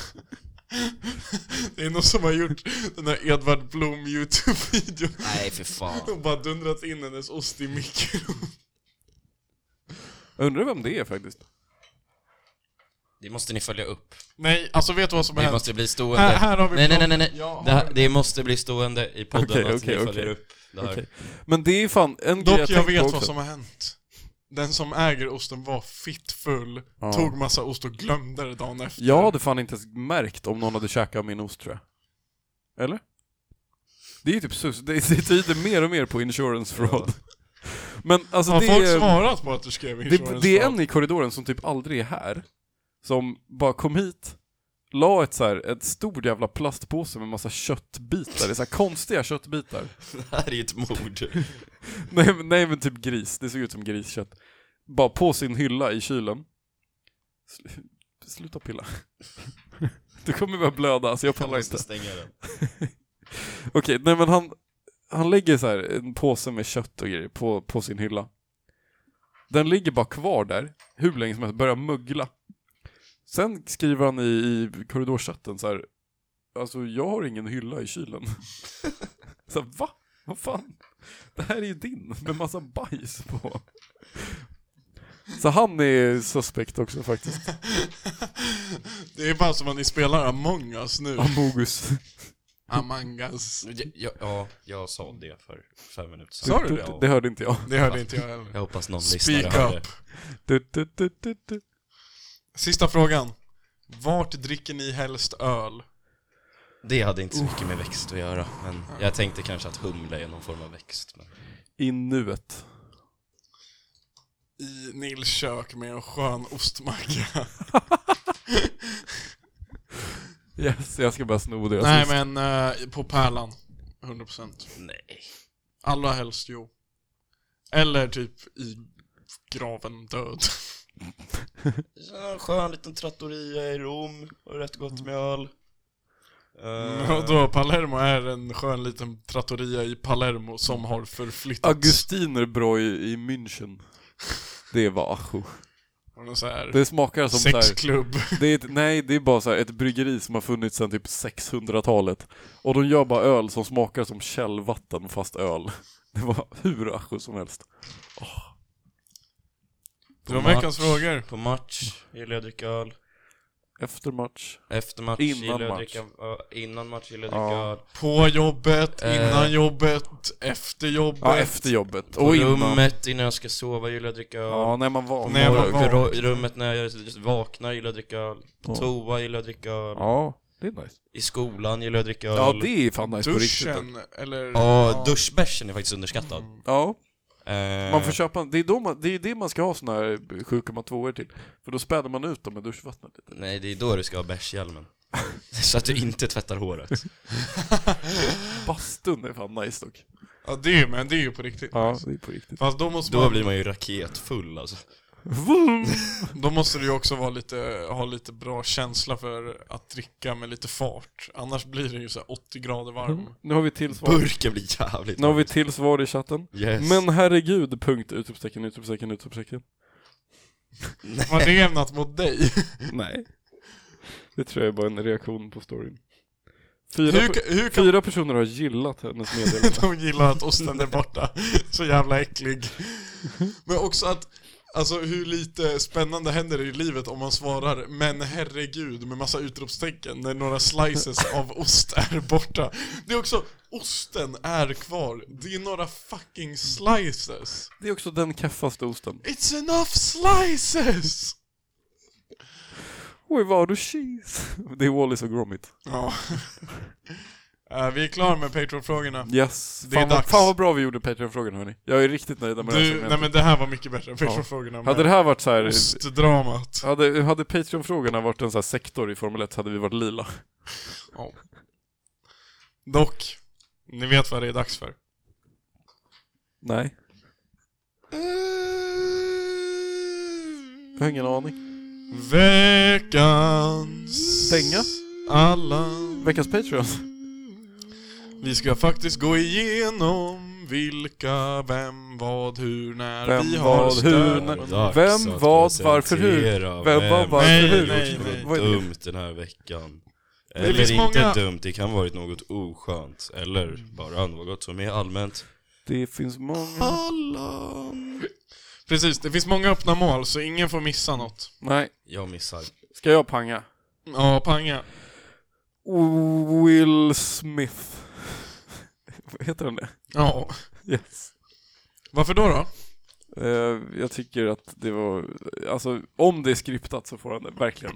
A: Det är någon som har gjort den där Edvard Blom YouTube-videon
C: Nej för fan.
A: och bara dundrat in hennes ost i mikron.
B: Jag undrar vem det är faktiskt.
C: Det måste ni följa upp.
A: Nej, alltså vet du vad som har
C: Det
A: hänt?
C: måste bli stående.
A: Här, här har vi
C: nej, nej, nej,
A: planen.
C: nej, nej.
A: Jag har
C: Det, här,
A: den.
C: det måste bli stående i podden
B: Okej,
C: att
B: okej,
C: ni följer
B: okej.
C: upp det här.
B: Okej. Men det är fan en grej
A: Dock
B: jag,
A: jag,
B: tänkt
A: vet
B: på
A: vad
B: också.
A: som har hänt. Den som äger osten var fittfull,
B: Ja.
A: tog massa ost och glömde det dagen efter.
B: Jag hade fan inte ens märkt om någon hade käkat min ost tror jag. Eller? Det är ju typ sus, det, det tyder mer och mer på insurance fraud. Men alltså
A: Har
B: det
A: folk
B: är...
A: svarat på att du skrev
B: Det,
A: insurance
B: det är
A: fraud?
B: en i korridoren som typ aldrig är här. Som bara kom hit, la ett så här, ett stor jävla plastpåse med massa köttbitar. Det är så här konstiga köttbitar.
C: Det här är ju ett mord.
B: Nej, men- nej men typ gris, det såg ut som griskött. Bara på sin hylla i kylen. Sl- Sluta pilla. Du kommer börja blöda, så jag
C: Jag
B: pallar inte.
C: måste stänga den.
B: Okej, nej men han, han lägger så här en påse med kött och grejer på, på sin hylla. Den ligger bara kvar där, hur länge som helst, börjar mögla. Sen skriver han i, i korridorchatten så här, alltså jag har ingen hylla i kylen. så här, va? Vad fan? Det här är ju din, med massa bajs på. Så han är suspekt också faktiskt,
A: Det är bara som att ni spelar Among Us nu.
B: Amogus.
A: Among Us.
C: Ja, Ja, ja, jag sa det för fem minuter sedan.
A: Sa du
B: Det hörde inte jag.
A: Det hörde inte jag heller.
C: Jag hoppas någon lyssnare
A: Speak
C: hörde.
A: up.
B: Du, du, du, du, du.
A: Sista frågan. Vart dricker ni helst öl?
C: Det hade inte så mycket med växt att göra, men jag tänkte kanske att humle är någon form av växt. Men...
B: I nuet.
A: I Nils kök med en skön ostmacka.
B: Yes, jag ska bara sno det.
A: Nej men eh, på Pärlan. 100%.
C: Nej.
A: Allra helst jo. Eller typ i graven död.
C: Ja, en skön liten trattoria i Rom och rätt gott
B: Mm.
C: med öl. Eh,
A: Och då Palermo är en skön liten trattoria i Palermo som har förflyttats.
B: Augustinerbräu i München. Det var ajo.
A: Och någon så här
B: Det smakar som så här,
A: sexklubb.
B: det är ett, Nej, det är bara så här ett bryggeri som har funnits sedan typ 600-talet. Och de gör bara öl som smakar som källvatten fast öl. Det var hur ajo som helst.
A: Det var veckans frågor.
C: På match gillar jag att dricka öl.
B: Efter match.
C: Efter match
B: Innan
C: gillar jag att
B: match.
C: dricka ö- Innan match gillar jag att dricka
B: Ja.
C: öl.
A: På jobbet,
C: Eh.
A: innan jobbet, efter jobbet.
B: Ja, efter jobbet.
C: På
B: Och innan.
C: rummet innan jag ska sova gillar jag att dricka öl.
B: Ja, när man var.
A: När jag var
C: På
A: vaken.
C: ro- I rummet när jag vaknar gillar jag att dricka öl. På
B: Ja.
C: toa gillar jag att dricka öl.
B: Ja, det är nice.
C: I skolan gillar jag att dricka öl.
B: Ja, det är fan nice på riktigt.
A: Duschen, eller...
C: Ja, duschbärsen är faktiskt underskattad.
B: Ja,
C: Eh,
B: Mm. man får köpa. Det är, då man, det är det man ska ha såna här 7,2 till. För då späder man ut dem med duschvattnet.
C: Nej, det är då du ska ha bärshjälmen. Så att du inte tvättar håret.
B: Bastun är fan nice dock.
A: Ja, det är ju, men det är ju på riktigt.
B: det är på riktigt.
A: Fast då måste
C: Då
A: man...
C: blir man ju raketfull alltså.
B: Vroom.
A: Då måste du ju också vara lite, ha lite bra känsla för att dricka med lite fart. Annars blir det ju så här 80 grader varm.
B: Nu har vi till svar.
C: Burken blir jävligt
B: Nu har
C: varm.
B: vi till svar i chatten.
C: Yes.
B: Men herregud, punkt, utropstecken, utropstecken, utropstecken.
A: Var det ämnat mot dig?
B: Nej. Det tror jag är bara en reaktion på storyn. Fyra,
A: Hur,
B: pe-
A: ka- hur kan
B: fyra personer har gillat hennes meddelande.
A: de gilla att osten är borta? Så jävla äcklig. Men också att, alltså hur lite spännande händer det i livet om man svarar 'Men herregud' med massa utropstecken när några slices av ost är borta. Det är också, osten är kvar. Det är några fucking slices.
B: Det är också den kaffaste osten.
A: It's enough slices!
B: Oj, vad har du cheese? Det är Wallis och Gromit.
A: Ja. Eh, vi är klara med Patreon-frågorna.
B: Yes,
A: Det är
B: fan, vad,
A: dags.
B: fan vad bra vi gjorde Patreon-frågan hörni. Jag är riktigt nöjd med det här
A: Du, nej
B: segmentet.
A: men det här var mycket bättre än Patreon-frågorna.
B: Hade det här varit så här,
A: Ostdramat.
B: hade, hade Patreon-frågorna varit en så här sektor i Formel 1 så hade vi varit lila.
A: Dock, ni vet vad det är dags för.
B: Nej. Jag har ingen aning.
A: Veckans...
B: Stänga?
A: Alla...
B: Veckans Patreon.
A: Vi ska faktiskt gå igenom vilka, vem, vad, hur, när
B: Vem,
A: vi har
B: vad, hur,
A: stöd.
B: när- Vem, vad, varför, hur? Vem, vad, varför,
A: Nej,
B: hur?
A: nej, nej.
B: Vad är det?
C: Dumt den här veckan.
A: Det
C: Eller
A: finns
C: inte
A: många-
C: dumt, det kan varit något oskönt. Eller bara något som är allmänt.
B: Det finns många...
C: Hallon.
A: Precis, det finns många öppna mål så ingen får missa något.
B: Nej,
C: Jag missar.
B: ska jag panga?
A: Ja, panga.
B: Will Smith. Vad heter den det?
A: Ja.
B: Yes.
A: Varför då då?
B: Eh, Jag tycker att det var, alltså om det är skriptat så får han det, verkligen.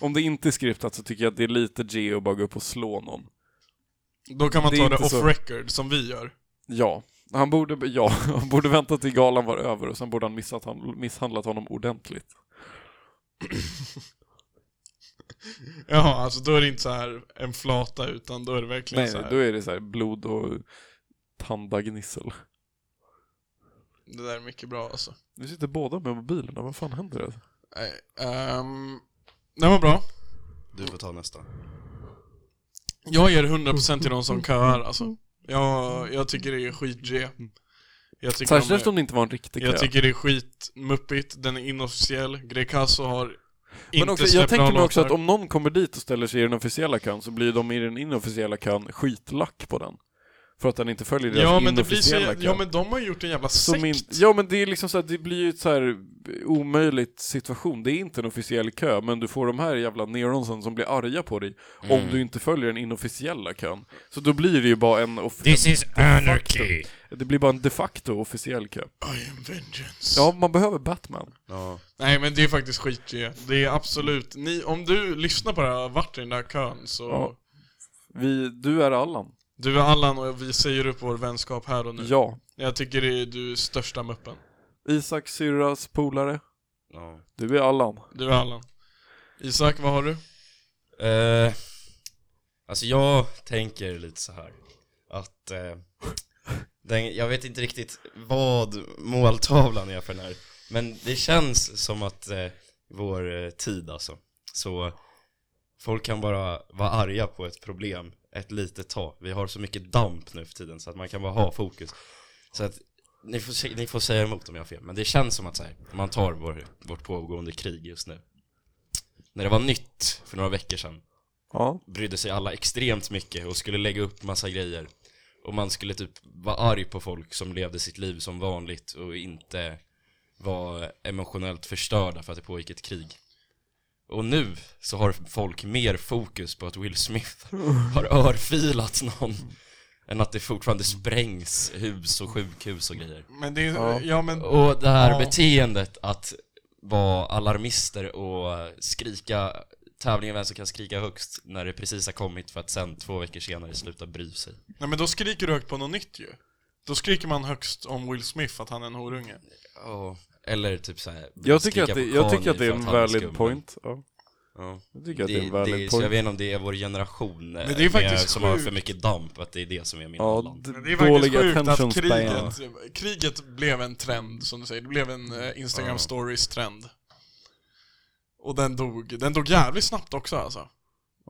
B: Om det inte är skriptat så tycker jag att det är lite G att bara gå upp och slå någon.
A: Då kan man
B: Det är
A: ta det
B: inte
A: off
B: så.
A: record, som vi gör.
B: Ja, han borde, ja, han borde vänta till galan var över och sen borde han missat han, misshandlat honom ordentligt.
A: Ja, alltså då är det inte så här en flata, utan då är det verkligen
B: Nej,
A: så här,
B: då är det så här blod och tandagnissel.
A: det där är mycket bra alltså.
B: Nu sitter båda med mobilerna, vad fan händer? Det?
A: Nej, ehm, det var bra.
C: Du får ta nästa.
A: Jag ger 100% till de som köar alltså. Jag, jag tycker det är skit-G. Jag tycker, de
B: Särskilt
A: är,
B: om det inte var en riktig kö.
A: jag tycker det är skitmuppigt, den är inofficiell. Greekazo har inte
B: Men också, jag
A: släppt några
B: tänker mig också
A: låtar.
B: att om någon kommer dit och ställer sig i den officiella kön så blir de i den inofficiella kön skitlack på den. För att den inte följer deras
A: Ja men, det blir så,
B: inofficiella kö.
A: ja men de har gjort en jävla sekt.
B: Som in, ja men det är liksom så här, det blir ju ett så här omöjligt situation. Det är inte en officiell kö, men du får de här jävla neronsen som blir arga på dig om
A: Mm.
B: du inte följer den inofficiella kön. Så då blir det ju bara en... Off-
C: is
B: anarchy. Det blir bara en de facto officiell kö.
A: I am vengeance.
B: Ja, man behöver Batman.
C: Ja.
A: Nej men det är faktiskt skit i det. Det är absolut, ni, om du lyssnar på det här och har varit i den där kön så
B: Ja. Vi, du är Allan.
A: Du är Allan och vi säger upp vår vänskap här och nu.
B: Ja.
A: Jag tycker det är du är största muppen.
B: Isak syrras polare.
C: ja.
B: Du är Allan.
A: Du är Allan. Isak, vad har du?
C: Eh, alltså jag tänker lite så här att eh, den, jag vet inte riktigt vad måltavlan är för den här, men det känns som att eh, vår eh, tid alltså, så folk kan bara vara arga på ett problem ett litet tag. Vi har så mycket damp nu för tiden så att man kan bara ha fokus. Så att ni får, se- ni får säga emot om jag har fel, men det känns som att så här, man tar vår, vårt pågående krig just nu. När det var nytt för några veckor sedan
B: Ja.
C: brydde sig alla extremt mycket och skulle lägga upp massa grejer. Och man skulle typ vara arg på folk som levde sitt liv som vanligt och inte var emotionellt förstörda för att det pågick ett krig. Och nu så har folk mer fokus på att Will Smith har örfilat någon än att det fortfarande sprängs hus och sjukhus och grejer.
A: Men det är, ja.
B: Ja.
A: men...
C: Och det här
A: Ja.
C: beteendet att vara alarmister och skrika tävlingen vem som kan skrika högst när det precis har kommit för att sen två veckor senare sluta bry sig.
A: Nej men då skriker du högt på något nytt ju. Då skriker man högst om Will Smith att han är en horunge.
B: Mm.
C: Eller typ såhär,
B: Jag tycker,
C: skrika
B: att det,
C: på
B: jag tycker att det är
C: Kanye
B: en
C: för att han
B: valid
C: skum.
B: point. Ja.
C: Ja.
B: Jag tycker
C: Det,
B: att det är en
C: det,
B: valid
C: så jag
B: point.
C: vet inte om det är vår generation eh,
A: Men det är faktiskt
C: med- som har
A: sjukt.
C: för mycket damp, att det är det som är min
B: Ja,
C: ja,
B: d-
A: Men det är faktiskt
B: dåliga
A: sjukt
B: attention
A: att
B: span.
A: kriget, kriget blev en trend, som du säger. Det blev en eh, Instagram
C: Ja.
A: stories-trend. Och den dog, den dog jävligt snabbt också alltså.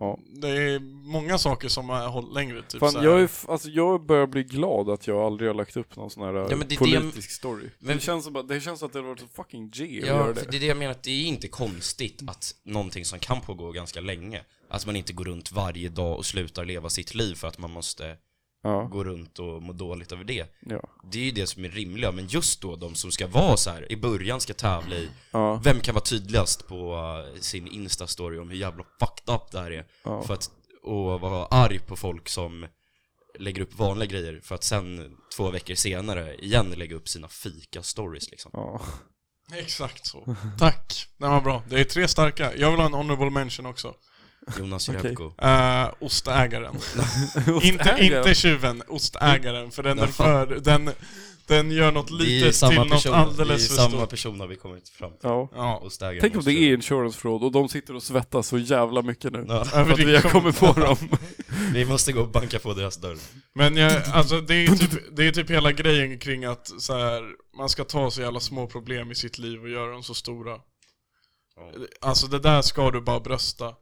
B: Ja.
A: Det är många saker som har hållit längre, typ så
B: Fan,
A: här.
B: jag, är, f- alltså, jag börjar bli glad att jag aldrig har lagt upp någon sån här
C: men det är
B: politisk story.
C: Men-
B: det, känns som att, det känns som att det hade varit så fucking G att
C: Ja,
B: göra
C: för
B: det.
C: det är det jag menar, att det är inte konstigt att någonting som kan pågå ganska länge, att man inte går runt varje dag och slutar leva sitt liv för att man måste
B: Ja,
C: gå runt och må dåligt över det.
B: ja,
C: Det är ju det som är rimliga, men just då de som ska vara så här i början ska tävla i
B: ja,
C: vem kan vara tydligast på eh, sin instastory om hur jävla fucked up det här är.
B: ja.
C: För att, och vara arg på folk som lägger upp vanliga grejer för att sen två veckor senare igen lägga upp sina fika-stories liksom.
B: ja.
A: Exakt så. Tack. Den var bra. Det är tre starka. Jag vill ha en honorable mention också.
C: Jonas
B: Okej.
C: Jerebko.
A: Eh, ostägaren. inte,
B: Ägaren.
A: inte tjuven, ostägaren. För den är
C: Ja.
A: för... Den, den gör något
C: Det är
A: litet till
C: samma
A: något
C: person, det är
A: alldeles för
C: samma
A: stort.
C: person har vi kommit fram till.
B: Ja.
A: Ja.
C: Och stägar
B: Tänk om
C: måste-
B: det är insurance fraud och de sitter och svettas så jävla mycket nu.
C: Ja,
B: För att vi har kommit på dem.
C: vi måste gå och banka på deras dörr.
A: Men jag, alltså det är, typ, det är typ hela grejen kring att så här, man ska ta så jävla små problem i sitt liv och göra dem så stora.
C: Ja.
A: Alltså det där ska du bara brösta.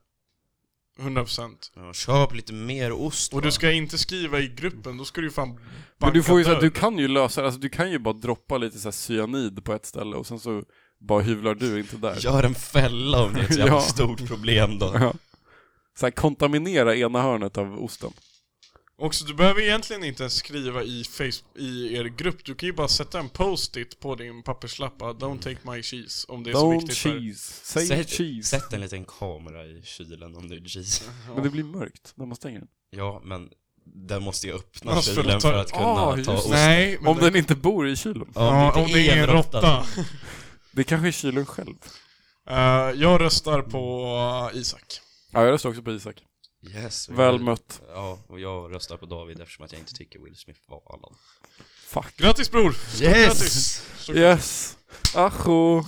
A: 100%.
C: Ja, köp lite mer ost
A: Och
C: va?
A: du ska inte skriva i gruppen, då ska du ju fan banka
B: Men du får ju så här,
A: dörr.
B: du kan ju lösa det, alltså du kan ju bara droppa lite så här cyanid på ett ställe och sen så bara hyvlar du inte där.
C: Gör en fälla om det är ett jävla
B: Ja.
C: stort problem då.
B: Ja. Så här, kontaminera ena hörnet av osten.
A: Också, du behöver egentligen inte ens skriva i, face, i er grupp, du kan ju bara sätta en post-it på din papperslapp att Don't take my cheese, om det är så
B: Don't
A: viktigt för dig.
B: cheese. Säg
C: Sätt-
B: cheese.
C: Sätt en liten kamera i kylen om du är cheese.
B: Men det blir mörkt när man stänger den.
C: Ja, men den måste ju öppna
A: Man skulle
C: kylen
A: ta-
C: för att kunna
B: Ah, just
C: ta
B: det.
C: ost.
A: Nej, men
B: Om den inte bor i kylen.
A: ja, om det är en råtta.
B: Det kanske är kylen själv.
A: Eh, jag röstar på eh, Isak.
B: Ja, jag röstar också på Isak.
C: Yes,
B: Väl mött.
C: Ja, och jag röstar på David eftersom att jag inte tycker Will Smith var Allan.
B: Fuck.
A: Grattis bror! Grattis! Så-
B: Yes. Ajo.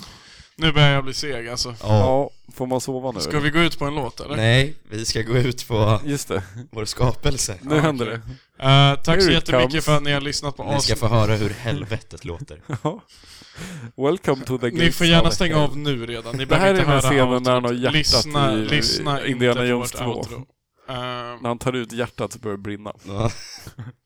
A: Nu börjar jag bli seg alltså.
C: Ja.
B: Ja, får man sova nu?
A: Ska vi gå ut på en låt eller?
C: Nej, vi ska gå ut på
B: Just det.
C: vår skapelse.
B: Nu
A: Ja,
B: händer
A: okej.
B: det.
A: Eh, tack så
B: Here it
A: jättemycket
B: comes.
A: för att ni har lyssnat på
C: Ni ska
A: avsnittet.
C: få höra hur helvetet låter.
B: Ja. Welcome to the
A: Ni
B: gates
A: får gärna
B: of
A: stänga
B: hell.
A: av nu redan, ni
B: Det här
A: behöver
B: är
A: inte
B: den här
A: höra
B: scenen när han har hjärtat
A: outrot. Lyssna,
B: i
A: lyssna
B: Indiana
A: inte på
B: Jones
A: vårt
B: 2.
A: outro. Eh,
B: När han tar ut hjärtat så börjar det brinna.
C: Ja.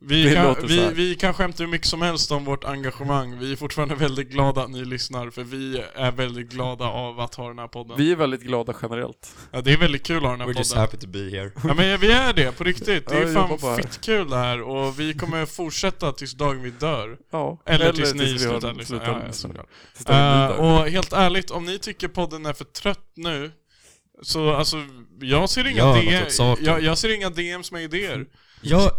A: Vi
B: Det
A: kan,
B: låter så
A: vi,
B: här.
A: vi kan skämta hur mycket som helst om vårt engagemang. Vi är fortfarande väldigt glada att ni lyssnar, för vi är väldigt glada av att ha den här podden.
B: Vi är väldigt glada generellt.
A: Ja, det är väldigt kul att ha den här
C: We're just
A: podden.
C: happy to be here.
A: Ja, men vi är det, på riktigt. Det
B: Ja,
A: är
B: jag jobbar
A: fan
B: bara här.
A: fitt kul det här, och vi kommer fortsätta tills dagen vi dör.
B: Ja.
A: Eller, tills ni
B: vi har-
A: slutar lyssna. Ja, ja,
B: slutar- liksom.
A: såklart.
B: tills dagen
A: liksom. Eh,
B: blir där.
A: och helt ärligt, om ni tycker podden är för trött nu, så alltså, jag ser inga,
C: Gör
A: DM,
C: något åt saken.
A: jag, jag ser inga DMs med idéer.
C: Jag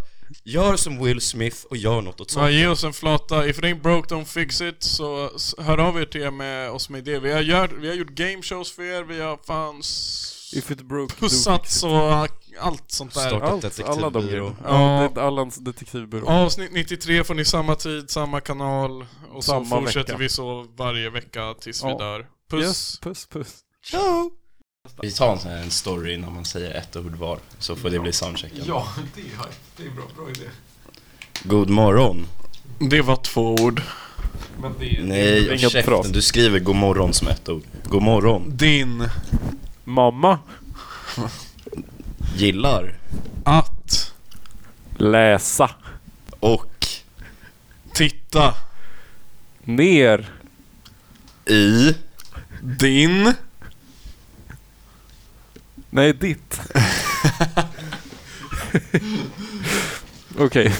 C: gör som Will Smith och gör något åt
A: Ja,
C: saken.
A: ge oss en flata. If it ain't broke, don't fix it. Så s- hör av er till er med oss med idéer. Vi har, gör, vi har gjort game shows för er, vi har fan s-
B: If it broke, do fix
A: pussat
B: it.
A: och allt sånt där.
C: Starta.
B: Allt,
C: Detektivbyrå.
B: alla de grejerna.
A: Ja.
B: Ja, det är Allans detektivbyrå.
A: Avsnitt 93 får ni samma tid, samma kanal och så
B: Samma
A: fortsätter
B: vecka.
A: vi så varje vecka tills vi
B: Ja.
A: dör. Puss!
B: Yes, puss, puss.
C: Ciao! Vi tar en sån här en story innan man säger ett ord var, så får det bli soundchecken.
A: Ja, det är, det är bra, bra idé.
C: God morgon.
A: Det var två ord.
C: Nej,
B: Inga
C: och käften,
B: prat.
C: du skriver god morgon som ett ord. God morgon.
A: Din.
B: Mamma.
C: Gillar.
A: Att.
B: Läsa.
C: Och.
A: Titta.
B: Ner.
C: I.
A: Din.
B: Nej, ditt. Okej.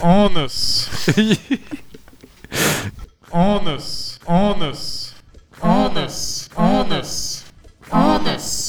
A: Anus. Anus. Anus. Anus. Anus. Anus.